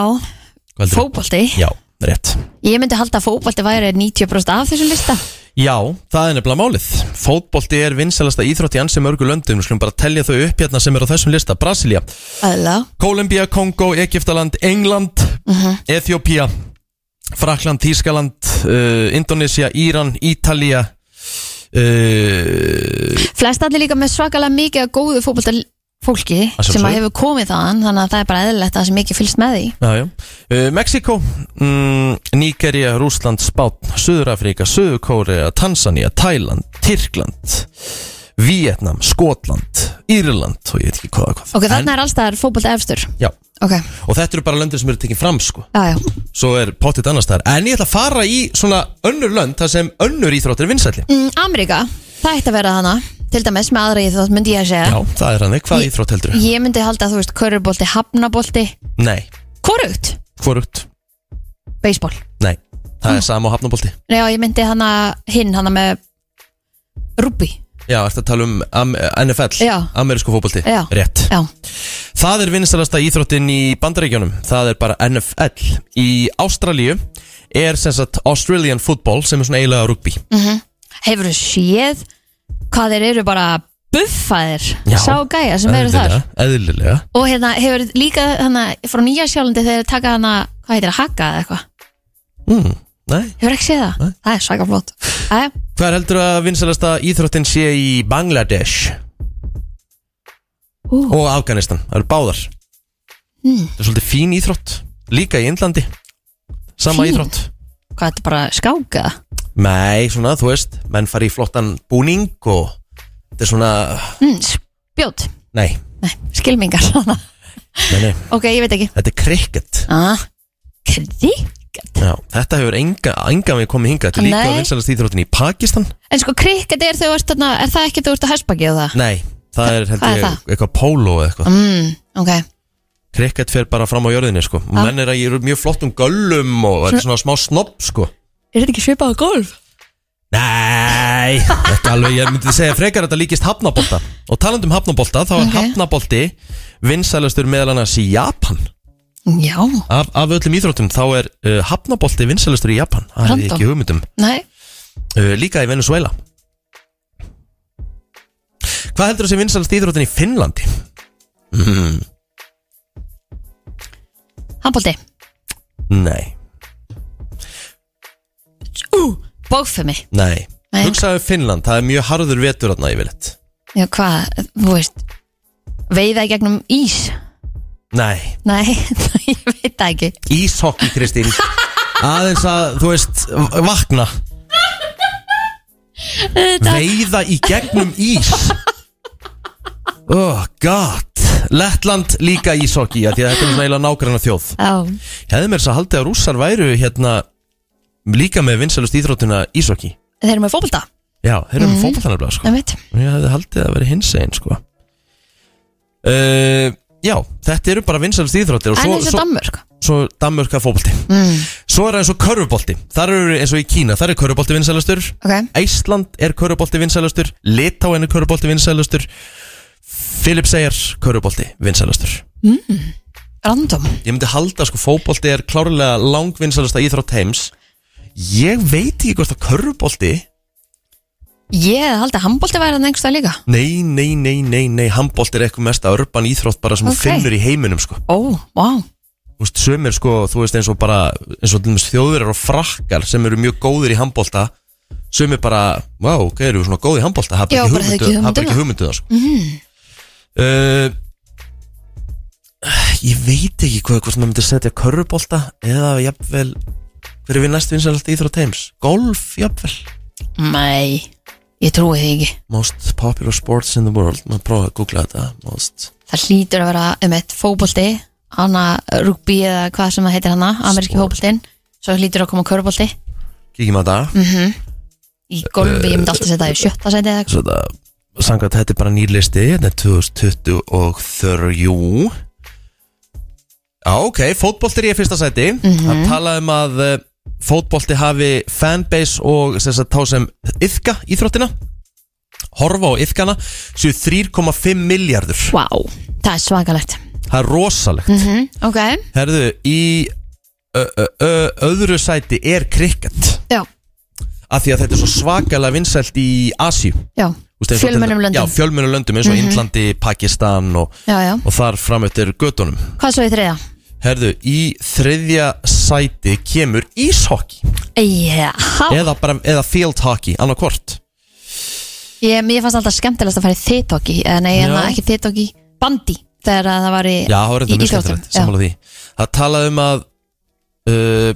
D: Hvað heldur?
C: fótbolti
D: Já, rétt
C: Ég myndi halda að fótbolti væri 90% af þessum lista
D: Já, það er nefnilega málið Fótbolti er vinsalasta íþrótt í ansi mörgu löndum Við Skulum bara telja þau upp hérna sem er á þessum lista Brasilia,
C: Æðla
D: Kólumbía, Kongo, Egyptaland, England Ethiopía Frakland, Þískaland uh, Indonesia, Íran, Ítalía uh,
C: Flest allir líka með svakalega mikið af góðu fótbolta fólki
D: Að sjálfsögðu.
C: sem að hefur komið þaðan þannig að það er bara eðlilegt að það sem mikið fylgst með því
D: Já, já. Uh, Mexiko, mm, Nígeria, Rúsland, Spátn, Suðurafrika, Suðurkórea, Tanzania, Tæland, Tyrkland, Vietnam, Skotland, Írland og ég veit ekki hvað og hvað.
C: Ok, þarna er allstaðar fótbolta efstur
D: Já,
C: Ok,
D: og þetta eru bara löndir sem eru tekinn fram sko.
C: já, já,
D: Svo er pottitt annars þar. En ég ætla að fara í svona önnur lönd þar sem önnur íþróttir er vinsælli.
C: mm, Amerika, það ætti að vera þarna til dæmis með aðra íþrótt myndi ég að segja
D: Já, það er hann. Hvað íþrótt heldur?
C: Ég myndi halda að þú veist, körfubolti, hafnabolti
D: Nei,
C: Korugt,
D: hvorugt?
C: baseball
D: Nei, það
C: Mm.
D: er sama á hafnabolti.
C: Nei, já, ég myndi hana hinn, hana með rúbi
D: Já, ertu að tala um am NFL,
C: Já.
D: amerísku fótbolti.
C: Já.
D: Rétt.
C: Já,
D: Það er vinstalasta íþróttin í bandaríkjónum Það er bara NFL Í Ástralíu er sem sagt Australian football sem er svona eiginlega rugby
C: hefur þú séð hvað þeir eru bara buffaðir sá gæja sem eru þar
D: Eðlilega, Eðlilega
C: og hérna hefur líka hana frá Nýja Sjálandi þeir taka hana hvað heitir það, haka eða eitthvað
D: mm, Nei
C: hefur ekki séð það,
D: Nei.
C: það er svaka flott Æ,
D: Hver heldur að vinstalasta íþróttin sé í Bangladesh
C: Ú. Hmm.
D: Og Afganistan, það eru báðar Það er svolítið fín íþrótt Líka í Indlandi Sama
C: Fín?
D: íþrótt
C: hvað þetta bara skáka
D: Nei, svona, þú veist, menn fari í flottan búning og þetta er svona,
C: mm, spjót,
D: nei,
C: nei, skilmingar svona.
D: nei, nei,
C: ok, ég veit ekki
D: þetta er cricket
C: ah, kriket
D: Já, þetta hefur enga, enga við komið hingað Þetta er líka
C: Nei.
D: vinsalast íþróttin í Pakistan
C: en sko kriket er þau varst þarna er það ekki þú ert að hæsbakið og það
D: Nei, það er
C: Hvað
D: heldur
C: er
D: ég
C: það?
D: eitthvað polo eða eitthvað
C: mm, ok,
D: Krikket fer bara fram á jörðinni sko Og
C: Ah.
D: menn er að ég eru mjög flottum göllum og þetta er svona smá snobb sko
C: er þetta ekki svipað á golf?
D: Nei, þetta alveg, ég myndi segja frekar að þetta líkist hafnabolta Og talandi um hafnabolta, þá er
C: Ok.
D: hafnabolti vinsalastur meðal annars í Japan
C: já,
D: Af, af öllum íþróttum, þá er uh, hafnabolti vinsalastur í Japan Það hefði ég
C: Random.
D: ekki um. hugmyndum
C: nei
D: uh, Líka í Venezuela Hvað heldur þú sem vinsalast íþróttin í Finnlandi?
C: handbólti,
D: Nei,
C: ú, bókfemi
D: nei,
C: Nei.
D: Hugsaðu Finnland, það er mjög harður vetur þarna yfirleitt
C: já, hvað, þú veist veiða í gegnum ís
D: Nei,
C: nei, ég veit það ekki
D: íshokki Kristín Aðeins að, þú veist, vakna Veiða í gegnum ís Oh god Lettland líka íshokki af Því að þetta er svona eiginlega nágranna þjóð
C: já,
D: Ég hefði mér þess að haldið að rússar væru hérna Líka með vinsalust íþróttuna íshokki
C: þeir eru með fókbólta
D: Já, þeir eru með fótballtanarblæð sko
C: það veit,
D: Ég hefði haldið að vera hins einn sko uh, Já, þetta eru bara vinsælst íþróttir og
C: en
D: svo,
C: eins og
D: svo,
C: Danmörk
D: svo dammörka fótbolti
C: mm,
D: Svo er það eins og körfubolti Þar eru eins og í Kína, þar er körfubolti vinsælastur
C: ok,
D: Æsland er körfubolti vinsælastur Litáin er körfubolti vinsælastur Filipseyjar, körfubolti vinsælastur
C: random
D: Ég myndi halda sko fótbolti er klárlega langvinsælasta íþrótt heims Ég veit ekki hvort að körfubolti
C: Ég hefði haldið að handbólti væri hann einhverstað líka
D: Nei, nei, nei, nei, nei, handbólt er eitthvað mesta urban íþrótt bara sem þú
C: Ok.
D: finnur í heiminum sko
C: Ó, vá
D: þú veist, sömur sko, þú veist eins og bara eins og til dæmis þjóðurar og frakkar sem eru mjög góðir í handbólta sömur bara, vá, wow, ok, eru svona góði í handbólta hafa
C: Já,
D: ekki
C: bara
D: hugmyndu,
C: hefðu ekki Mhm.
D: hafa ekki hugmyndu það sko. mm. ég veit ekki hvað, hvort maður myndi setja körubólta eða jafnvel hver er við næst vinsalast íþrótt heims golf, jafnvel
C: Nei, ég trúi því ekki
D: most popular sports in the world maður prófa að googla þetta most
C: Það hlýtur að vera um eitt fókbólti Hanna rugby eða hvað sem það heitir hanna Ameríski
D: Sport.
C: fókbóltin Svo hlýtur að koma körbólti
D: kíkjum að það
C: Í golfi, ég myndi alltaf setja það í sjötta sæti eða eitthvað.
D: Svo þetta, samkvæmt þetta er bara nýr listi Þetta er 2023 Já, ok, fótbolti er í fyrsta sæti Það tala um að eh, fótbolti hafi fanbase og sem sagt, þá sem yfka íþróttina Horfa á yfkana séu 3,5 miljardur
C: Vá, það er svakalegt
D: Það er rosalegt
C: Ok,
D: Herðu, í ö, ö, ö, öðru sæti er krikket
C: Já,
D: af því að þetta er svo svakalega vinsælt í Asíu
C: já,
D: Þú veist, eins og
C: Fjölmennum
D: til-
C: löndum. Mhm.
D: Já, fjölmennum löndum eins og Indlandi, Pakistan og,
C: já, já
D: og þar framöttir göttunum
C: Hvað svo í þriða?
D: Herðu, í þriðja sæti kemur íshockey
C: Já,
D: eða, bara, eða field hockey, annarkvort
C: ég, mér fannst alltaf skemmtilegast að fara í þittokki eða nei, en
D: Já.
C: ekki þittokki, bandi þegar að það var í
D: Já, það var
C: í
D: þetta mjög
C: íþróttum.
D: skemmtilegt, sammála því Það talaði um að uh,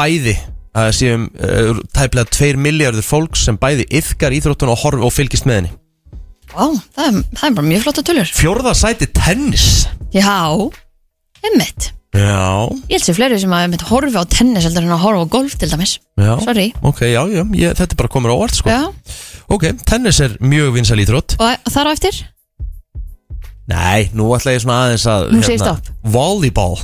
D: bæði að séum uh, tæplega 2 miljardur fólk sem bæði yfkar íþróttun og, horf, og fylgist með henni
C: Vá, það er, það er bara mjög flotta tölur
D: Fjórða sæti tennis
C: Já, einmitt
D: Já,
C: Ég held sér fleiri sem að einmitt horfa á tennis heldur en að horfa á golf til dæmis
D: já
C: Sorry.
D: Ok, já, já, ég, þetta bara komur á orð sko
C: Já,
D: Ok, tennis er mjög vinsal íþrótt
C: og þar á eftir
D: Nei, nú ætla ég svona aðeins að hérna,
C: Nú segir stopp. Eh,
D: Volleyball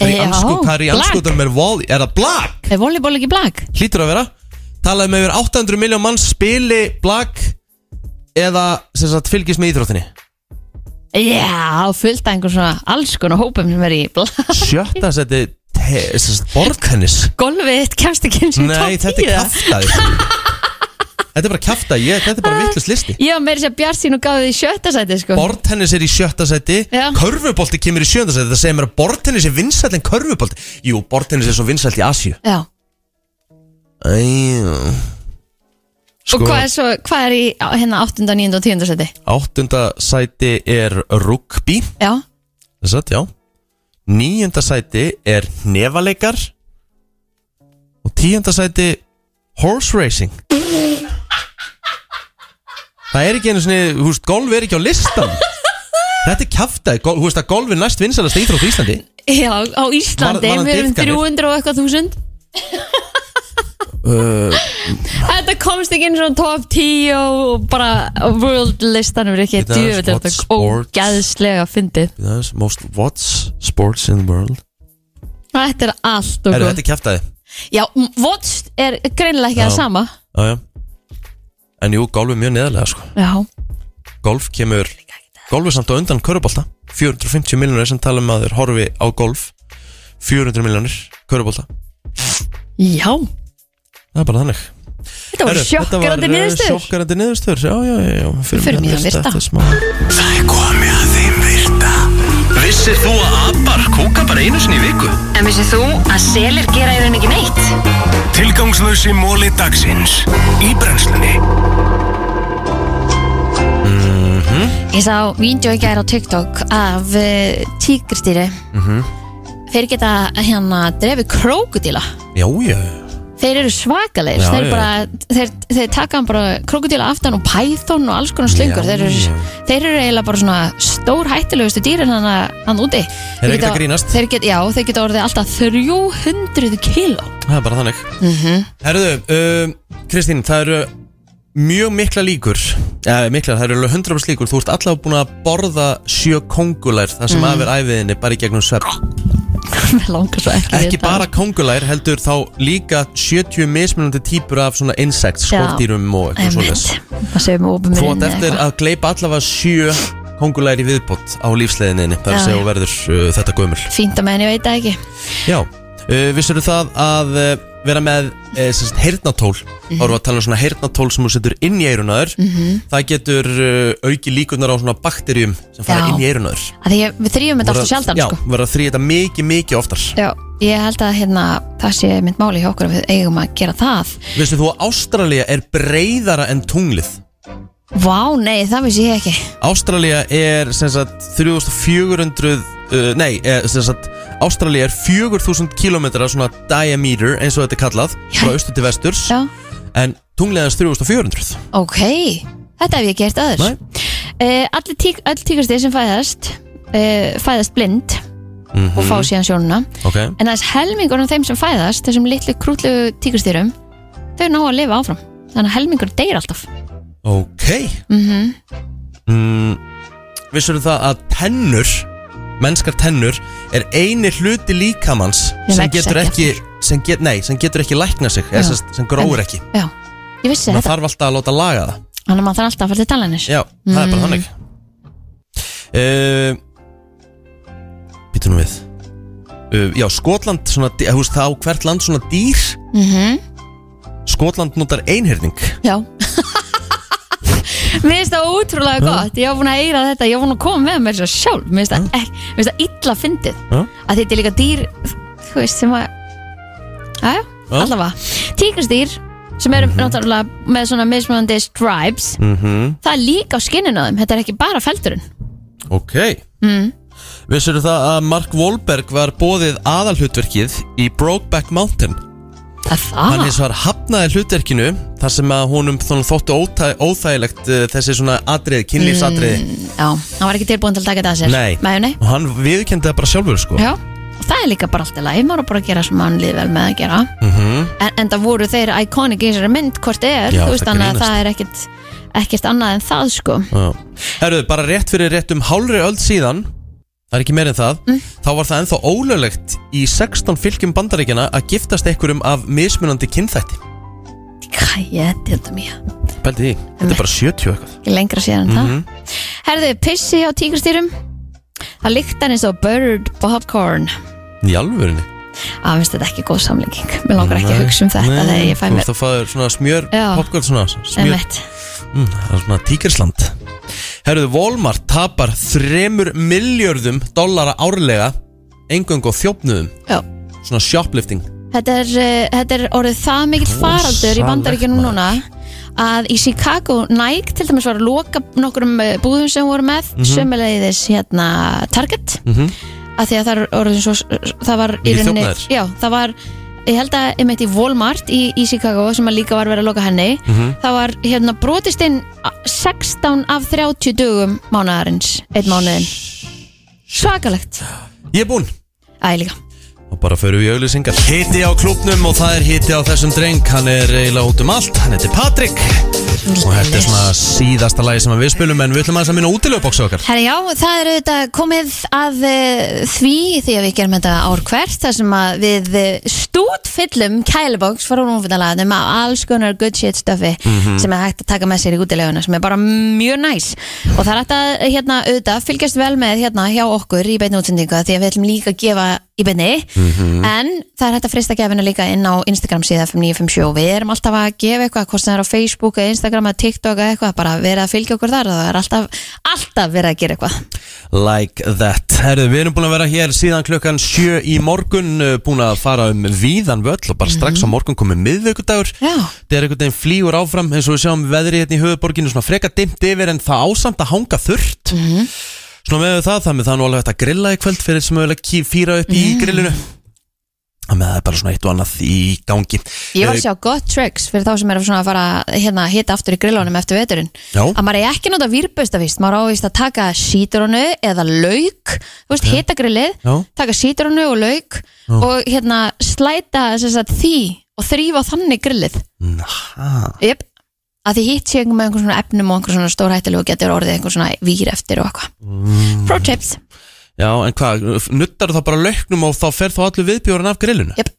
D: Það er í
C: Já,
D: ansku, hvað er í
C: black.
D: anskutum er volley Er það black?
C: Er volleyball ekki blag?
D: hlýtur að vera talaði með yfir 800 miljón mann spili blag eða sem sagt fylgist með íþróttinni
C: Já, fullt af einhver svona alls konar hópum sem er í blag
D: sjötta seti te- sem sagt borðtennis
C: Golfið þitt kemst ekki eins og í
D: nei þetta
C: topp
D: er
C: tíu.
D: kæftæði þetta er bara kæftæði þetta er bara vittlust listi
C: Já, meiri sér Bjart sín og gafið því sjötta sæti sko.
D: Bortennis er í sjötta seti
C: Já.
D: Körfubolti kemur í sjönda seti Það segir mér að bortennis er vinsælt en körfubolti Jú, bortennis er svo vinsælt í Asju
C: Já,
D: Æjú Sko-
C: og hvað er, svo, hvað er í á, hérna 8., 9. og 10. sæti?
D: Áttunda sæti er rugby
C: Já,
D: Þess að, já Níunda sæti er nefaleikar Og tíunda sæti Horse racing Það er ekki einu svona Þú veist, golf er ekki á listan Þetta er kjaftaði, gol- þú veist að golf er næst vinsalast íþrótt í Íslandi
C: já á Íslandi,
D: Var- var hann
C: við erum
D: dýrkanir?
C: 300 og eitthvað þúsund
D: Uh,
C: Þetta komst ekki eins og top 10 og bara world listanum er ekki
D: Þetta er
C: djöfitt
D: sport,
C: þetta
D: sports.
C: ógæðslega fyndið
D: That's Most watched sports in the world
C: Þetta er allt og
D: Herru,
C: góð
D: þetta er kjaftaði
C: Já, watch er greinilega ekki
D: Já.
C: það sama
D: Já, já En jú, golf er mjög neðarlega, sko
C: Já,
D: Golf kemur Golf er samt á undan körubolta 450 miljonir sem tala um að þeir horfi á golf 400 miljonir körubolta
C: já
D: Það er bara þannig
C: Þetta voru sjokkarandi niðurstöður
D: Sjokkarandi eh, niðurstöður, já, já, já, já Fyrir
C: Förum í þann virta.
D: smá
B: Það er komið að þeim virta Vissir þú að abar kúka bara einu sinni í viku?
I: En vissið þú að selir gera í raun ekki neitt?
B: Tilgangslösi móli dagsins Í brennslunni
C: Ég sá vídeo í gær á TikTok af uh, tígristýri
D: Mhm.
C: Þeir geta hérna drefið krókudíla
D: Já, já,
C: Þeir eru svakalegir
D: Já,
C: þeir,
D: já.
C: bara, þeir, þeir taka hann bara krókudíla aftan og python og alls konar slöngur
D: Já,
C: þeir,
D: já.
C: eru- þeir eru eiginlega bara svona stór hættilegustu dýrin hann, hann úti
D: Þeir eru ekkert að grínast.
C: þeir get, Já, þeir geta orðið alltaf 300 kíló
D: það er bara þannig mm
C: Mhm.
D: -hmm. Herðu, um, Kristín, það eru mjög mikla líkur ja, mikla, það eru 100% líkur Þú ert allavega búin að borða sjö kongulær Það
C: Mhm.
D: sem mm. afir æfiðinni bara í gegnum svepp
C: Mér langar svo ekki,
D: ekki
C: við
D: bara
C: það.
D: kongulær heldur þá líka 70 mismunandi típur af svona insekt,
C: Já.
D: skortýrum og eitthvað
C: Einmitt.
D: svoleiðis.
C: Það segir mér opið
D: Þú
C: mér
D: átt eftir að gleipa allavega sjö kongulær í viðbót á lífsleðinni þar
C: Já,
D: að segja
C: já.
D: þú verður uh, þetta gömul
C: Fínt að meðan ég veit það ekki
D: Já, uh, vissur það að uh, vera með uh, sérst, heyrnatól þá erum við að tala um svona heyrnatól sem þú setur inn í eirunaður mm
C: Mhm.
D: það getur uh, auki líkunar á svona bakterjum sem fara
C: Já.
D: inn í eirunaður
C: að Því ég, við þrýjum þetta alltaf sjaldan
D: Já,
C: sko.
D: verða að þrýja þetta mikið, mikið oftar
C: Já, ég held að hérna, það sé mitt máli hjá okkur að við eigum að gera það
D: Veistu þú að Ástralía er breyðara en tunglið
C: Vá, nei, það vissi ég ekki
D: Ástralía er sem sagt 3400 uh, nei, eh, sem sagt Ástralía er 4000 km svona diameter eins og þetta er kallað frá austur til vesturs
C: Já,
D: en tungliðans 3400
C: ok, þetta hef ég gert aður
D: Nei.
C: uh, Allir tík, all tíkastir sem fæðast uh, fæðast blind og
D: Mhm.
C: fá síðan sjónuna
D: Ok
C: en aðeins helmingur af þeim sem fæðast þessum litlu krútlu tíkastýrum þau ná að lifa áfram þannig að helmingur deyr alltaf
D: Ok mm
C: Mhm.
D: Vissur það að tennur mennskar tennur er eini hluti líkamans
C: Ég
D: sem
C: vex
D: getur
C: ekki
D: ekki sem get, nei, sem getur ekki lækna sig eða
C: Já.
D: sem, sem gróir ekki
C: Já, ég vissi
D: það
C: þetta
D: þarf alltaf að láta laga það
C: Þannig að maður þarf alltaf að fara til talanir
D: Já, það er bara þannig uh, Býtu nú við uh, Já, Skotland svona, dý- eh, þú veist, Það á hvert land svona dýr Skotland notar einherning
C: Já Mér finnst það ótrúlega gott Ég var búin að eira þetta, ég var búin að koma með mér svo sjálf Mér finnst það, ek- mér finnst það illa fyndið
D: Já.
C: Að þetta er líka dýr Þú veist sem að Jæja, allavega Tíkastýr sem eru náttúrulega með svona mismunandi stripes
D: Mhm.
C: Það er líka á skinninu á þeim, þetta er ekki bara feldurinn
D: Ok mm. Vissur það að Mark Wahlberg var bóðið aðalhlutverkið í Brokeback Mountain
C: Það er
D: Hann
C: það
D: hins var hafnaði hlutverkinu þar sem að honum þannig þóttu ótæ, óþægilegt uh, þessi svona atriði, kynlífsatriði
C: Já, hann var ekki tilbúin til að taka þetta að sér
D: Nei.
C: Nei, nei
D: og hann viðkendi það bara sjálfur sko
C: Já, og það er líka bara allt í lagi, maður á bara að gera sem mann líði vel með að gera en, en það voru þeir iconic í þessari mynd hvort er,
D: Mhm. Já,
C: þú veist
D: það
C: þannig að
D: grínast.
C: það er ekkert, ekkert annað en það sko
D: Já. Herruðu, bara rétt fyrir rétt um hálfri öld síðan Það er ekki meir en það
C: Mm.
D: Þá var það ennþá ólöglegt í 16 fylgjum bandaríkjana að giftast einhverjum af mismunandi kynþætti
C: Hvað ég þetta mér,
D: Pældi því, þetta er bara 70 eitthvað
C: ekki lengra síðan en
D: Mhm.
C: það Herðu, pissi á tíkristýrum Það líktar eins og bird popcorn
D: Í alvörinni
C: Að finnst þetta ekki góð samlíking Mér langar ekki að hugsa um þetta þegar ég fæ mér
D: Þú fæður svona smjör,
C: Já.
D: popcorn svona smjör,
C: Emmett,
D: mm, það er svona tíkersland Herruðu, Walmart tapar 3 miljörðum dollara árlega engöng og þjófnuðum
C: já
D: Svona shoplifting
C: Þetta er, eh, þetta er orðið það mikill faraldur í bandaríkjunum núna að í Chicago Nike til dæmis var að loka nokkrum eh, búðum sem voru með mm sömuleiðis hérna Target mm -hmm. að því að það, er orðið svo, það var í
D: Mikið
C: rauninni
D: þjófnaður.
C: já, það var ég held að einmitt í Walmart í, í Chicago sem að líka var verið að loka henni það var hérna brotist inn 16 af 30 dögum mánuðarins, einn mánuðin svakalegt
D: Ég er búinn
C: Æ, líka
D: og bara förum við í auðlýsingar Hiti á klubnum og það er hiti á þessum dreng hann er eiginlega út um allt, hann heitir Patrik og þetta er svona síðasta lagi sem við spilum en við ætlum aðeins að minna útileguboksu okkar
C: Herra já, það er auðvitað komið að eh, því því að við gerum þetta ár hvert þar sem að við stút fyllum kæluboks frá rúmfundalaganum af alls konar good shit stöfi sem er hægt að taka með sér í útileguna sem er bara mjög næs og það er hægt að hérna auðvitað fylgjast vel með hérna hjá okkur í beinni útsendingu af því að við ætlum líka að gefa í beinni en það er hægt að frista gefinu líka inn á Instagram síða 5957 og við erum alltaf að gefa eitthvað hvort sem það er á Facebook eða Instagram eða TikTok eða eitthvað bara verið að fylgja okkur þar og það er alltaf, alltaf verið að gera eitthvað
D: Like that Herðu, við erum búin að vera hér síðan klukkan 7 í morgun uh, búin að fara um víðan völl og bara strax á morgun komið miðvikudagur
C: Mhm. Já.
D: það er einhvern veginn flýgur áfram eins og við sjáum veðrið hérna í höfuborginu svona freka dimmt yfir en það ásamt að hanga þurrt
C: Mhm.
D: svona með það, það með það er nú alveg hægt að grilla í kvöld fyrir sem mögulega fýra upp í
C: Mhm.
D: grillinu það með það er bara svona eitt og annað í gangi
C: Ég var
D: Eh,
C: að sjá gott tricks fyrir þá sem eru svona að fara hérna að hita aftur í grillunum eftir veturinn
D: Já.
C: að maður er ekki að nota výrbausta fyrst maður ávist að taka sítrónu eða lauk þú veist, hita grillið
D: Já.
C: taka sítrónu og lauk og hérna slæta sem sagt, því og þrýfa þannig grillið
D: Aha.
C: yep. að því hitt sé einhver með einhver svona efnum og einhver svona stórhættilegu og getur orðið einhver svona vír eftir og eitthvað
D: Mm.
C: pro tips,
D: Já, en hvað, nuttar þá bara lauknum og þá fer þá allir viðbjórun af grillinu
C: Jep.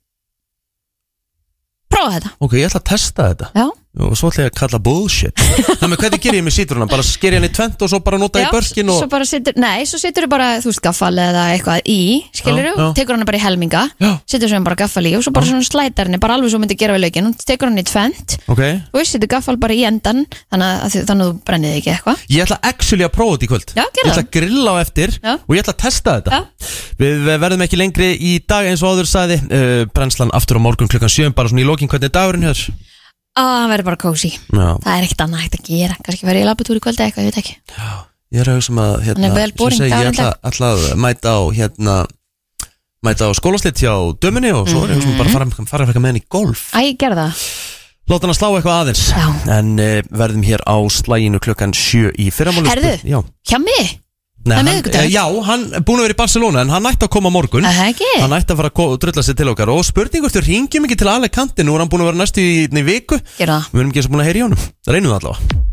C: prófa þetta
D: ok, ég ætla að testa þetta
C: Já.
D: og svo ætla ég að kalla bullshit Þannig, hvernig ger ég með sítruna? Bara sker ég henni í tvent og svo bara nota
C: Já,
D: í börkin og...
C: svo bara situr, nei, svo situr bara, þú veist, gaffal eða eitthvað í, skilur
D: Já,
C: þú,
D: já.
C: tekur hann bara í helminga
D: Já.
C: situr sem bara gaffal í og svo bara svona slætar henni, bara alveg svo myndi gera við lögin hún tekur hann í tvent,
D: Ok
C: þú veist, situr gaffal bara í endan þannig að, þannig að þú brennið ekki eitthvað
D: Ég ætla actually að prófa þetta í kvöld
C: Já, gerðu
D: Ég ætla að grilla á eftir
C: Já.
D: og ég ætla að testa þetta Við verðum ekki lengri í dag eins og áður sagði uh, Brennslan aftur á morgun klukkan 7 bara svona í lokin hvernig er dagurinn hér
C: að hann verður bara kósi,
D: Já,
C: það er ekkert annað hægt að gera kannski verður ég labbitúr í kvöldi eitthvað, ég veit ekki
D: ég er að hugsa um að hérna,
C: Hann er vel
D: sem
C: boring
D: segi, Ég
C: dagurinn
D: ætla, ætla að mæta á hérna mæta á skólaslit hjá dömunni og svo er ég að hugsa um bara að fara, fara frekar með henni í golf
C: Æ, gerða það,
D: Láta hann að slá eitthvað aðeins
C: Já.
D: En uh, verðum hér á slæginu klukkan 7 í fyrramáli
C: Herðu.
D: Já
C: hjá mig,
D: Nei,
C: Það er
D: hann,
C: miðvikudagur.
D: eh, já, hann er búin að vera í Barcelona En hann ætti að koma á morgun
C: að það ekki
D: Hann ætti að fara að ko- drulla sér til okkar Og spurningur til ringjum ekki til Alicante Nú er hann búin að vera næstu í einni viku
C: gerða það,
D: Við erum ekki eins og búin að heyra í honum Reynum það allavega